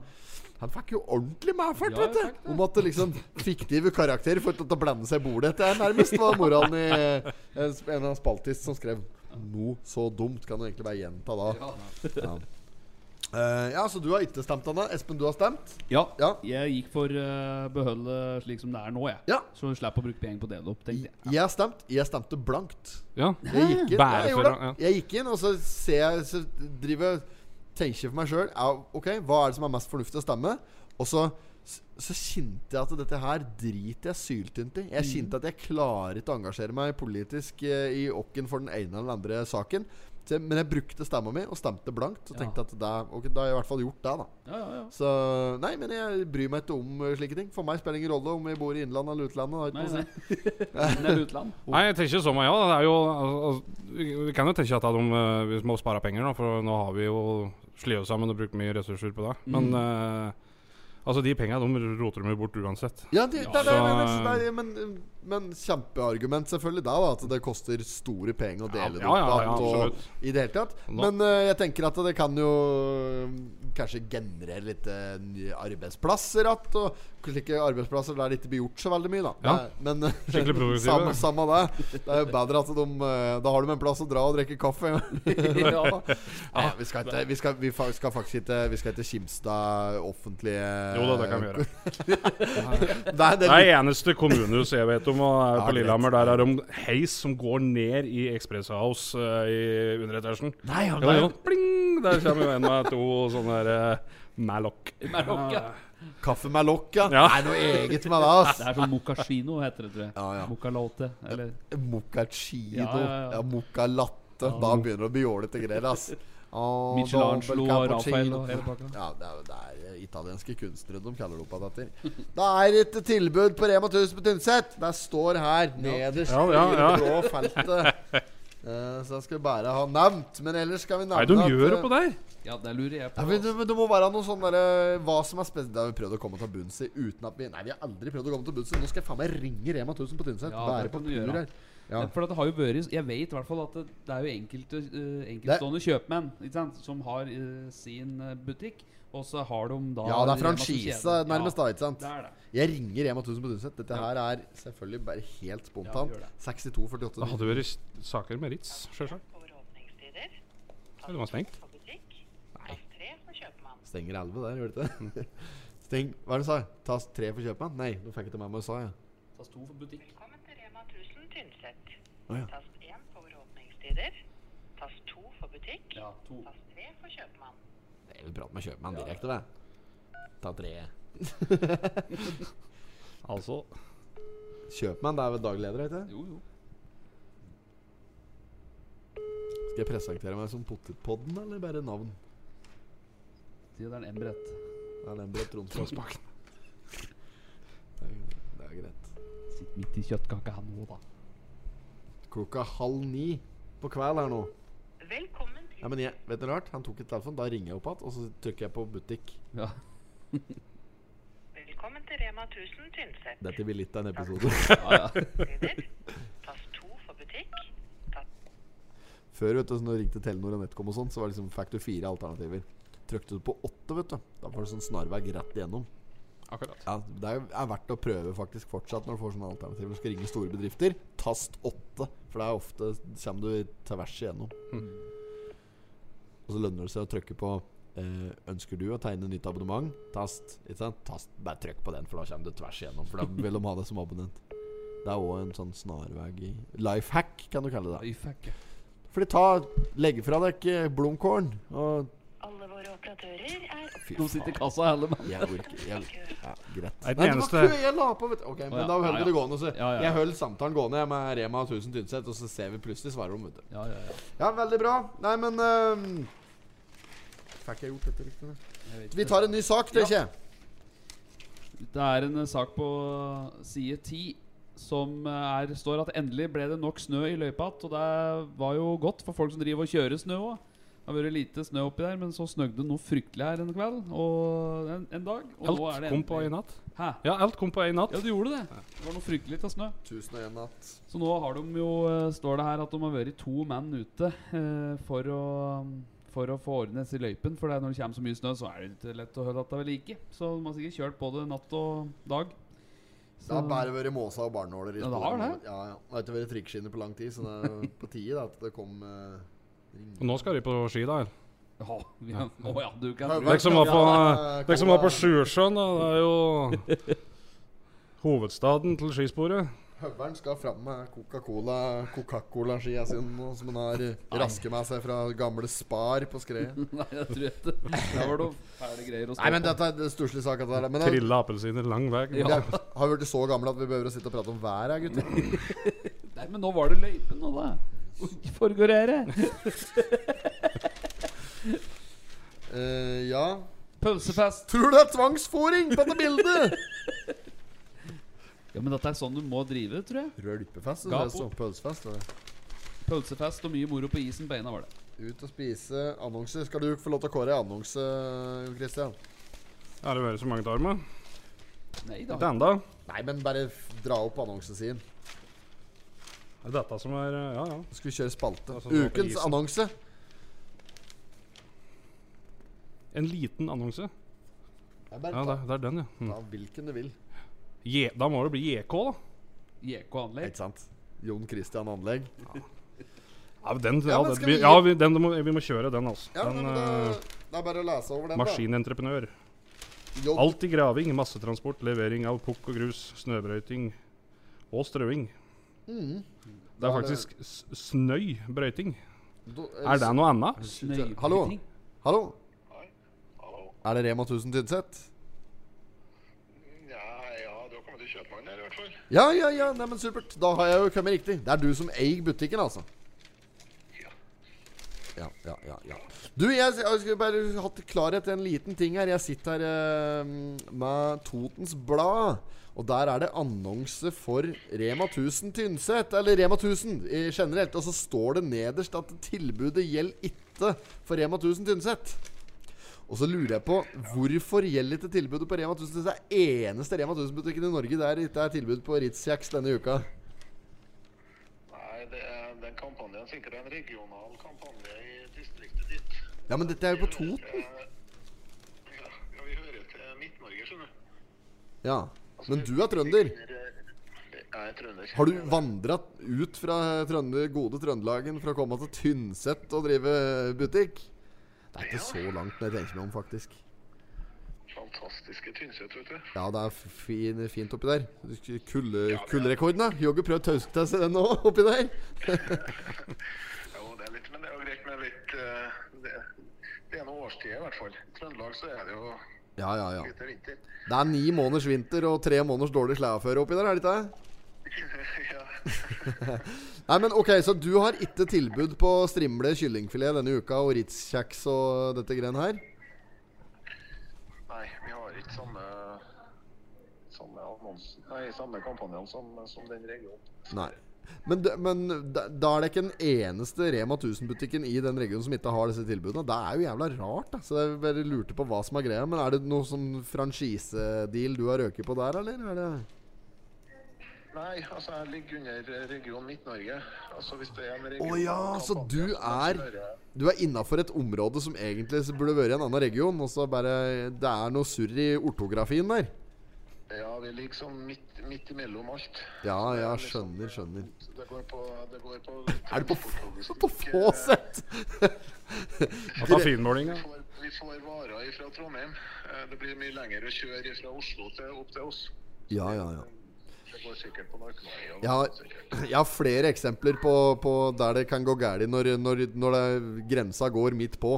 Speaker 1: Han fikk jo ordentlig medfart,
Speaker 3: Ja,
Speaker 1: vet
Speaker 3: fikk
Speaker 1: du! Om at det liksom fiktive karakterer får til å blande seg i bordet. Det er nærmest var moralen i eh, en sp- en av spaltist som skrev noe så dumt. Kan du egentlig bare gjenta da. Ja, ja. Eh, ja så du har ikke stemt, Anne. Espen, du har stemt?
Speaker 3: Ja.
Speaker 1: Ja.
Speaker 3: Jeg gikk for uh, beholde slik som det er nå, jeg.
Speaker 1: Ja.
Speaker 3: Så du slipper å bruke penger på det opp, tenkte jeg.
Speaker 1: Jeg har stemt. Jeg stemte blankt.
Speaker 2: Ja.
Speaker 1: Jeg gikk inn,
Speaker 2: Bare
Speaker 1: jeg, gjorde
Speaker 2: for å- ja.
Speaker 1: det. jeg gikk inn og så ser jeg Så driver jeg- tenker jeg for meg sjøl ja, Ok, hva er det som er mest fornuftig å stemme? Og så så kjente jeg at dette her driter jeg syltynt i. Jeg kjente at jeg klarer ikke å engasjere meg politisk eh, i åkken for den ene eller den andre saken. Så, jeg- men jeg brukte stemma mi og stemte blankt. Og
Speaker 3: Ja.
Speaker 1: tenkte at det, ok, da har jeg i hvert fall gjort det, da.
Speaker 3: Ja, ja, ja.
Speaker 1: Så nei, men jeg bryr meg ikke om eh, slike ting. For meg spiller det ingen rolle om vi bor i innlandet eller utlandet. det har ikke noe å
Speaker 3: Nei,
Speaker 1: si.
Speaker 3: nei. Men det er utland.
Speaker 2: Nei, jeg tenker som meg, ja. Det er jo, al- al- vi- vi kan jo tenke at de, eh, vi må spare penger, da, for nå har vi jo slitt oss sammen og brukt mye ressurser på det. Men eh, altså, de pengene de roter de jo bort uansett.
Speaker 1: Ja, det, det, er det,
Speaker 2: Ja.
Speaker 1: men- men, men, men kjempeargument selvfølgelig da, da, at det koster store penger å dele det
Speaker 2: Ja, ja, ja, ja,
Speaker 1: blant, og-
Speaker 2: absolutt.
Speaker 1: i det hele tatt.
Speaker 2: Nå-
Speaker 1: Men eh, jeg tenker at det kan jo mm, kanskje generere litt eh, nye arbeidsplasser att, og slike arbeidsplasser der det ikke blir gjort så veldig mye, da.
Speaker 2: Ja.
Speaker 1: Det er- Men eh,
Speaker 2: Skikkelig produktive.
Speaker 1: samme, samme det. Det er jo bedre at de eh, Da har de en plass å dra og drikke kaffe.
Speaker 3: Ja.
Speaker 1: Nei, vi skal ikke Vi skal, vi fa skal faktisk ikke Vi skal ikke kimse av offentlige
Speaker 2: Jo da, det kan vi gjøre.
Speaker 1: Nei, det
Speaker 2: Det
Speaker 1: er
Speaker 2: er eneste kommunehus jeg vet om, og er
Speaker 1: Ja,
Speaker 2: på
Speaker 1: greit.
Speaker 2: Lillehammer. Der er det heis som går ned i Express House eh, i underetasjen.
Speaker 1: Nei, ja,
Speaker 2: Jo, jo. Pling! Der kommer jo en med to sånne der, uh, Malloc.
Speaker 3: Marokko.
Speaker 1: Kaffe med lokk, ja.
Speaker 2: Ja.
Speaker 1: Det er noe eget med det, ass.
Speaker 3: Det er sånn mocasino heter det, tror jeg.
Speaker 1: Ja, ja.
Speaker 3: Mocalote. Eller
Speaker 1: Moccacino. Ja,
Speaker 3: Ja, ja, ja.
Speaker 1: moccalatte. Da begynner det å bli jålete greier, ass. Oh,
Speaker 3: Michelangelo og Raphael og hele pakka.
Speaker 1: Ja, det er, det er italienske kunstnere de kaller det opp av datter. Da er det et tilbud på Rema 1000 på Tynset! Det står her, nederst
Speaker 2: Ja, ja,
Speaker 1: i
Speaker 2: ja.
Speaker 1: det blå feltet. Eh, så jeg skal bare ha nevnt, men ellers skal vi nevne
Speaker 2: Nei, de
Speaker 1: at,
Speaker 2: gjør
Speaker 1: eh,
Speaker 2: det på deg!
Speaker 3: Ja, det lurer jeg
Speaker 1: ja,
Speaker 3: på.
Speaker 1: men det, men det må være noe sånn derre Hva som er spesielt Det har vi prøvd å komme til bunns i uten at vi Nei, vi har aldri prøvd å komme til bunns i. Nå skal jeg faen meg ringe Rema 1000 på Tynset.
Speaker 3: Ja,
Speaker 1: Være
Speaker 3: det
Speaker 1: på
Speaker 3: kan du
Speaker 1: tur
Speaker 3: gjøre.
Speaker 1: her. Ja.
Speaker 3: For at det har jo vært Jeg vet i hvert fall at det, det er jo enkelte eh, enkeltstående kjøpmenn ikke sant, som har eh, sin eh, butikk, og så har de da
Speaker 1: ja, det er
Speaker 3: Rema som
Speaker 1: franchise
Speaker 3: kjede.
Speaker 1: nærmest,
Speaker 3: ja,
Speaker 1: da. Ikke sant?
Speaker 3: Det er det.
Speaker 1: Jeg ringer Rema 1000 på Tynset. Dette her er selvfølgelig bare helt spontant.
Speaker 3: Ja, gjør det.
Speaker 1: 62 48
Speaker 2: Det hadde vært s- saker med Ritz, sjølsagt.
Speaker 7: over åpningstider.
Speaker 2: Ja, det var stengt.
Speaker 7: På butikk. Plass tre for kjøpmann.
Speaker 1: Stenger 11 der, gjør det ikke det? Steng Hva er det du sa? Tas tre for kjøpmann? Nei, nå fikk jeg til meg hva jeg sa, ja.
Speaker 3: Tas to for butikk.
Speaker 7: Velkommen til Rema 1000 Tynset.
Speaker 1: Å, ja.
Speaker 7: Tast én for åpningstider. Tast to for butikk.
Speaker 3: Ja, to.
Speaker 7: Tast tre for kjøpmann.
Speaker 1: Jeg vil prate med kjøpmann direkte, da. Ta tre.
Speaker 2: Altså
Speaker 1: Kjøpmann, det er vel daglig leder, ikke det?
Speaker 3: Jo, jo.
Speaker 1: Skal jeg presentere meg som Potetpodden, eller bare navn?
Speaker 3: Det er en embrett.
Speaker 1: Det er den brett Tromsbakken. Det er greit.
Speaker 3: Sitt midt i kjøttkaka her nå, da.
Speaker 1: Klokka halv ni på kveld her nå.
Speaker 7: Velkommen til
Speaker 1: Nei, men jeg, vet du rart? Han tok et telefon, da ringer jeg opp igjen, og så trykker jeg på butikk.
Speaker 3: Ja.
Speaker 7: Velkommen til Rema 1000 Tynset.
Speaker 1: Dette blir litt av en episode.
Speaker 7: Åpningstider. Tast to for butikk. Tast
Speaker 1: Før, vet du, så når det ringte Telenor og Netcom og sånn, så var det liksom, fikk du fire alternativer. Trykte du på åtte, vet du, da var det sånn snarvei rett igjennom.
Speaker 2: Akkurat.
Speaker 1: Ja, det er, er verdt å prøve faktisk fortsatt når du får sånne alternativer. Du skal ringe store bedrifter. Tast åtte, for det er ofte kommer du tvers igjennom.
Speaker 3: Hmm.
Speaker 1: Og så lønner det seg å trykke på eh, Ønsker du å tegne nytt abonnement? Tast. Ikke sant? Tast. Bare trykk på den, for da kommer du tvers igjennom. For da vil de ha deg som abonnent. Det er òg en sånn snarvei i Life hack, kan du kalle det.
Speaker 3: Oi, fuck.
Speaker 1: da. Fordi ta Legg fra deg eh, blomkålen og
Speaker 7: alle våre operatører er opp-
Speaker 1: Fy
Speaker 3: De sitter i kassa, hele mann.
Speaker 1: Jeg orker jeg, ja, Greit.
Speaker 2: Nei, den
Speaker 1: Nei, det
Speaker 2: eneste-
Speaker 1: var ikke jeg la på, vet du. Ok, men
Speaker 3: ja.
Speaker 1: da holdt
Speaker 3: Ja,
Speaker 1: vi
Speaker 3: ja.
Speaker 1: det gående. Så
Speaker 3: Ja, ja, ja.
Speaker 1: Jeg holdt samtalen gående jeg med Rema 1000 Tynset, og så ser vi plutselig svarer de, vet du.
Speaker 3: Ja, ja, ja.
Speaker 1: Ja, veldig bra. Nei, men ehm, Fikk jeg gjort dette riktig? da?
Speaker 3: Jeg vet
Speaker 1: Vi tar en ny sak, det, ikke?
Speaker 3: Det er en eh, sak på side 10 som eh, er, står at endelig ble det nok snø i løypa igjen. Og det var jo godt for folk som driver og kjører snø òg. Det har vært lite snø oppi der, men så snøgde det noe fryktelig her en kveld. Og en, en dag. Og nå er
Speaker 2: Alt
Speaker 3: det
Speaker 2: kom på
Speaker 3: endelig-
Speaker 2: ei natt.
Speaker 3: Hæ?
Speaker 2: Ja, alt kom på ei natt.
Speaker 3: Ja, du gjorde det. Det var noe fryktelig av snø.
Speaker 1: 1001 natt.
Speaker 3: Så nå har de jo, eh, står det her at de har vært to menn ute eh, for, å, for å få ordnes i løypen. For det er når det kommer så mye snø, så er det ikke lett å holde dette ved like. Så de har sikkert kjørt både natt og dag.
Speaker 1: Det har bare vært måsa og barnåler. i
Speaker 3: Ja, det har
Speaker 1: skolen.
Speaker 3: det.
Speaker 1: Ja, ja. Det har ikke vært trikkskinner på lang tid, så det er på tide da, at det kom eh, ring.
Speaker 2: Og nå skal de på ski, da.
Speaker 3: Å vi har- å ja, du kan
Speaker 1: Ja,
Speaker 3: tro
Speaker 2: Dere som var på,
Speaker 1: Ja, det er-
Speaker 2: dere som var på Sjusjøen, da. Det er jo hovedstaden til skisporet.
Speaker 1: Høveren skal fram med Coca-Cola Coca-Cola-skia sine nå, som han har raske med seg fra gamle Spar på skredet.
Speaker 3: Nei, jeg tror ikke Det var noen fæle greier å stå
Speaker 1: Nei, men
Speaker 3: på.
Speaker 1: dette er en stusslig sak. dette her, Men det
Speaker 2: Trilla appelsiner lang vei.
Speaker 3: Ja.
Speaker 1: det har blitt så gamle at vi behøver å sitte og prate om været, gutter.
Speaker 3: Nei, men nå var det løypen nå, da. Ikke forgorere.
Speaker 1: Eh, ja
Speaker 3: Pølsefest.
Speaker 1: Tror du det er tvangsfòring på dette bildet?
Speaker 3: Ja, men dette er sånn du må drive, tror jeg.
Speaker 1: Rølpefest.
Speaker 3: Gapo.
Speaker 1: Det står pølsefest. det er.
Speaker 3: Pølsefest og mye moro på isen beina var det.
Speaker 1: Ut og spise annonser. Skal du få lov til å kåre en annonse, Jon Christian?
Speaker 2: Er det vært så mange tarmer?
Speaker 3: Nei
Speaker 2: Ikke
Speaker 3: da.
Speaker 2: enda.
Speaker 1: Nei, men bare f- dra opp annonsesiden.
Speaker 2: Er det dette som er Ja, ja.
Speaker 1: Så skal vi kjøre spalte.
Speaker 2: Altså, nå på
Speaker 1: Ukens
Speaker 2: isen.
Speaker 1: annonse.
Speaker 2: En liten annonse.
Speaker 1: Det er bare
Speaker 2: Ja, det,
Speaker 1: ta,
Speaker 2: det er den, ja. Mm.
Speaker 1: ta hvilken du vil.
Speaker 2: Je, da må det bli JK, da.
Speaker 3: JK-anlegg.
Speaker 1: Ikke sant? Jon Christian Anlegg.
Speaker 2: Ja, men den, ja,
Speaker 1: Ja, men
Speaker 2: den,
Speaker 1: skal
Speaker 2: vi,
Speaker 1: vi-
Speaker 2: ja vi, den må, vi må kjøre den, altså.
Speaker 1: Ja, nei,
Speaker 2: den,
Speaker 1: men da,
Speaker 2: eh,
Speaker 1: det er bare å lese over den,
Speaker 2: maskinentreprenør.
Speaker 1: da. J-
Speaker 2: Alt i graving, massetransport, levering av pukk og grus, snøbrøyting og strøing.
Speaker 1: Mm.
Speaker 2: Det
Speaker 1: Da
Speaker 2: er
Speaker 1: er
Speaker 2: faktisk s- snøybrøyting.
Speaker 1: do-
Speaker 2: Er det noe annet?
Speaker 3: Snøyting.
Speaker 1: Hallo? Hallo? Er det Rema 1000 Tynset?
Speaker 8: Ja, ja, du har kommet til kjøpmannen her i hvert fall.
Speaker 1: Ja, ja, ja. Nei, men supert. Da har jeg jo kommet riktig. Det er du som eier butikken, altså.
Speaker 8: Ja.
Speaker 1: ja, ja, ja, ja. Du, jeg, s- jeg skulle bare hatt klarhet i en liten ting her. Jeg sitter her eh, med Totens Blad. Og der er det annonse for Rema 1000 Tynset. Eller Rema 1000 i generelt. Og så står det nederst at tilbudet gjelder ikke for Rema 1000 Tynset. Og så lurer jeg på hvorfor gjelder ikke tilbudet på Rema 1000? Det er eneste Rema 1000-butikken i Norge der det ikke er tilbud på Ritz-kjeks denne uka.
Speaker 8: Nei, det er, den kampanjen er sikkert en regional kampanje i distriktet ditt.
Speaker 1: Ja, men dette er jo på
Speaker 8: Vi hører
Speaker 1: Toten.
Speaker 8: til- Ja, ja, vi hører til Midt-Norge, skjønner du.
Speaker 1: Ja. Men du er trønder.
Speaker 8: Jeg er trønder.
Speaker 1: Har du vandra ut fra trønde, gode Trøndelagen for å komme til Tynset og drive butikk? Det er ikke så langt når jeg tenker meg om, faktisk.
Speaker 8: Fantastiske Tynset, vet du.
Speaker 1: Ja, det er fin, fint oppi der. Kulde, kulderekorden, da. Jogge prøvd tauske til seg den nå, oppi der.
Speaker 8: Jo, det er litt, men det er jo greit med litt eh, det, det er noen årstider, i hvert fall. I Trøndelag så er det jo
Speaker 1: Ja, ja, ja.
Speaker 8: litt vinter.
Speaker 1: Det er ni måneders vinter og tre måneders dårlig sleaføre oppi der, er det ikke det?
Speaker 8: ja.
Speaker 1: Nei, men OK, så du har ikke tilbud på strimle kyllingfilet denne uka og Ritz-kjeks og dette greiene her?
Speaker 8: Nei, vi har ikke samme samme annonsen, nei, samme kampanjen som, som den regionen.
Speaker 1: Nei. Men, d- men da, da er det ikke den eneste Rema 1000-butikken i den regionen som ikke har disse tilbudene. Det er jo jævla rart. Da. Så jeg bare lurte på hva som er greia. Men er det noe sånn franchisedeal du har røket på der, eller? Er det
Speaker 8: Nei, altså jeg ligger under region Midt-Norge. Altså hvis det er en region...
Speaker 1: Å ja, så
Speaker 8: kampanje,
Speaker 1: du er
Speaker 8: hører jeg-
Speaker 1: Du er innafor et område som egentlig så burde vært i en annen region, og så bare Det er noe surr i ortografien der.
Speaker 8: Ja, vi ligger sånn midt, midt imellom alt.
Speaker 1: Ja,
Speaker 8: Så det er
Speaker 1: ja,
Speaker 8: liksom-
Speaker 1: skjønner, skjønner.
Speaker 8: Det går på... Det går på
Speaker 1: Er det på, f- på få sett?
Speaker 2: Jeg tar finmåling,
Speaker 8: Vi
Speaker 2: ja.
Speaker 8: får, vi får varer fra Trondheim. Eh, Det blir mye lenger å kjøre fra Oslo til, opp til oss.
Speaker 1: Ja, ja, ja.
Speaker 8: Det går sikkert på narkomani.
Speaker 1: Jeg har, jeg har flere eksempler på, på der det kan gå galt når, når, når det, grensa går midt på.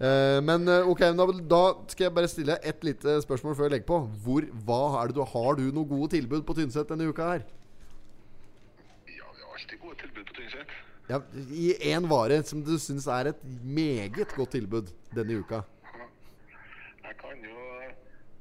Speaker 1: Eh, men eh, ok, da, da skal jeg bare stille deg et lite spørsmål før jeg legger på. Hvor, hva er det du, har du noen gode tilbud på Tynset denne uka her?
Speaker 8: Ja, vi har alltid gode tilbud på Tynset.
Speaker 1: Ja, I én vare som du syns er et meget godt tilbud denne uka.
Speaker 8: Jeg kan jo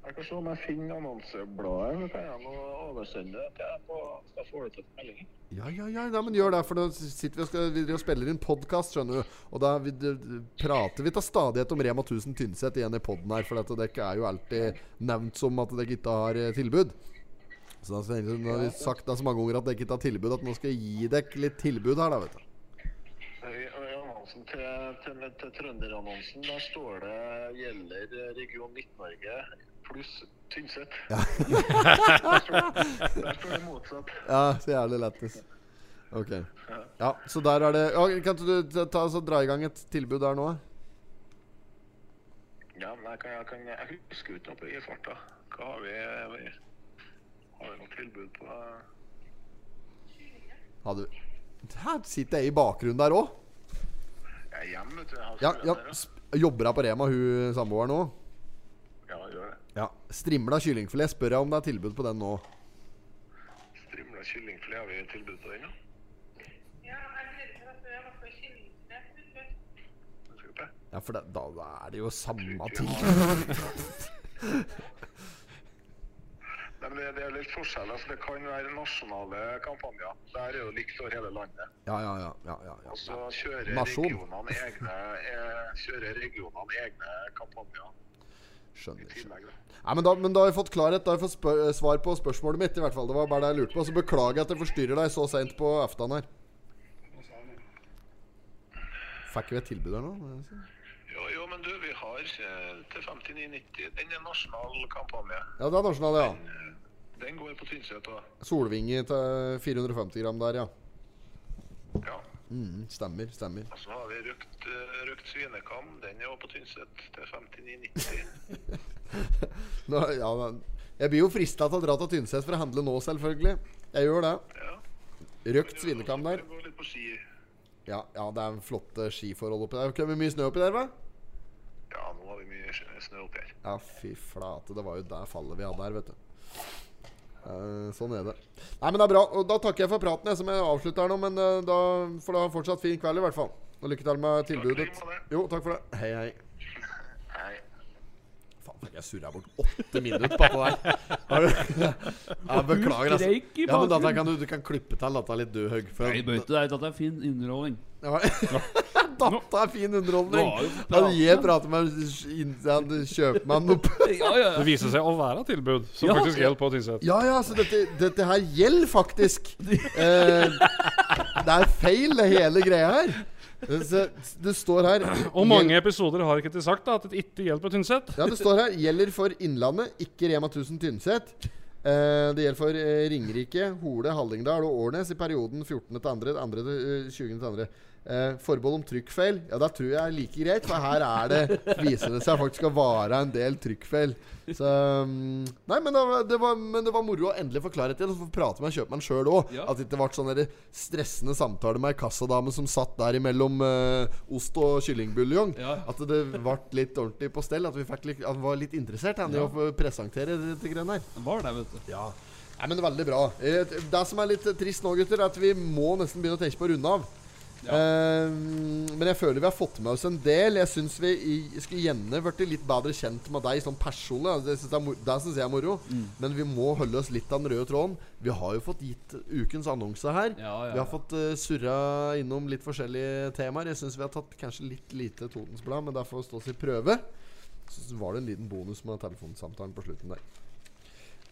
Speaker 8: Jeg kan se om jeg finner annonsebladet. Så kan jeg nå oversende det til deg, på- så får du til meldingen.
Speaker 1: Ja, ja, ja, ja, men gjør det, for nå sitter vi og, skal, vi driver og spiller inn podkast, skjønner du. Og da vi, d- d- prater vi til stadighet om Rema 1000 Tynset igjen i poden her, for at dere er jo alltid nevnt som at dere ikke har eh, tilbud. Så da tenkte jeg, nå har vi sagt det så mange ganger at dere ikke har tilbud, at nå skal jeg gi dere litt tilbud her, da, vet du.
Speaker 8: I i annonsen til, til, til Trønderannonsen der står det gjelder region Midt-Norge pluss Tynset. der, står, der står det motsatt.
Speaker 1: Ja, så jævlig lættis. Ok. Ja, så der er det ja, Kan ikke du ta- ta, så dra i gang et tilbud der nå?
Speaker 8: Ja, men jeg, kan, jeg, kan, jeg husker jo ikke noe på i farta. Hva har vi Har vi noe tilbud på
Speaker 1: Ha du Her sitter jeg i bakgrunnen der òg.
Speaker 8: Jeg er hjemme, vet du. Jeg har
Speaker 1: Ja,
Speaker 8: skrevet
Speaker 1: ja,
Speaker 8: der, ja.
Speaker 1: sp- jobber hun på Rema, hun samboeren òg?
Speaker 8: ja, jeg gjør det.
Speaker 1: Ja. Strimla kyllingfilet. Spør jeg om det er tilbud på den nå.
Speaker 8: Strimla kyllingfilet, har vi tilbud på den, da? Skal vi se.
Speaker 1: Ja, for det, da er det jo samme ting.
Speaker 8: Nei, men det, det er litt forskjell. Altså, det kan være nasjonale kampanjer. Der er det jo likt over hele landet.
Speaker 1: Ja, ja, ja. ja, ja,
Speaker 8: Og
Speaker 1: ja.
Speaker 8: så kjører
Speaker 1: Nasjon.
Speaker 8: regionene egne, eh, kjører regionene egne kampanjer
Speaker 1: Skjønner.
Speaker 8: i
Speaker 1: skjønner.
Speaker 8: tillegg. da.
Speaker 1: Nei, men da, men da har vi fått klarhet. Da har vi fått spør eh, svar på spørsmålet mitt. I hvert fall, Det var bare det jeg lurte på. Så beklager jeg at jeg forstyrrer deg så seint på aftan her. Fikk vi et tilbud her nå? må jeg si?
Speaker 8: Jo, jo, men du, vi har eh, til 59,90. Den er nasjonal kampanje.
Speaker 1: Ja, det er nasjonal, ja.
Speaker 8: Den går på Tynset og
Speaker 1: Solvinge til 450 gram der, ja.
Speaker 8: Ja.
Speaker 1: Mm, stemmer, stemmer.
Speaker 8: Og så har vi røkt, eh, røkt svinekam. Den er også på Tynset til 59,90.
Speaker 1: Nå, ja, men jeg blir jo frista til å dra til Tynset for å handle nå, selvfølgelig. Jeg gjør det.
Speaker 8: Ja.
Speaker 1: Røkt svinekam der.
Speaker 8: Gå litt på ski.
Speaker 1: Ja, ja det er flotte skiforhold oppi der. Kommer mye snø oppi der, hva?
Speaker 8: Ja, nå har vi mye snø- snø oppi her.
Speaker 1: Ja, fy flate. Det var jo der fallet vi hadde her, vet du. Eh, sånn er det. Nei, men det er bra. Og da takker jeg for praten, jeg, som jeg avslutter her nå. Men eh, da får du ha en fortsatt fin kveld, i hvert fall. Og lykke til med tilbudet.
Speaker 8: like måte.
Speaker 1: Jo, takk for det. Hei, hei.
Speaker 8: Nei.
Speaker 1: Faen, fikk jeg surra bort åtte minutter på det der. Har du- Jeg beklager, altså.
Speaker 3: Streik i
Speaker 1: Ja, men dette
Speaker 3: bakgrunnen.
Speaker 1: kan du, du kan klippe til dette litt død høgg. for-
Speaker 3: Nei, bøyte deg ut at det er fin underholdning.
Speaker 1: Ja. Dette er fin underholdning.
Speaker 3: Nå har vi fått
Speaker 1: At
Speaker 3: prate.
Speaker 1: jeg prater med en kjøpmann opp
Speaker 3: Ja, ja,
Speaker 2: Det viser seg å være tilbud som
Speaker 3: Ja.
Speaker 2: faktisk gjelder på Tynset.
Speaker 1: Ja, ja, så dette, dette her gjelder faktisk. Eh, det er feil, det hele greia her. Så det står her
Speaker 2: Og mange episoder har ikke de sagt da, at det ikke gjelder på Tynset.
Speaker 1: Ja, det står her 'Gjelder for Innlandet, ikke Rema 1000 Tynset'. Eh, det gjelder for eh, Ringerike, Hole, Hallingdal og Årnes i perioden 14. til 2., 2. til eh, 20. til 2. Eh, forbehold om trykkfeil. Ja, da tror jeg er like greit, for her er det viser det seg faktisk å være en del trykkfeil. Så mm, Nei, men det, var- det var, men det var moro å endelig få klarhet i det, og få prate med kjøpmannen sjøl òg.
Speaker 3: Ja.
Speaker 1: At det ikke ble sånn der stressende samtale med ei kassadame som satt der imellom eh, ost og kyllingbuljong.
Speaker 3: Ja.
Speaker 1: At det ble litt ordentlig på stell. At vi fikk litt, han var litt interessert han, i å få presentere dette greiene her.
Speaker 3: Den var der, vet du.
Speaker 1: Ja. Nei, men veldig bra. Eh, Det som er litt trist nå, gutter, er at vi må nesten begynne å tenke på å runde av.
Speaker 3: Ja.
Speaker 1: Eh, men jeg føler vi har fått med oss en del. Jeg syns vi i, skulle gjerne blitt litt bedre kjent med deg som personlig. Altså, Det syns jeg, er mor- det synes jeg er moro.
Speaker 3: Mm.
Speaker 1: Men vi må holde oss litt av den røde tråden. Vi har jo fått gitt ukens annonse her.
Speaker 3: Ja, ja,
Speaker 1: Vi
Speaker 3: ja.
Speaker 1: har fått eh, surra innom litt forskjellige temaer. Jeg syns vi har tatt kanskje litt lite Totens Blad, men det får stå sin prøve. Så var det en liten bonus med telefonsamtalen på slutten der.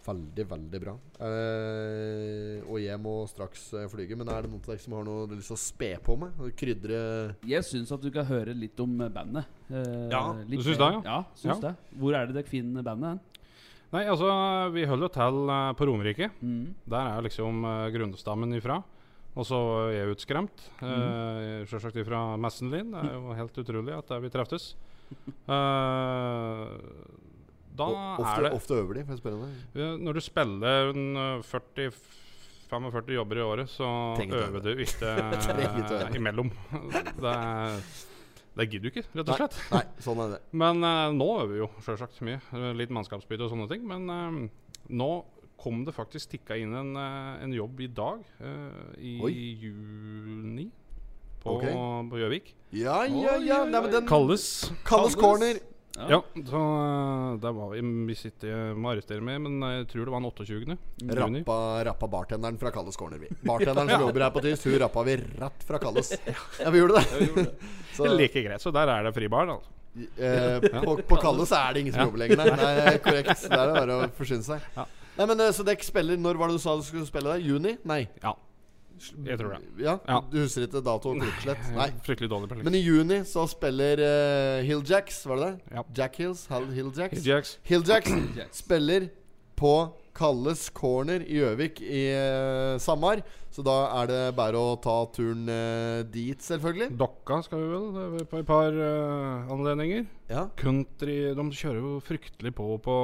Speaker 1: Veldig, veldig bra. Eh, og jeg må straks eh, flyge, men er det noen av dere som har noe lyst til å spe på med? Krydre
Speaker 3: Jeg syns at du kan høre litt om eh, bandet. Eh,
Speaker 2: Ja,
Speaker 3: litt
Speaker 2: du syns
Speaker 3: mer.
Speaker 2: det,
Speaker 3: Ja, syns det. Hvor er det dere finner bandet hen?
Speaker 2: Nei, altså, vi holder jo til eh, på Romerike.
Speaker 3: Mm.
Speaker 2: Der er liksom eh, grunnstammen ifra. Og så er jeg utskremt. Uh,
Speaker 1: Mm.
Speaker 2: Sjølsagt ifra Messenlien. Det er jo helt utrolig at der vi treftes. Eh, da
Speaker 1: O-
Speaker 2: er
Speaker 1: ofte,
Speaker 2: det
Speaker 1: ofte øver de, får jeg spørre deg.
Speaker 2: Ja, Når du spiller en, eh, 40 45 jobber i året, så
Speaker 1: Trenger ikke
Speaker 2: øver du ikke
Speaker 1: Trenger ikke øve.
Speaker 2: eh, imellom. Det, er- det gidder du ikke, rett og slett.
Speaker 1: Nei, sånn er det.
Speaker 2: Men eh, nå øver vi jo sjølsagt mye. Eh, Litt mannskapsbytte og sånne ting. Men eh, nå kom det faktisk tikka inn en, eh, en jobb i dag, eh, i
Speaker 1: Oi.
Speaker 2: juni, på
Speaker 1: Ok.
Speaker 2: på Gjøvik.
Speaker 1: Ja, ja, ja. Nei, men den
Speaker 2: Kalles.
Speaker 1: Kalles corner.
Speaker 2: Ja, så eh, der var vi. Vi sitter jeg må arrestere meg, men eh, jeg tror det var den 28. juni.
Speaker 1: Rappa, rappa bartenderen fra Kalles corner, vi. Bartenderen som jobber her på Tyst, hun rappa vi rett fra Kalles. Ja, vi gjorde det. Så,
Speaker 2: Like greit. Så der er det fribar, altså.
Speaker 1: Eh, på, på Kalle så er det ingen som jobber lenger, nei. nei korrekt. Det er det bare å forsyne seg. Nei, men eh, Så dere spiller Når var det du sa du skulle spille der? Juni? Nei.
Speaker 2: Ja. Jeg tror det.
Speaker 1: Ja,
Speaker 2: Ja.
Speaker 1: Du husker ikke dato og klokkeslett? Nei.
Speaker 2: Fryktelig dårlig på
Speaker 1: Men i juni så spiller eh, Hilljacks, var det det?
Speaker 2: Ja.
Speaker 1: Jack Hills? Hal Hilljacks?
Speaker 2: Jacks.
Speaker 1: Hilljacks spiller på Kalles Corner i Gjøvik i eh, Samar. Så da er det bare å ta turen eh, dit, selvfølgelig.
Speaker 2: Dokka skal vi vel eh, på et par eh, anledninger.
Speaker 1: Ja,
Speaker 2: Country De kjører jo fryktelig på på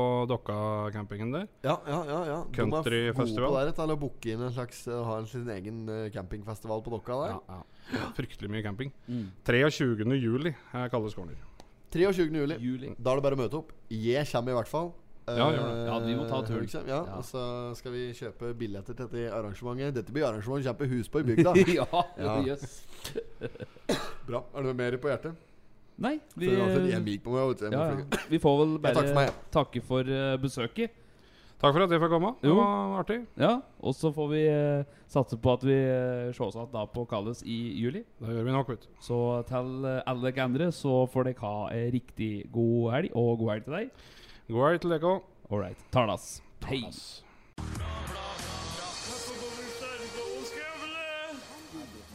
Speaker 2: Dokka-campingen der.
Speaker 1: Ja, ja, ja, ja. De er
Speaker 2: Countryfestival.
Speaker 1: gode på det, til å booke inn en slags eh, Ha en sin egen eh, campingfestival på Dokka der.
Speaker 2: Ja, Mm. ja. Fryktelig mye camping. 23. juli er Kalles corner.
Speaker 1: 23. Juli.
Speaker 3: Juli.
Speaker 1: Da er det bare å møte opp. Jeg kommer i hvert fall.
Speaker 2: Ja, gjør
Speaker 1: Eh,
Speaker 3: Ja, vi må ta turen.
Speaker 1: Henrik kommer, Ja,
Speaker 3: Ja.
Speaker 1: Og så skal vi kjøpe billetter til dette arrangementet. Dette blir arrangement kjempehus på i bygda.
Speaker 3: ja,
Speaker 1: Ja.
Speaker 3: jøss.
Speaker 1: Bra. Er det noe mer på hjertet?
Speaker 3: Nei,
Speaker 1: Vi,
Speaker 3: vi, eh,
Speaker 1: det er en mik på meg, vet du. Jeg må
Speaker 3: ja,
Speaker 1: flyge.
Speaker 3: ja. vi får vel bare
Speaker 1: takk for meg.
Speaker 3: takke for eh, besøket.
Speaker 2: Takk for at jeg fikk komme. Det
Speaker 3: Jo.
Speaker 2: var artig.
Speaker 3: Ja, Og så får vi eh, satse på at vi uh, ses igjen da på Kalles i juli.
Speaker 2: Da gjør vi nok, vet du.
Speaker 3: Så til eh, alle dere andre så får dere ha ei riktig god helg, og god helg til deg.
Speaker 2: God helg til dere òg.
Speaker 3: All right. Tarnas. Hei.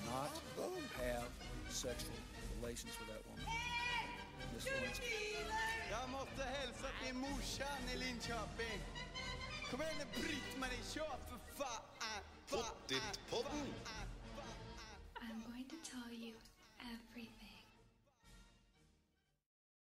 Speaker 5: not have sexual relations with that woman. Miss Lewinsky.
Speaker 4: Jag måste hälsa till morsan i Linköping. Kom igen nu Britt-Marie, kör för fan! Fan, fan, fan, fan.
Speaker 6: I'm going to tell you everything.